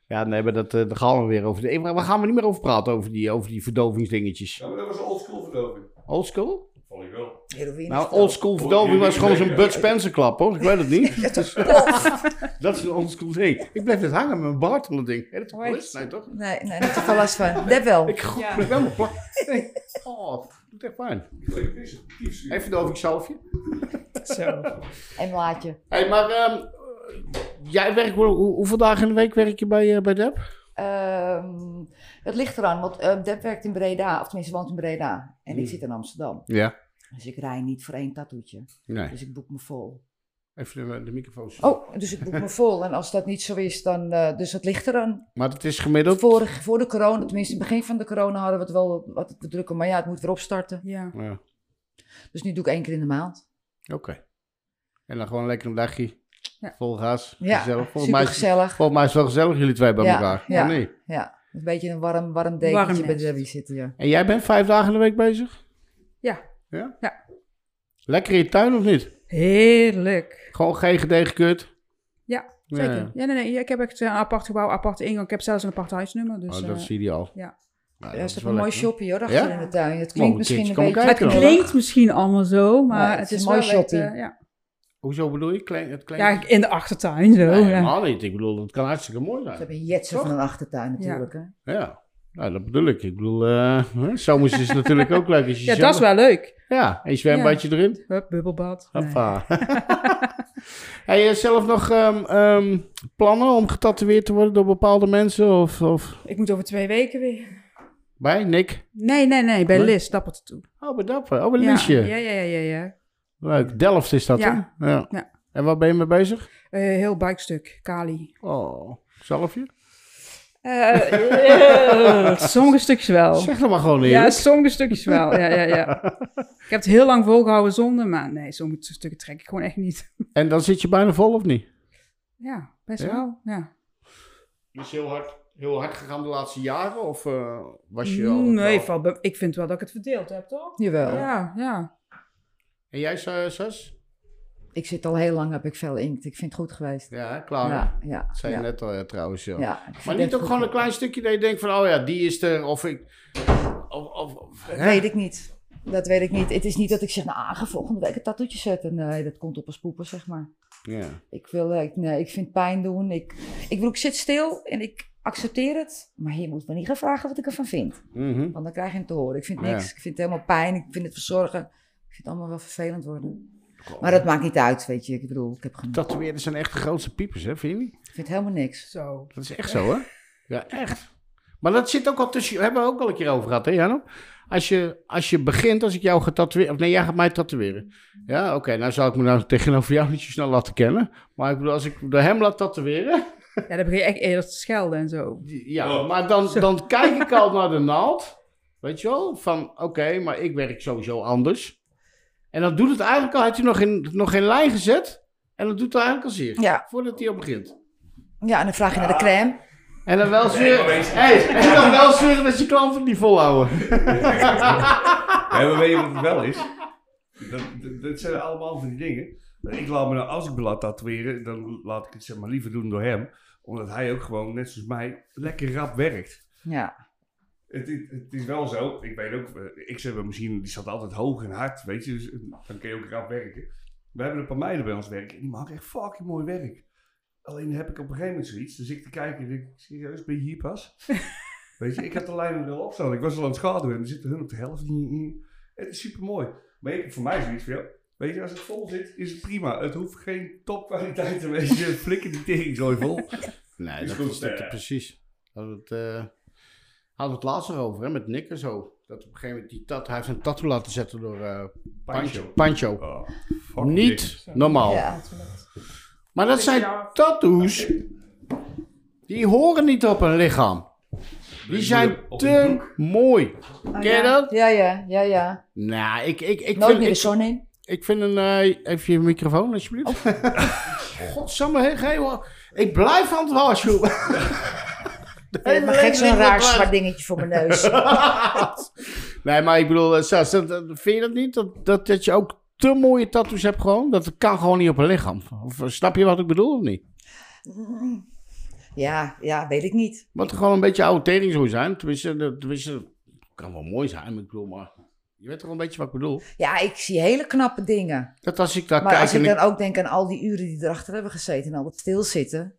Speaker 1: Ja, nee, maar dat, eh, daar gaan we weer over. De, we gaan we niet meer over praten, over die, over die verdovingsdingetjes.
Speaker 2: Ja, maar dat was oldschool verdoving.
Speaker 1: Oldschool?
Speaker 2: Vond ik wel.
Speaker 4: Heroïne.
Speaker 1: Nou, oldschool verdoving was gewoon zo'n Bud Spencer klap hoor. Ik weet het niet. Dus, dat is een oldschool ding. Ik blijf dit hangen met mijn baard onder ding. Hé, dat is wel lust, nee, toch?
Speaker 4: Nee, nee, niet te veel last van. Dat wel.
Speaker 1: Ik gooi ik wel mijn plak. Nee. Oh, het doet echt pijn.
Speaker 2: Ik vond het vies. Vies.
Speaker 1: Even verdoving zelfje.
Speaker 3: zo.
Speaker 4: En laatje.
Speaker 1: Hé, maar ehm, jij werkt, hoe, hoe- hoeveel dagen in de week werk je bij, eh bij Deb?
Speaker 4: Ehm, het ligt eraan, want eh, Deb werkt in Breda, of tenminste woont in Breda. En ik zit in Amsterdam.
Speaker 1: Ja.
Speaker 4: Dus ik rij niet voor één tattoetje.
Speaker 1: Nee.
Speaker 4: Dus ik boek me vol.
Speaker 1: Even de, de microfoon.
Speaker 4: Oh, dus ik boek me vol. En als dat niet zo is, dan. eh, dus het ligt eraan.
Speaker 1: Maar het is gemiddeld.
Speaker 4: Vorig, voor de corona, tenminste, in het begin van de corona hadden we het wel wat te drukken. Maar ja, het moet weer opstarten.
Speaker 3: Ja.
Speaker 1: Ja, oké.
Speaker 4: Dus nu doe ik één keer in de maand.
Speaker 1: En dan gewoon lekker een dagje.
Speaker 3: Ja.
Speaker 1: Vol gas.
Speaker 4: Ja,
Speaker 1: gezellig. Volgens mij,
Speaker 4: Super
Speaker 1: is-
Speaker 4: gezellig.
Speaker 1: volgens mij is het wel gezellig jullie twee bij
Speaker 4: Ja,
Speaker 1: elkaar.
Speaker 4: ja.
Speaker 1: Of niet?
Speaker 4: Ja, een beetje een warm, warm
Speaker 3: Warm
Speaker 4: dekentje
Speaker 3: nest.
Speaker 4: bij Debbie zitten. Ja.
Speaker 1: En jij bent vijf dagen in de week bezig?
Speaker 3: Ja.
Speaker 1: Ja?
Speaker 3: Ja.
Speaker 1: Lekker in je tuin of niet?
Speaker 3: Heerlijk.
Speaker 1: Gewoon GGD gekut?
Speaker 3: Ja, Zeker. Ja,
Speaker 1: Oh,
Speaker 3: nee, nee. Ik heb echt een apart gebouw, aparte ingang. Ik heb zelfs een apart huisnummer. Dus,
Speaker 1: oh,
Speaker 3: eh,
Speaker 1: dat is ideaal.
Speaker 3: ja.
Speaker 1: Nou, dat
Speaker 4: Ja, er
Speaker 1: is
Speaker 4: staat
Speaker 1: wel
Speaker 4: een mooi
Speaker 1: lekker.
Speaker 4: shoppie hoor, achter
Speaker 1: Ja?
Speaker 4: in de tuin. Het
Speaker 1: Mogen
Speaker 4: klinkt
Speaker 1: we
Speaker 4: misschien
Speaker 1: een
Speaker 4: een
Speaker 1: keertje
Speaker 4: beetje...
Speaker 1: komen
Speaker 3: het
Speaker 1: kijken dan?
Speaker 3: klinkt misschien allemaal zo, maar het, is,
Speaker 4: mooi
Speaker 3: wel echt,
Speaker 4: shopping.
Speaker 3: eh, ja.
Speaker 1: Hoezo bedoel je? Klein, het klein...
Speaker 3: ja, in de achtertuin zo.
Speaker 1: Nee,
Speaker 3: ja.
Speaker 1: helemaal niet. Ik bedoel, het kan hartstikke mooi
Speaker 4: Ze
Speaker 1: zijn.
Speaker 4: hebben een jetsen van een achtertuin natuurlijk. Hè?
Speaker 1: Ja. Nou, dat bedoel ik. Ik bedoel, eh, hè, zomers is het natuurlijk ook leuk. Als je
Speaker 3: Ja, dat
Speaker 1: zelf-
Speaker 3: is wel leuk.
Speaker 1: Ja, en je zwembadje erin.
Speaker 3: Hup, bubbelbad. Nee.
Speaker 1: Hoppa. Heb je zelf nog ehm, ehm, plannen om getatoeëerd te worden door bepaalde mensen? Of, of...
Speaker 3: Ik moet over twee weken weer.
Speaker 1: Bij Nick?
Speaker 3: Nee, nee, nee. Bij
Speaker 1: Nee?
Speaker 3: Liz dapper te toe.
Speaker 1: Oh, bij Dapper. Oh, bij
Speaker 3: ja.
Speaker 1: Liesje.
Speaker 3: Ja, ja, ja, ja. ja.
Speaker 1: Leuk. Delft is dat,
Speaker 3: Ja.
Speaker 1: hè? Ja.
Speaker 3: Ja.
Speaker 1: En waar ben je mee bezig?
Speaker 3: Eh, heel buikstuk, Kali.
Speaker 1: Oh, zalfje?
Speaker 3: Eh, eh, sommige stukjes wel.
Speaker 1: Zeg dat maar gewoon eerlijk.
Speaker 3: Ja, sommige stukjes wel. Ja, ja, ja. Ik heb het heel lang volgehouden zonder, maar nee, sommige stukken trek ik gewoon echt niet.
Speaker 1: En dan zit je bijna vol, of niet?
Speaker 3: Ja, best
Speaker 1: Ja?
Speaker 3: wel. Ja.
Speaker 1: Is heel hard, heel hard gegaan de laatste jaren? Of eh, was
Speaker 3: Mm, Nee, valt bij- ik vind wel dat ik het verdeeld heb, toch?
Speaker 4: Jawel.
Speaker 3: Ja, ja.
Speaker 1: En jij, Sas?
Speaker 4: Ik zit al heel lang, heb ik veel inkt. Ik vind het goed geweest.
Speaker 1: Ja, hè, klaar.
Speaker 4: ja, ja.
Speaker 1: Dat zei
Speaker 4: ja.
Speaker 1: je net al, ja, trouwens. Ja.
Speaker 4: Ja, ik vind
Speaker 1: Maar
Speaker 4: het
Speaker 1: niet
Speaker 4: echt
Speaker 1: ook
Speaker 4: goed.
Speaker 1: gewoon een klein stukje dat je denkt van, oh ja, die is er, of ik... Of, of, of-
Speaker 4: Dat
Speaker 1: hè?
Speaker 4: weet ik niet. Dat weet ik niet. Het is niet dat ik zeg, nou, ah, ga volgende week een tattoetje zetten. Nee, dat komt op een spoeper, zeg maar.
Speaker 1: Ja.
Speaker 4: Ik wil, eh, ik- nee, ik vind pijn doen. Ik, ik bedoel, ik zit stil en ik accepteer het. Maar je moet me niet gaan vragen wat ik ervan vind.
Speaker 1: Mhm.
Speaker 4: Want dan krijg je het te horen. Ik vind
Speaker 1: Ja.
Speaker 4: niks. Ik vind het helemaal pijn. Ik vind het verzorgen. Ik vind het allemaal wel vervelend worden. Maar dat maakt niet uit, weet je. Ik bedoel, ik heb genoeg.
Speaker 1: Tatoeëerders zijn echt de grootste piepers, hè, vind je niet?
Speaker 4: Ik vind helemaal niks.
Speaker 3: Zo.
Speaker 1: Dat is echt zo, hè? Ja, echt. Maar dat zit ook al tussen... We hebben we ook al een keer over gehad, hè, Jano? Als je, als je begint, als ik jou ga tatoeëren... Of nee, jij gaat mij tatoeëren. Ja, oké, nou zou ik me nou tegenover jou niet zo snel laten kennen. Maar ik bedoel, als ik door hem laat tatoeëren...
Speaker 3: Ja, dan begin je echt eerder te schelden en zo.
Speaker 1: Ja, maar dan, dan kijk ik al naar de naald. Weet je wel? Van, oké, maar ik werk sowieso anders. En dan doet het eigenlijk al... Had je nog geen, nog geen lijn gezet? En dat doet het eigenlijk al zeer.
Speaker 4: Ja.
Speaker 1: Voordat hij al begint.
Speaker 4: Ja, en dan vraag je naar de crème.
Speaker 1: En dan wel
Speaker 5: Nee,
Speaker 1: zweren...
Speaker 5: maar wees-
Speaker 1: Hey, en dan wel zweren dat je klanten niet volhouden.
Speaker 2: Ja, maar weet je wat het wel is? Dat, dat, dat zijn allemaal van die dingen. Ik laat me nou, als ik me laat tatoeëren, dan laat ik het zeg maar liever doen door hem. Omdat hij ook gewoon, net zoals mij, lekker rap werkt.
Speaker 4: Ja,
Speaker 2: Het, het, het is wel zo, ik weet ook, eh, ik zeg wel, misschien, die staat altijd hoog en hard, weet je. Dus eh, dan kun je ook rap werken. We hebben een paar meiden bij ons werken en die maken echt fucking mooi werk. Alleen heb ik op een gegeven moment zoiets, dus ik te kijken en denk ik, serieus, ben je hier pas? weet je, ik had de lijnen er al op staan. Ik was al aan het schaduwen en dan zitten hun op de helft. Het is super mooi. Maar ik heb voor mij zoiets van, ja, weet je, als het vol zit, is het prima. Het hoeft geen topkwaliteit te wezen. Flikker die teringzooi vol.
Speaker 1: Nee,
Speaker 2: Is
Speaker 1: dat
Speaker 2: goed,
Speaker 1: is dat,
Speaker 2: eh.
Speaker 1: precies. Hadden we het, eh, hadden we het laatst nog over, hè, met Nick en zo. Dat op een gegeven moment die tat, hij heeft een tattoo laten zetten door eh, Pancho.
Speaker 2: Pancho.
Speaker 1: Pancho.
Speaker 2: Oh, fucking dik.
Speaker 1: Niet normaal.
Speaker 4: ja.
Speaker 1: Maar dat zijn tattoos. Die horen niet op een lichaam. Die zijn
Speaker 2: Op een
Speaker 1: te mooi. Ken je dat?
Speaker 4: Oh, ja, ja, ja. ja.
Speaker 1: Nou, ik, ik, ik,
Speaker 4: Nooit
Speaker 1: vind,
Speaker 4: meer de
Speaker 1: ik,
Speaker 4: zon in.
Speaker 1: ik vind een... eh, even je microfoon, alsjeblieft.
Speaker 4: Oh.
Speaker 1: Godsamme, hé, ga je wel- Ik blijf aan het waarschuwen.
Speaker 4: Ik
Speaker 1: hele
Speaker 4: maar gek
Speaker 1: leven
Speaker 4: zo'n
Speaker 1: niet
Speaker 4: raar
Speaker 1: meer klaar.
Speaker 4: zwart dingetje voor mijn neus.
Speaker 1: nee, maar ik bedoel, eh, Sas, dat, dat- vind je dat niet? Dat, dat, dat je ook te mooie tattoos hebt gewoon? Dat kan gewoon niet op een lichaam. Of, eh, snap je wat ik bedoel of niet?
Speaker 4: Ja, ja, weet ik niet.
Speaker 1: Wat gewoon een beetje oude tering zou zijn. Tenminste, dat- tenminste, dat kan wel mooi zijn, maar ik bedoel, maar... Je weet toch een beetje wat ik bedoel?
Speaker 4: Ja, ik zie hele knappe dingen.
Speaker 1: Dat als ik daar
Speaker 4: Maar
Speaker 1: kijk
Speaker 4: als ik
Speaker 1: en ik-
Speaker 4: dan ook denk aan al die uren die erachter hebben gezeten en al dat stilzitten.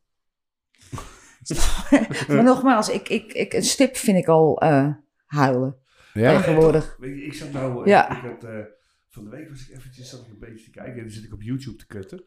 Speaker 4: maar nogmaals, ik, ik, ik, een stip vind ik al eh, huilen
Speaker 1: Ja?
Speaker 4: tegenwoordig.
Speaker 2: Weet je, ik zat nou... eh,
Speaker 4: Ja.
Speaker 2: Ik had, eh, van de week was ik eventjes zat ik een beetje te kijken. En dan zit ik op YouTube te kutten.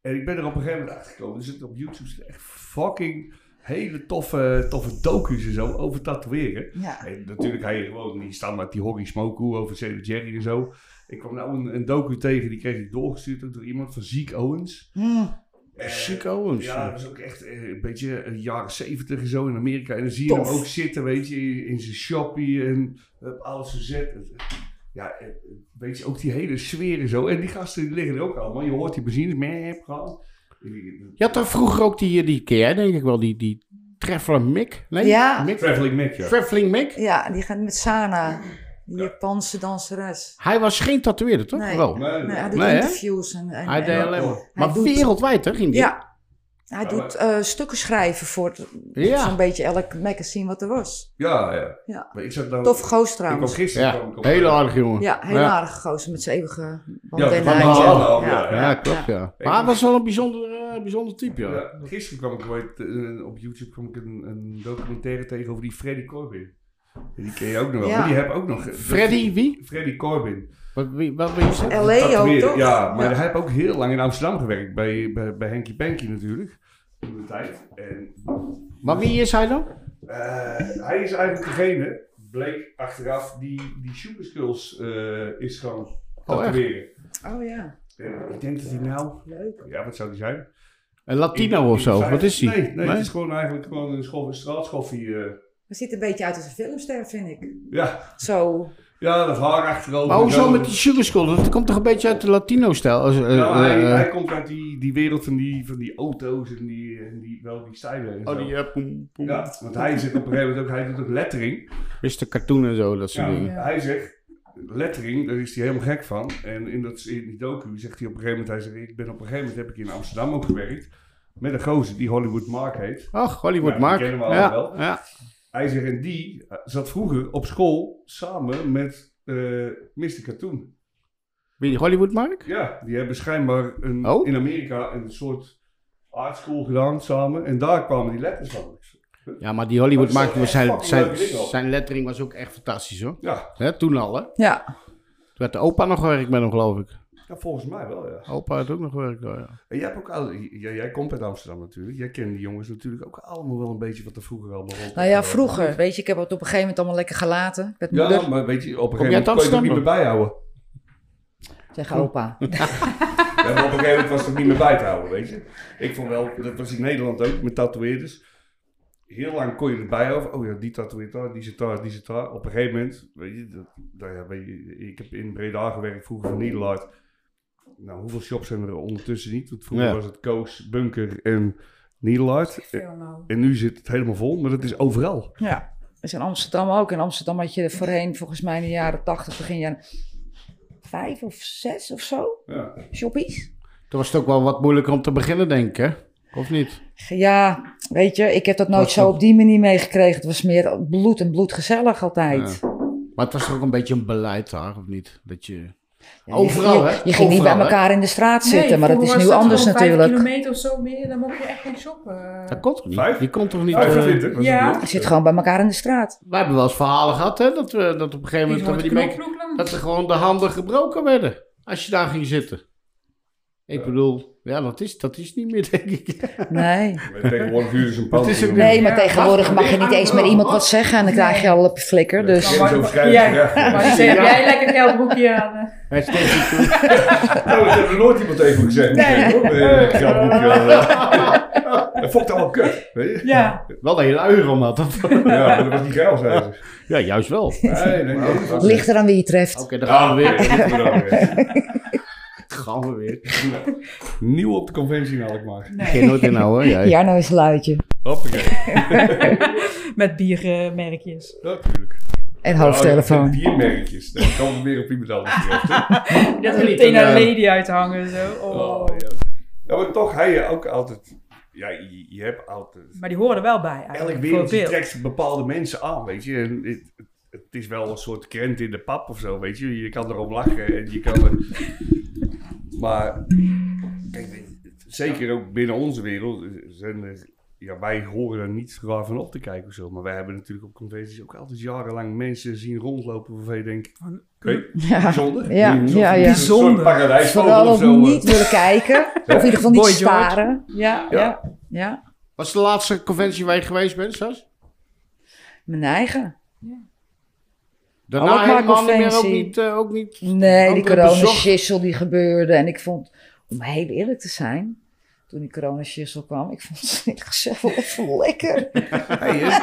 Speaker 2: En ik ben er op een gegeven moment achter gekomen. Er zitten op YouTube zitten echt fucking hele toffe, toffe docu's en zo over tatoeëren.
Speaker 4: Ja.
Speaker 2: En natuurlijk, hij gewoon die standaard, die hockey smokoe over Cedric Jerry en zo. Ik kwam nou een, een docu tegen, die kreeg ik doorgestuurd ook door iemand van Ziek Owens.
Speaker 4: Hmm,
Speaker 2: Eh,
Speaker 1: Chic Owens.
Speaker 2: Ja, dat is ook echt eh, een beetje eh, jaren zeventig en zo in Amerika. En dan zie je
Speaker 4: Tof.
Speaker 2: hem ook zitten, weet je, in zijn shoppie en op alles gezet. Het- Ja, eh, weet je, ook die hele sfeer en zo. En die gasten die liggen er ook allemaal. Je hoort die benzines, meh, gaan.
Speaker 1: Je had toch vroeger ook die, eh, die ken jij denk ik wel, die, die Traveler Mick? Nee?
Speaker 4: Ja.
Speaker 1: Mick?
Speaker 2: Traveling Mac, ja.
Speaker 1: Traveling Mick?
Speaker 4: ja, die gaat met Sana, die Japanse danseres.
Speaker 1: Hij was geen tatoeëerder, toch?
Speaker 4: Nee.
Speaker 1: Wel?
Speaker 2: Maar-
Speaker 4: Nee, hij doet
Speaker 1: Nee, hè?
Speaker 4: interviews en, en-
Speaker 1: Hij deed
Speaker 4: en-
Speaker 1: alleen maar...
Speaker 4: Hij
Speaker 1: Maar
Speaker 4: doet-
Speaker 1: wereldwijd, hè, ging die?
Speaker 4: ja, hij doet eh, stukken schrijven voor het-
Speaker 1: Ja.
Speaker 4: zo'n beetje elk magazine wat er was.
Speaker 2: Ja, ja.
Speaker 4: Ja.
Speaker 2: Maar ik zat nou...
Speaker 4: Tof goos
Speaker 2: Ik kwam
Speaker 4: trouwens.
Speaker 2: gisteren... kwam
Speaker 1: Ja,
Speaker 2: ik op-
Speaker 1: hele aardige jongen.
Speaker 4: Ja, heel
Speaker 1: Ja.
Speaker 4: aardige gozer met zijn eeuwige
Speaker 2: Ja,
Speaker 4: bandana.
Speaker 2: bandana, ja.
Speaker 4: ja.
Speaker 1: Ja, klopt, ja. Maar hij was wel een bijzonder, eh, bijzonder type, ja.
Speaker 2: Ja, gisteren kwam ik ooit, eh, op YouTube kwam ik een, een documentaire tegen over die Freddy Corbin. Die ken je ook nog wel.
Speaker 4: Ja.
Speaker 2: maar Die heb ook nog...
Speaker 1: Freddy, wie?
Speaker 2: Freddy Corbin.
Speaker 1: Wat, wie, wat wil je zeggen?
Speaker 4: LA ook,
Speaker 2: Tatoeëren,
Speaker 4: toch?
Speaker 2: Ja, maar hij heeft ook heel lang in Amsterdam gewerkt. Bij, bij, bij Henkie Panky natuurlijk. Toen de tijd. En
Speaker 1: Maar wie is hij dan?
Speaker 2: eh, hij is eigenlijk degene bleek achteraf die, die Sugar Skulls eh, is gaan
Speaker 1: Oh, echt?
Speaker 2: tatoeëren.
Speaker 4: Oh ja,
Speaker 2: Eh, ik denk dat hij nou...
Speaker 4: leuk.
Speaker 2: Ja, wat zou die zijn?
Speaker 1: Een Latino of zo, wat is die?
Speaker 2: Nee, nee, het is gewoon eigenlijk gewoon een, schof, een straatschoffie. eh.
Speaker 4: Hij ziet een beetje uit als een filmster, vind ik.
Speaker 2: ja,
Speaker 4: Zo.
Speaker 2: ja, dat haar achterover.
Speaker 1: Maar
Speaker 2: zo.
Speaker 1: hoezo met die sugar skull? Dat komt toch een beetje uit de Latino-stijl? Als, eh,
Speaker 2: Ja, maar hij,
Speaker 1: eh,
Speaker 2: hij komt uit die, die wereld van die, van die auto's en die, en die, wel die stijlen en
Speaker 1: oh,
Speaker 2: zo.
Speaker 1: die eh, poem, poem.
Speaker 2: Ja, want hij zegt op een gegeven moment ook, hij doet ook lettering.
Speaker 1: Mr. Cartoon en zo, dat soort
Speaker 2: Ja,
Speaker 1: dingen.
Speaker 2: Hij zegt, lettering, daar is hij helemaal gek van. En in, dat, in die docu zegt hij op een gegeven moment, hij zegt, ik ben op een gegeven moment, heb ik in Amsterdam ook gewerkt. Met een gozer die Hollywood Mark heet.
Speaker 1: Ach, Hollywood
Speaker 2: Ja, die
Speaker 1: Mark.
Speaker 2: kennen we
Speaker 1: ja,
Speaker 2: allemaal wel.
Speaker 1: ja.
Speaker 2: Hij zegt, en die eh, zat vroeger op school samen met eh Mr. Cartoon.
Speaker 1: Wie die Hollywood Mark?
Speaker 2: Ja, die hebben schijnbaar een,
Speaker 1: Oh.
Speaker 2: in Amerika een soort art school gedaan samen. En daar kwamen die letters van.
Speaker 1: Ja, maar die Hollywood
Speaker 2: Maar
Speaker 1: Mark,
Speaker 2: het is wel echt
Speaker 1: zijn,
Speaker 2: fucking
Speaker 1: zijn,
Speaker 2: leuke dingen.
Speaker 1: zijn lettering was ook echt fantastisch hoor.
Speaker 2: Ja,
Speaker 1: Hè, toen al hè. Toen
Speaker 3: Ja.
Speaker 1: werd de opa nog gewerkt met hem geloof ik.
Speaker 2: ja, volgens mij wel, ja.
Speaker 1: Opa had ook nog gewerkt hoor, ja.
Speaker 2: En jij, hebt ook al, j- jij, jij komt uit Amsterdam natuurlijk. Jij kent die jongens natuurlijk ook allemaal wel een beetje wat er vroeger allemaal rond.
Speaker 4: Nou ja, vroeger. Dus- Weet je, ik heb het op een gegeven moment allemaal lekker gelaten. Ik werd moeder
Speaker 2: Ja, maar weet je, op een
Speaker 1: Kom
Speaker 2: gegeven
Speaker 1: jij uit
Speaker 2: moment kon je het ook niet meer
Speaker 1: Amsterdam?
Speaker 2: bijhouden.
Speaker 4: tegen opa.
Speaker 2: Ja, maar op een gegeven moment was het ook niet meer bij te houden, weet je. Ik vond wel, dat was in Nederland ook, met tatoeëerders. Heel lang kon je het bijhouden. Oh ja, die tatoeëert daar, die zit daar, die zit daar. Op een gegeven moment, weet je, dat, nou ja, weet je ik heb in Breda gewerkt, vroeger van Nederland. Nou, hoeveel shops zijn er ondertussen niet? Want vroeger
Speaker 1: Ja.
Speaker 2: was het Koos, Bunker en Nederland.
Speaker 3: Veel nou.
Speaker 2: En nu zit het helemaal vol, maar dat is overal.
Speaker 3: Ja.
Speaker 4: is Dus in Amsterdam ook. In Amsterdam had je voorheen, volgens mij in de jaren 80, begin jaren vijf of zes of zo,
Speaker 2: Ja.
Speaker 4: shoppies.
Speaker 1: Toen was het ook wel wat moeilijker om te beginnen denk ik hè. Of niet?
Speaker 4: Ja, weet je, ik heb dat nooit zo op die manier meegekregen. Het was meer bloed en bloedgezellig altijd.
Speaker 1: Maar het was toch ook een beetje een beleid daar, of niet? Dat je...
Speaker 4: Ja,
Speaker 1: Overal,
Speaker 4: je,
Speaker 1: hè?
Speaker 4: je, je ging niet bij
Speaker 1: Overal, hè?
Speaker 4: elkaar in de straat zitten,
Speaker 3: Nee,
Speaker 4: maar dat is
Speaker 3: vroeger
Speaker 4: nu
Speaker 3: was
Speaker 4: anders
Speaker 3: gewoon vijf
Speaker 4: natuurlijk.
Speaker 3: kilometer of zo meer, dan mocht je echt geen shoppen. Dus
Speaker 1: Dat kon toch niet?
Speaker 2: Vijf?
Speaker 1: Die kon toch niet? eh,
Speaker 2: 25 was
Speaker 3: Ja.
Speaker 2: het
Speaker 4: Je
Speaker 2: niet?
Speaker 4: zit gewoon bij elkaar in de straat.
Speaker 1: we hebben wel eens verhalen gehad hè, dat, we, dat op een gegeven moment... dat we die mee- Dat er gewoon de handen gebroken werden als je daar ging zitten. Ik bedoel, ja, dat is, dat is niet meer, denk ik.
Speaker 4: Nee.
Speaker 2: Maar Tegenwoordig huren ze een pand.
Speaker 1: Het is ook
Speaker 4: Nee, maar
Speaker 3: Ja,
Speaker 4: tegenwoordig
Speaker 3: wat?
Speaker 4: mag je niet eens meer iemand wat zeggen en dan krijg je al op je flikker. Dus
Speaker 2: Grensoverschrijdend
Speaker 3: Ja.
Speaker 2: gedrag.
Speaker 3: Maar die zei, heb jij lekker geld broekje aan. eh.
Speaker 1: Hij is steeds niet goed.
Speaker 2: Nou, dat heeft er nooit iemand even gezegd. Nee. hoor. Eh, grapje, ja. Dat vond ik allemaal kut. Weet je?
Speaker 3: Ja.
Speaker 1: Wel dat je een uur om had.
Speaker 2: Ja, maar dat was niet geil, zei ze.
Speaker 1: Ja, juist wel. Oké,
Speaker 2: Nee, nee, nee. dat was-
Speaker 4: ligt er aan wie je treft.
Speaker 1: dan gaan
Speaker 2: Ah,
Speaker 1: we
Speaker 2: weer.
Speaker 1: weer.
Speaker 2: dat doen we dan weer.
Speaker 1: Gaan we weer.
Speaker 2: Nieuw op de conventie nou, in Alkmaar.
Speaker 1: Ik ken nooit in nou, hoor. Jij.
Speaker 4: Jarno is een luidje.
Speaker 2: Hoppakee.
Speaker 3: Met biermerkjes.
Speaker 2: Natuurlijk.
Speaker 4: En
Speaker 2: Oh,
Speaker 4: hoofdtelefoon.
Speaker 2: die biermerkjes. Dan komen we weer op iemand anders terecht. hè?
Speaker 3: Dat
Speaker 1: is
Speaker 3: er
Speaker 1: niet
Speaker 3: meteen
Speaker 1: een,
Speaker 3: naar
Speaker 1: eh,
Speaker 3: lady uithangen. Zo.
Speaker 2: Oh,
Speaker 3: Oh.
Speaker 2: ja. ja, maar toch, hij eh, ook altijd... Ja, je, je hebt altijd...
Speaker 3: Maar die horen er wel bij eigenlijk.
Speaker 2: Elk
Speaker 3: voor het
Speaker 2: wereldje
Speaker 3: beeld.
Speaker 2: trekt bepaalde mensen aan, weet je. En het, het is wel een soort krent in de pap of zo, weet je. Je kan erom lachen en je kan er... Maar, kijk, weet- zeker ook binnen onze wereld zijn er... Ja, wij horen er niet raar van op te kijken of zo. Maar wij hebben natuurlijk op conventies ook altijd jarenlang mensen zien rondlopen waarvan je denkt... Oké,
Speaker 4: Ja.
Speaker 2: bijzonder.
Speaker 4: Ja,
Speaker 2: Alsof
Speaker 4: ja,
Speaker 2: het
Speaker 4: ja.
Speaker 2: een soort
Speaker 3: Bijzonder.
Speaker 2: paradijsvogel
Speaker 4: Vooral
Speaker 2: of
Speaker 4: ook
Speaker 2: zo. eh,
Speaker 4: niet willen kijken. Of in ieder geval niet
Speaker 3: Boy George.
Speaker 4: staren. Ja,
Speaker 2: Ja.
Speaker 4: ja, ja.
Speaker 1: Was de laatste conventie waar je geweest bent, Sas?
Speaker 4: Mijn eigen.
Speaker 1: Daarna
Speaker 4: Alkmaar
Speaker 1: helemaal niet meer, ook
Speaker 4: Oh, conventie.
Speaker 1: niet, eh, ook niet.
Speaker 4: Nee, die
Speaker 1: Andere
Speaker 4: coronashissel die gebeurde. En ik vond, om heel eerlijk te zijn, toen die coronashissel kwam, ik vond het zelf wel even lekker.
Speaker 2: Hey, hè?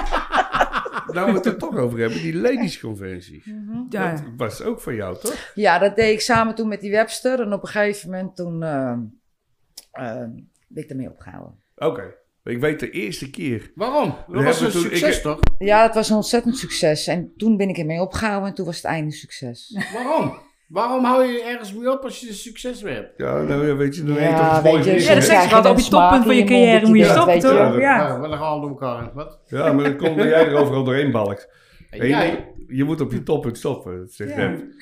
Speaker 2: nou, we het er toch over hebben, die ladies conventie.
Speaker 3: Ja.
Speaker 2: Dat was ook van jou, toch?
Speaker 4: Ja, dat deed ik samen toen met die Webster. En op een gegeven moment toen eh, eh, ben ik ermee opgehouden.
Speaker 2: Oké. Ik weet de eerste keer.
Speaker 1: Waarom? Dat was
Speaker 2: hebben
Speaker 1: een
Speaker 2: toen-
Speaker 1: succes,
Speaker 2: ik-
Speaker 1: toch?
Speaker 4: Ja, dat was een ontzettend succes. En toen ben ik ermee opgehouden en toen was het einde succes.
Speaker 1: Waarom? Waarom hou je ergens mee op als je een succes weer hebt?
Speaker 2: Ja, nou ja, weet je, dan
Speaker 4: Ja,
Speaker 2: heet het
Speaker 4: weet
Speaker 2: mooi
Speaker 4: je,
Speaker 2: weer,
Speaker 3: Ja, dat
Speaker 4: dan
Speaker 2: hè?
Speaker 3: zeg
Speaker 4: krijg
Speaker 3: je
Speaker 4: je
Speaker 3: wat.
Speaker 4: een
Speaker 3: Op je
Speaker 4: smaak
Speaker 3: toppunt van je
Speaker 4: in je mond dus
Speaker 3: carrière
Speaker 4: dat
Speaker 3: moet je
Speaker 4: je denkt,
Speaker 3: stoppen,
Speaker 4: weet je
Speaker 3: toch?
Speaker 2: wel.
Speaker 3: Ja.
Speaker 1: we gaan al door elkaar. heen. Wat?
Speaker 2: ja, maar dan komt dat jij er overal doorheen balkt.
Speaker 1: En
Speaker 2: Hey,
Speaker 1: jij?
Speaker 2: Je moet op je toppunt stoppen, dat zegt
Speaker 3: Ja.
Speaker 2: hem.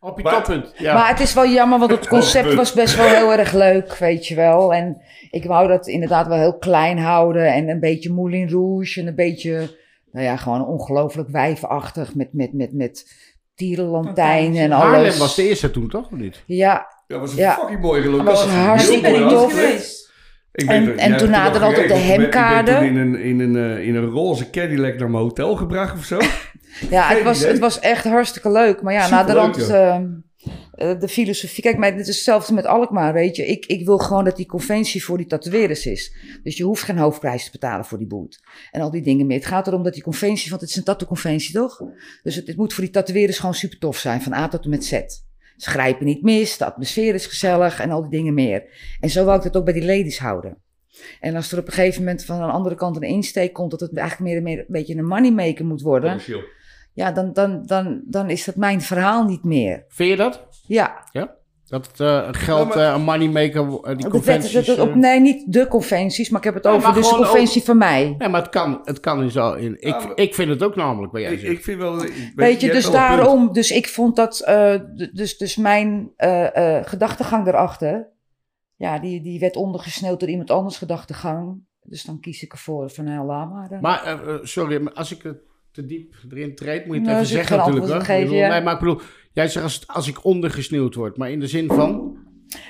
Speaker 1: Op je
Speaker 2: Maar-
Speaker 1: toppunt. Ja.
Speaker 4: Maar het is wel jammer, want het concept
Speaker 2: punt.
Speaker 4: was best wel heel erg leuk, weet je wel. En ik wou dat inderdaad wel heel klein houden en een beetje Moulin Rouge en een beetje, nou ja, gewoon ongelooflijk wijfachtig met, met, met, met tierenlantijnen en alles.
Speaker 1: Haarlem was de eerste toen, toch? Of niet?
Speaker 4: Ja,
Speaker 2: Ja, was een
Speaker 4: Ja.
Speaker 2: fucking mooie
Speaker 4: was
Speaker 2: locatie.
Speaker 4: hartstikke
Speaker 2: Heel mooi
Speaker 4: tof.
Speaker 2: afgelegd. Ik
Speaker 4: En-
Speaker 2: weet-
Speaker 4: en
Speaker 2: jij
Speaker 4: toen
Speaker 2: hebt
Speaker 4: naderhand
Speaker 2: nog
Speaker 4: op de
Speaker 2: geregeld, je bent- je bent
Speaker 4: hemkade.
Speaker 2: toen In een, in, een, eh, in een roze Cadillac naar mijn hotel gebracht of zo.
Speaker 4: Ja, het
Speaker 2: Geen
Speaker 4: was,
Speaker 2: idee.
Speaker 4: het was echt hartstikke leuk. Maar ja, na de
Speaker 2: Superleuk,
Speaker 4: rand, eh, eh, de filosofie. Kijk, maar dit is hetzelfde met Alkmaar, weet je. Ik, ik wil gewoon dat die conventie voor die tatoeëerders is. Dus je hoeft geen hoofdprijs te betalen voor die boet. En al die dingen meer. Het gaat erom dat die conventie, want het is een tattoo-conventie, toch? Dus het, het moet voor die tatoeëerders gewoon super tof zijn, van A tot en met Z. Ze grijpen niet mis, de atmosfeer is gezellig en al die dingen meer. En zo wou ik dat ook bij die ladies houden. En als er op een gegeven moment van een andere kant een insteek komt, dat het eigenlijk meer, meer een beetje een moneymaker moet worden
Speaker 2: Commercieel.
Speaker 4: ja, dan, dan, dan, dan is dat mijn verhaal niet meer.
Speaker 1: Vind je dat?
Speaker 4: Ja,
Speaker 1: Dat eh geld,
Speaker 2: Ja,
Speaker 1: eh, een moneymaker,
Speaker 4: Oh,
Speaker 1: eh, die
Speaker 4: dat werd-
Speaker 1: conventies...
Speaker 4: dat- dat-
Speaker 1: eh,
Speaker 4: op, nee, niet de conventies, maar ik heb het
Speaker 1: Nee,
Speaker 4: over
Speaker 1: maar
Speaker 4: dus de
Speaker 1: gewoon
Speaker 4: conventie van mij.
Speaker 1: Nee, maar het kan, het kan in zo. In, ik,
Speaker 2: Ja, maar-
Speaker 1: ik vind het ook namelijk bij jij.
Speaker 2: Nou, Ik,
Speaker 1: zegt.
Speaker 2: ik vind wel... ik-
Speaker 4: Weet je,
Speaker 2: hebt
Speaker 4: dus
Speaker 2: wel een punt.
Speaker 4: daarom, dus ik vond dat, eh, d- dus, dus mijn eh, eh, gedachtegang daarachter, ja, die, die werd ondergesneeuwd door iemand anders gedachtegang. Dus dan kies ik ervoor van, nou, laat maar. dan.
Speaker 1: Maar eh, eh, sorry, maar als ik het te diep erin treed, moet je het
Speaker 4: Nou,
Speaker 1: even
Speaker 4: als ik
Speaker 1: zeggen
Speaker 4: geen
Speaker 1: natuurlijk.
Speaker 4: antwoord
Speaker 1: hoor. Ik
Speaker 4: geef,
Speaker 1: bedoel,
Speaker 4: ja.
Speaker 1: Nee, maar ik bedoel, jij zegt als, als ik ondergesneeuwd word, maar in de zin van...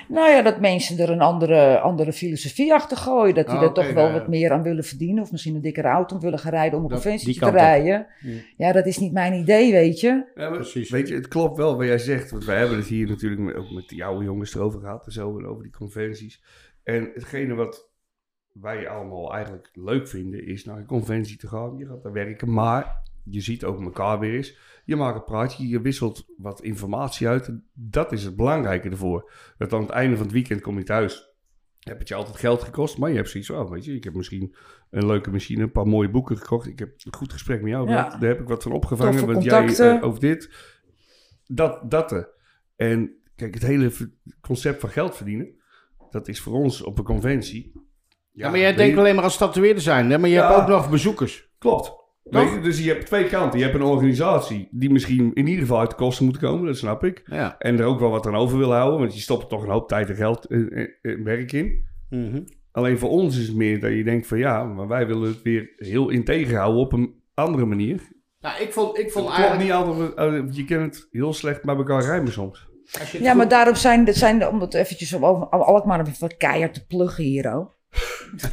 Speaker 4: Nou ja, dat mensen er een andere, andere filosofie achter gooien. Dat die
Speaker 1: Ah,
Speaker 4: er
Speaker 1: oké,
Speaker 4: toch wel
Speaker 1: ja, ja.
Speaker 4: wat meer aan willen verdienen. Of misschien een dikkere auto aan willen gaan rijden om een
Speaker 1: Dat-
Speaker 4: conventie
Speaker 1: die
Speaker 4: te
Speaker 1: kant op.
Speaker 4: rijden.
Speaker 1: Ja.
Speaker 4: Ja, dat is niet mijn idee, weet je.
Speaker 2: Ja, maar
Speaker 1: Precies.
Speaker 2: Weet je, het klopt wel wat jij zegt. Want wij hebben het hier natuurlijk met, ook met jouw jongens erover gehad. En zo, en over die conventies. En hetgene wat wij allemaal eigenlijk leuk vinden, is naar een conventie te gaan. Je gaat daar werken, maar je ziet ook elkaar weer eens. Je maakt een praatje, je wisselt wat informatie uit. En Dat is het belangrijke ervoor. Dat aan het einde van het weekend kom je thuis. Heb het je altijd geld gekost, maar je hebt zoiets van, oh, weet je, ik heb misschien een leuke machine, een paar mooie boeken gekocht. Ik heb een goed gesprek met jou
Speaker 4: Ja.
Speaker 2: gehad. Daar heb ik wat van opgevangen,
Speaker 4: Toffe
Speaker 2: want jij
Speaker 4: contacten.
Speaker 2: eh, over dit dat, dat er. En kijk, het hele v- concept van geld verdienen, dat is voor ons op een conventie.
Speaker 1: Ja, maar jij
Speaker 2: weet
Speaker 1: denkt
Speaker 2: je-
Speaker 1: alleen maar als tatoeëerder zijn, hè? maar je
Speaker 2: Ja.
Speaker 1: hebt ook nog bezoekers.
Speaker 2: Klopt. Weet je, dus je hebt twee kanten. Je hebt een organisatie die misschien in ieder geval uit de kosten moet komen, dat snap ik.
Speaker 1: Ja.
Speaker 2: En er ook wel wat aan over wil houden, want je stopt er toch een hoop tijd en geld en en- en werk in.
Speaker 1: Mhm.
Speaker 2: Alleen voor ons is het meer dat je denkt van ja, maar wij willen het weer heel integer houden op een andere manier.
Speaker 1: Nou, ik vond, ik vond
Speaker 2: Klopt
Speaker 1: eigenlijk...
Speaker 2: niet altijd, eh, je kan het heel slecht bij elkaar rijmen soms.
Speaker 1: als je het
Speaker 4: Ja,
Speaker 1: goed-
Speaker 4: maar daarom zijn, dat zijn om dat eventjes om, om Alkmaar even keihard te pluggen hier ook.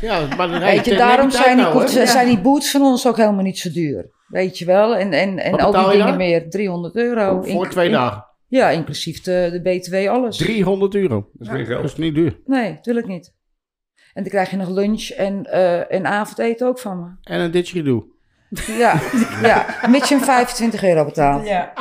Speaker 1: Ja, maar dan
Speaker 4: Weet je, daarom zijn die, koets-
Speaker 1: nou, hè?
Speaker 4: zijn die boots van ons ook helemaal niet zo duur. Weet je wel, en, en, en
Speaker 1: Wat
Speaker 4: al
Speaker 1: betaal
Speaker 4: die
Speaker 1: je
Speaker 4: dingen
Speaker 1: daar?
Speaker 4: meer. 300 euro.
Speaker 1: Voor
Speaker 4: Inc-
Speaker 1: twee
Speaker 4: in-
Speaker 1: dagen.
Speaker 4: Ja, inclusief de, de BTW, alles.
Speaker 1: 300 euro.
Speaker 2: Dat is geen
Speaker 1: Dat
Speaker 2: geld.
Speaker 1: is niet duur.
Speaker 4: Nee, natuurlijk niet. En dan krijg je nog lunch en, eh, en avondeten ook van me.
Speaker 1: En een didgeridoo.
Speaker 4: Ja, ja. mits je een 25 euro betaalt.
Speaker 3: Ja.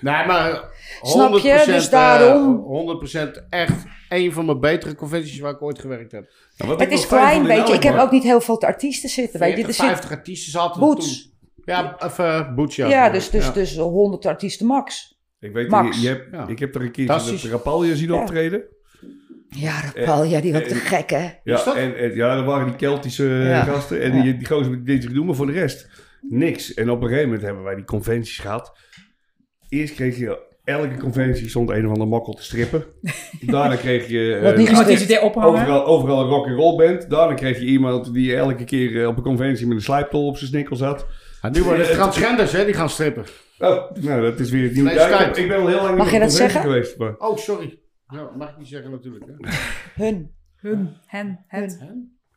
Speaker 1: Nee, maar 100%,
Speaker 4: Snap je? Dus
Speaker 1: eh,
Speaker 4: daarom-
Speaker 1: 100% echt een van mijn betere conventies waar ik ooit gewerkt heb.
Speaker 2: Ja, wat ik
Speaker 4: Het
Speaker 2: wel
Speaker 4: is
Speaker 2: fijn
Speaker 4: klein,
Speaker 2: vond in
Speaker 4: weet je. Ik heb
Speaker 2: Alkmaar-
Speaker 4: ook niet heel veel te artiesten zitten. Weet je, er
Speaker 1: 40,
Speaker 4: zit
Speaker 1: 50 artiesten zaten er
Speaker 4: boots.
Speaker 1: toen. Ja, of eh boots, ja.
Speaker 4: Ja, dus, dus,
Speaker 1: Ja.
Speaker 4: dus 100 artiesten max.
Speaker 2: Ik weet,
Speaker 4: Max.
Speaker 2: Je, je hebt,
Speaker 1: Ja.
Speaker 2: ik heb er een keer dat
Speaker 1: Fantastisch.
Speaker 2: Rapalje zien
Speaker 4: Ja.
Speaker 2: optreden.
Speaker 4: Ja, Rapal, ja, die was te
Speaker 2: eh,
Speaker 4: gek, hè?
Speaker 1: Is
Speaker 2: Ja,
Speaker 1: dat-
Speaker 2: en, en ja, dat waren die Keltische eh,
Speaker 4: Ja.
Speaker 2: gasten. En
Speaker 4: Ja.
Speaker 2: die, die gozer met dit doen, maar voor de rest niks. En op een gegeven moment hebben wij die conventies gehad. Eerst kreeg je elke conventie stond een of ander mokkel te strippen. Daarna kreeg je eh,
Speaker 4: Wat Oh, niet
Speaker 3: Iemand die
Speaker 4: gesticht.
Speaker 3: zit weer ophangen.
Speaker 2: overal, overal een rock and roll band. Daarna kreeg je iemand die elke keer eh, op een conventie met een slijptol op zijn snikkel zat.
Speaker 1: Ja, nu worden het
Speaker 2: Eh,
Speaker 1: transgenders, hè, die gaan strippen.
Speaker 2: Oh, nou, dat is weer het nieuwe.
Speaker 1: Nee,
Speaker 2: Ja, ik, heb-
Speaker 1: Skype.
Speaker 2: ik ben al heel lang niet
Speaker 4: Mag
Speaker 2: op
Speaker 4: je
Speaker 2: een
Speaker 4: dat
Speaker 2: conventie
Speaker 4: zeggen?
Speaker 2: geweest. Maar...
Speaker 1: Oh, sorry. Ja, mag ik niet zeggen natuurlijk. Hè?
Speaker 4: Hun.
Speaker 3: Hun, hen, het,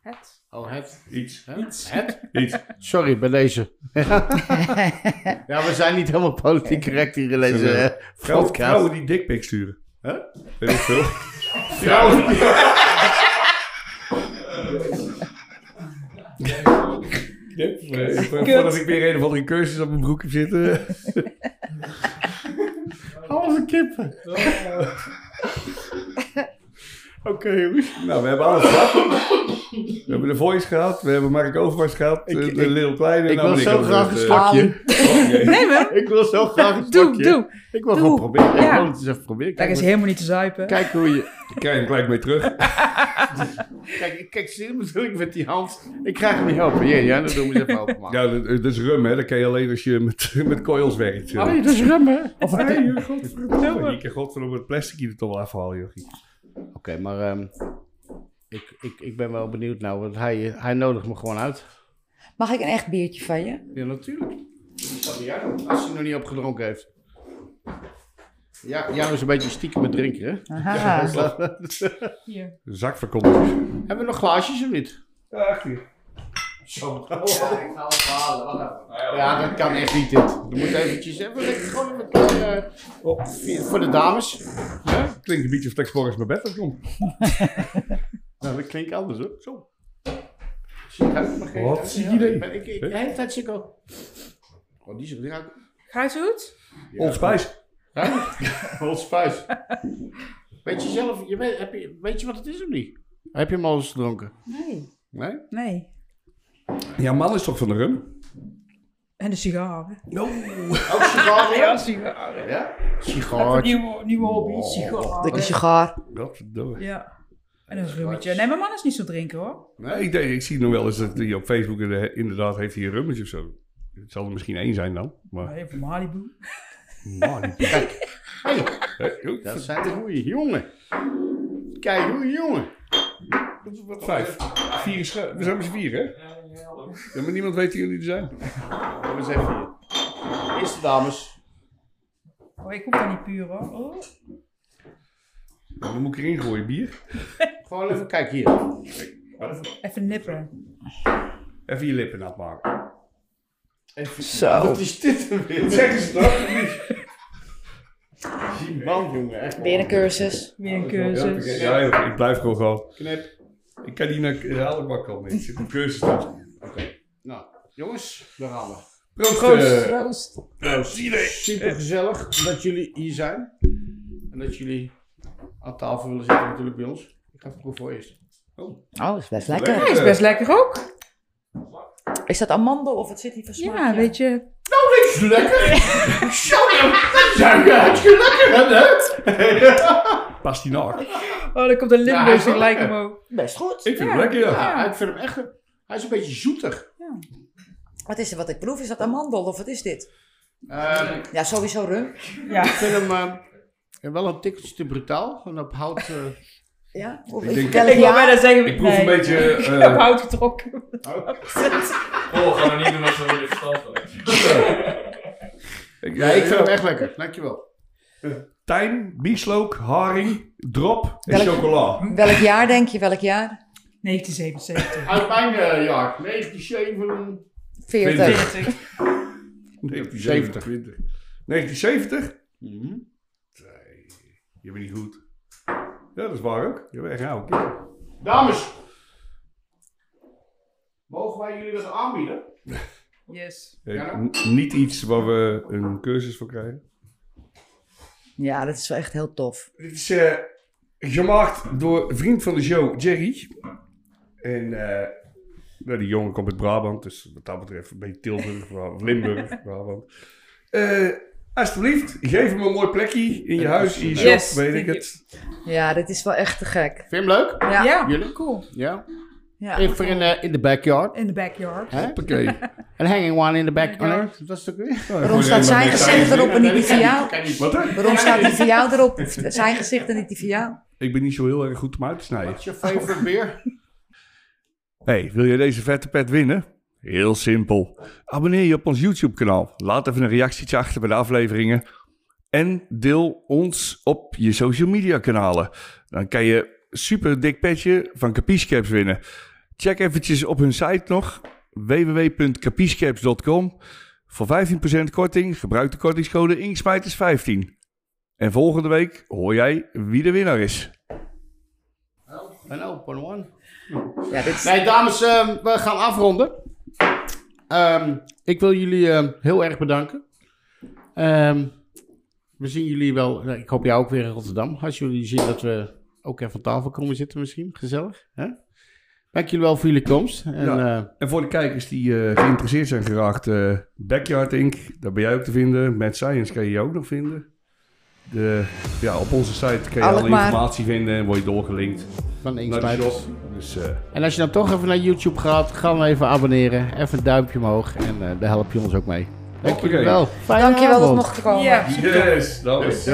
Speaker 3: het.
Speaker 1: Oh, het.
Speaker 2: Iets.
Speaker 1: Hè? Het?
Speaker 2: Iets.
Speaker 1: Sorry, bij deze. ja, we zijn niet helemaal politiek correct hier in deze
Speaker 2: Zullen we-
Speaker 1: eh,
Speaker 2: Vrouwen,
Speaker 1: podcast.
Speaker 2: vrouwen die dikpik sturen. Hè? Weet ik veel.
Speaker 1: Vrouwen die-
Speaker 2: Yep. Eh, vo- Voordat ik weer een of andere cursus op mijn broek heb zitten.
Speaker 1: Halve kippen. Oké, jongens.
Speaker 2: Nou, we hebben alles gehad. We hebben de Voice gehad. We hebben Mark Overmars gehad.
Speaker 1: Ik-
Speaker 2: eh, de
Speaker 1: ik-
Speaker 2: Little Kleine.
Speaker 1: Ik
Speaker 2: nou,
Speaker 1: wil
Speaker 2: ben
Speaker 1: zo
Speaker 2: ook
Speaker 1: graag een
Speaker 2: met, eh,
Speaker 1: slokje.
Speaker 2: oké.
Speaker 3: Nee, man.
Speaker 1: Ik wil zo graag een
Speaker 3: Doe,
Speaker 1: slokje.
Speaker 3: doe.
Speaker 1: Ik wil
Speaker 3: Doe.
Speaker 1: gewoon proberen. Ik
Speaker 3: Ja.
Speaker 1: wil het eens even proberen.
Speaker 3: Kijk, is
Speaker 1: hoe-
Speaker 3: helemaal niet te zuipen.
Speaker 1: kijk hoe je...
Speaker 2: Ik krijg hem gelijk mee terug.
Speaker 1: Kijk, kijk, zie je natuurlijk met die hand. Ik krijg hem niet open. Hier, ja, dat doen we eens even openmaken.
Speaker 2: Ja, dat, dat is rum, hè. Dat kan je alleen als je met, met coils werkt. joh.
Speaker 1: dat is rum, hè? Oké,
Speaker 2: Of nee, joh, godverdomme. Je kan godverdomme het plastic hier er toch wel afhalen, joh.
Speaker 1: maar ehm, ik, ik, ik ben wel benieuwd nou, want hij, hij nodigt me gewoon uit.
Speaker 4: Mag ik een echt biertje van je?
Speaker 1: Ja, natuurlijk. Wat doe jij dan? Als hij nog niet opgedronken heeft. Ja, jou is een beetje stiekem met drinken, hè?
Speaker 4: Aha.
Speaker 3: Hier.
Speaker 2: Zak verkopen.
Speaker 1: Hebben we nog glaasjes of niet?
Speaker 5: Nou
Speaker 1: Ja, dat kan echt niet dit. We moeten eventjes even lekker gewoon met, eh, voor de dames.
Speaker 2: Klinkt een beetje of ik morgens mijn bed uitkomt.
Speaker 1: Nou, dat klinkt anders hoor. Zo. Zie je dat? Maar geen-
Speaker 2: Wat zie je
Speaker 1: Ja,
Speaker 2: daar?
Speaker 1: ik ben- Ik, ik, de hele tijd zit ik al. Oh, die is er uit.
Speaker 3: Gaat het goed?
Speaker 2: Old Spice.
Speaker 1: Old Spice. Weet je zelf, je weet, heb je, weet je wat het is of niet? Heb je hem al eens gedronken?
Speaker 3: Nee.
Speaker 1: Nee?
Speaker 3: Nee.
Speaker 2: Ja, man is toch van de rum?
Speaker 3: En de sigaren.
Speaker 1: Ook sigaren? ja?
Speaker 3: sigaren.
Speaker 1: Ja?
Speaker 3: Even
Speaker 1: Sigaar. Oh.
Speaker 3: nieuwe, nieuwe hobby, sigaren.
Speaker 4: Dikke sigaar.
Speaker 2: Godverdomme.
Speaker 3: Ja. En een rummetje. Nee, mijn man is niet zo drinken hoor.
Speaker 2: Nee, ik, denk- ik zie nog wel eens dat hij op Facebook inderdaad- inderdaad heeft hij een rummetje of zo. Het zal er misschien één zijn dan. Maar,
Speaker 3: Even Malibu.
Speaker 2: man, die-
Speaker 1: Hey,
Speaker 2: Hé, joh,
Speaker 1: dat zijn de goeie jongen. Kijk, goeie jongen.
Speaker 2: wat vijf. Vier is ge- We zijn met z'n vier, hè? Ja, maar niemand weet wie jullie er zijn. Nou,
Speaker 1: Kom eens even hier. Eerste dames.
Speaker 3: Oh, ik hoef dat niet puur hoor. Oh.
Speaker 2: Ja, Dan moet ik erin gooien, bier.
Speaker 1: Gewoon even kijken hier.
Speaker 3: Even nippen.
Speaker 2: Even je lippen nat maken.
Speaker 4: Zo.
Speaker 1: Wat is dit er weer?
Speaker 2: Zeg eens toch?
Speaker 1: Die man, jongen. Echt.
Speaker 4: Weer een cursus.
Speaker 3: Weer een
Speaker 2: Ja,
Speaker 3: cursus.
Speaker 2: ik- ja, joh, ik blijf gewoon gaan.
Speaker 1: Knip.
Speaker 2: Ik kan niet naar Herhalenbak komen. Ik zit op cursus. Proost.
Speaker 1: Nou, jongens, daar gaan we.
Speaker 2: eh,
Speaker 4: Proost.
Speaker 2: proost.
Speaker 1: Super gezellig dat jullie hier zijn. En dat jullie aan tafel willen zitten natuurlijk bij ons. Ik ga het proeven voor eerst.
Speaker 4: Oh, is best
Speaker 2: Lekker.
Speaker 4: lekker.
Speaker 3: Hij is best lekker ook.
Speaker 4: Is dat amandel of wat zit hier voor smaak?
Speaker 3: Ja, weet je.
Speaker 1: Is lekker! Zo, dat zijn we hartstikke lekker, hè?
Speaker 2: Past die nog? Ik
Speaker 3: Oh, dan komt
Speaker 1: Ja,
Speaker 3: een
Speaker 1: hij
Speaker 3: limburg
Speaker 1: is wel
Speaker 3: gelijk
Speaker 1: lekker.
Speaker 3: omhoog.
Speaker 4: Best goed.
Speaker 2: vind het lekker, ja.
Speaker 1: Ja, ik vind hem echt... Hij is een beetje zoeter.
Speaker 4: Wat is er wat ik proef? Is dat amandel of wat is dit?
Speaker 1: Ehm,
Speaker 4: Ja, sowieso rum.
Speaker 1: ik vind hem eh, wel een tikkeltje te brutaal. En op hout... eh,
Speaker 4: Ja? Of
Speaker 2: Ik denk-
Speaker 4: vertel
Speaker 3: Ik
Speaker 4: het
Speaker 3: wil
Speaker 4: ja.
Speaker 3: bijna zeggen.
Speaker 2: Ik proef
Speaker 3: nee.
Speaker 2: een beetje...
Speaker 3: Ik
Speaker 2: eh,
Speaker 3: heb hout getrokken.
Speaker 5: Oh, gaan we niet doen als we willen verstand van hebben.
Speaker 2: ik-
Speaker 1: ja, ik vind hem echt lekker. Dankjewel.
Speaker 2: Tijn, bieslook, haring, drop en
Speaker 4: Welk-
Speaker 2: chocola.
Speaker 4: Welk jaar denk je? Welk jaar?
Speaker 3: 1977.
Speaker 1: Uit mijn eh, jaar, 1970.
Speaker 4: 40.
Speaker 2: 1970. 1970? Nee, je bent niet goed. Ja, dat is waar ook. Je bent echt oud.
Speaker 1: Dames, mogen wij jullie dat aanbieden?
Speaker 3: Yes.
Speaker 2: Eh,
Speaker 1: Ja.
Speaker 2: n- Niet iets waar we een cursus voor krijgen.
Speaker 4: Ja, dat is wel echt heel tof.
Speaker 2: Dit is eh, gemaakt door een vriend van de show, Jerry. En eh, nou, die jongen komt uit Brabant, dus wat dat betreft een beetje Tilburg, Bra- Limburg, Brabant. Eh, alsjeblieft, geef hem een mooi plekje in je huis, in je shop,
Speaker 3: Yes,
Speaker 2: weet ik
Speaker 3: thank
Speaker 2: het.
Speaker 4: Ja, dat is wel echt te gek.
Speaker 1: Vind je hem leuk?
Speaker 4: Ja.
Speaker 3: Ja,
Speaker 1: Jullie?
Speaker 3: cool.
Speaker 1: Ja.
Speaker 4: Ja.
Speaker 1: Even in, eh, in the backyard.
Speaker 3: In the backyard.
Speaker 1: Hè?
Speaker 2: Hoppakee.
Speaker 1: Een hanging one in the backyard. Dat is toch weer?
Speaker 4: Waarom staat zijn gezicht erop en niet die van jou?
Speaker 2: Wat hè?
Speaker 4: Waarom staat die van jou erop? Zijn gezicht en niet die van jou?
Speaker 2: Ik ben niet zo heel erg goed om uit te snijden.
Speaker 1: What's your favorite beer?
Speaker 2: Hey, wil je deze vette pet winnen? Heel simpel. Abonneer je op ons YouTube-kanaal. Laat even een reactietje achter bij de afleveringen. En deel ons op je social media-kanalen. Dan kan je super dik petje van Capiscaps winnen. Check eventjes op hun site nog. www.capiscaps.com Voor 15% korting gebruik de kortingscode INKSMIJTERS15. En volgende week hoor jij wie de winnaar is.
Speaker 1: Een open one.
Speaker 4: Ja, dit is...
Speaker 1: Nee, dames, ehm, we gaan afronden. Ehm, ik wil jullie ehm, heel erg bedanken. Ehm, we zien jullie wel. nou, Ik hoop jou ook weer in Rotterdam. Als jullie zien dat we ook even aan tafel komen zitten, misschien. Gezellig. Hè? Dank jullie wel voor jullie komst. En,
Speaker 2: Ja.
Speaker 1: eh,
Speaker 2: En voor de kijkers die eh, geïnteresseerd zijn geraakt, eh, Backyard Inc., daar ben jij ook te vinden. Mad Science kan je je ook nog vinden. De, ja, op onze site kan je alle
Speaker 4: Alkmaar.
Speaker 2: informatie vinden en word je doorgelinkt
Speaker 1: van Inks
Speaker 2: naar de
Speaker 1: Meijers.
Speaker 2: shop. Dus eh,
Speaker 1: En als je dan toch even naar YouTube gaat, ga dan even abonneren. Even een duimpje omhoog. En eh, daar help je ons ook mee. Dank jullie wel. Fijne
Speaker 4: Dankjewel dat we
Speaker 1: avond.
Speaker 4: mochten komen.
Speaker 3: Ja.
Speaker 2: yes, dat is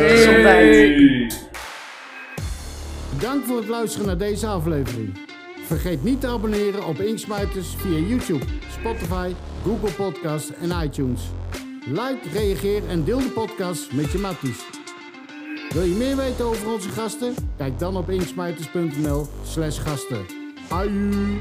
Speaker 6: Dank voor het luisteren naar deze aflevering. Vergeet niet te abonneren op Inksmijters via YouTube, Spotify, Google Podcasts en iTunes. Like, reageer en deel de podcast met je matties.
Speaker 1: Wil je meer weten over onze gasten? Kijk dan op inksmijters.nl slash gasten. Aju!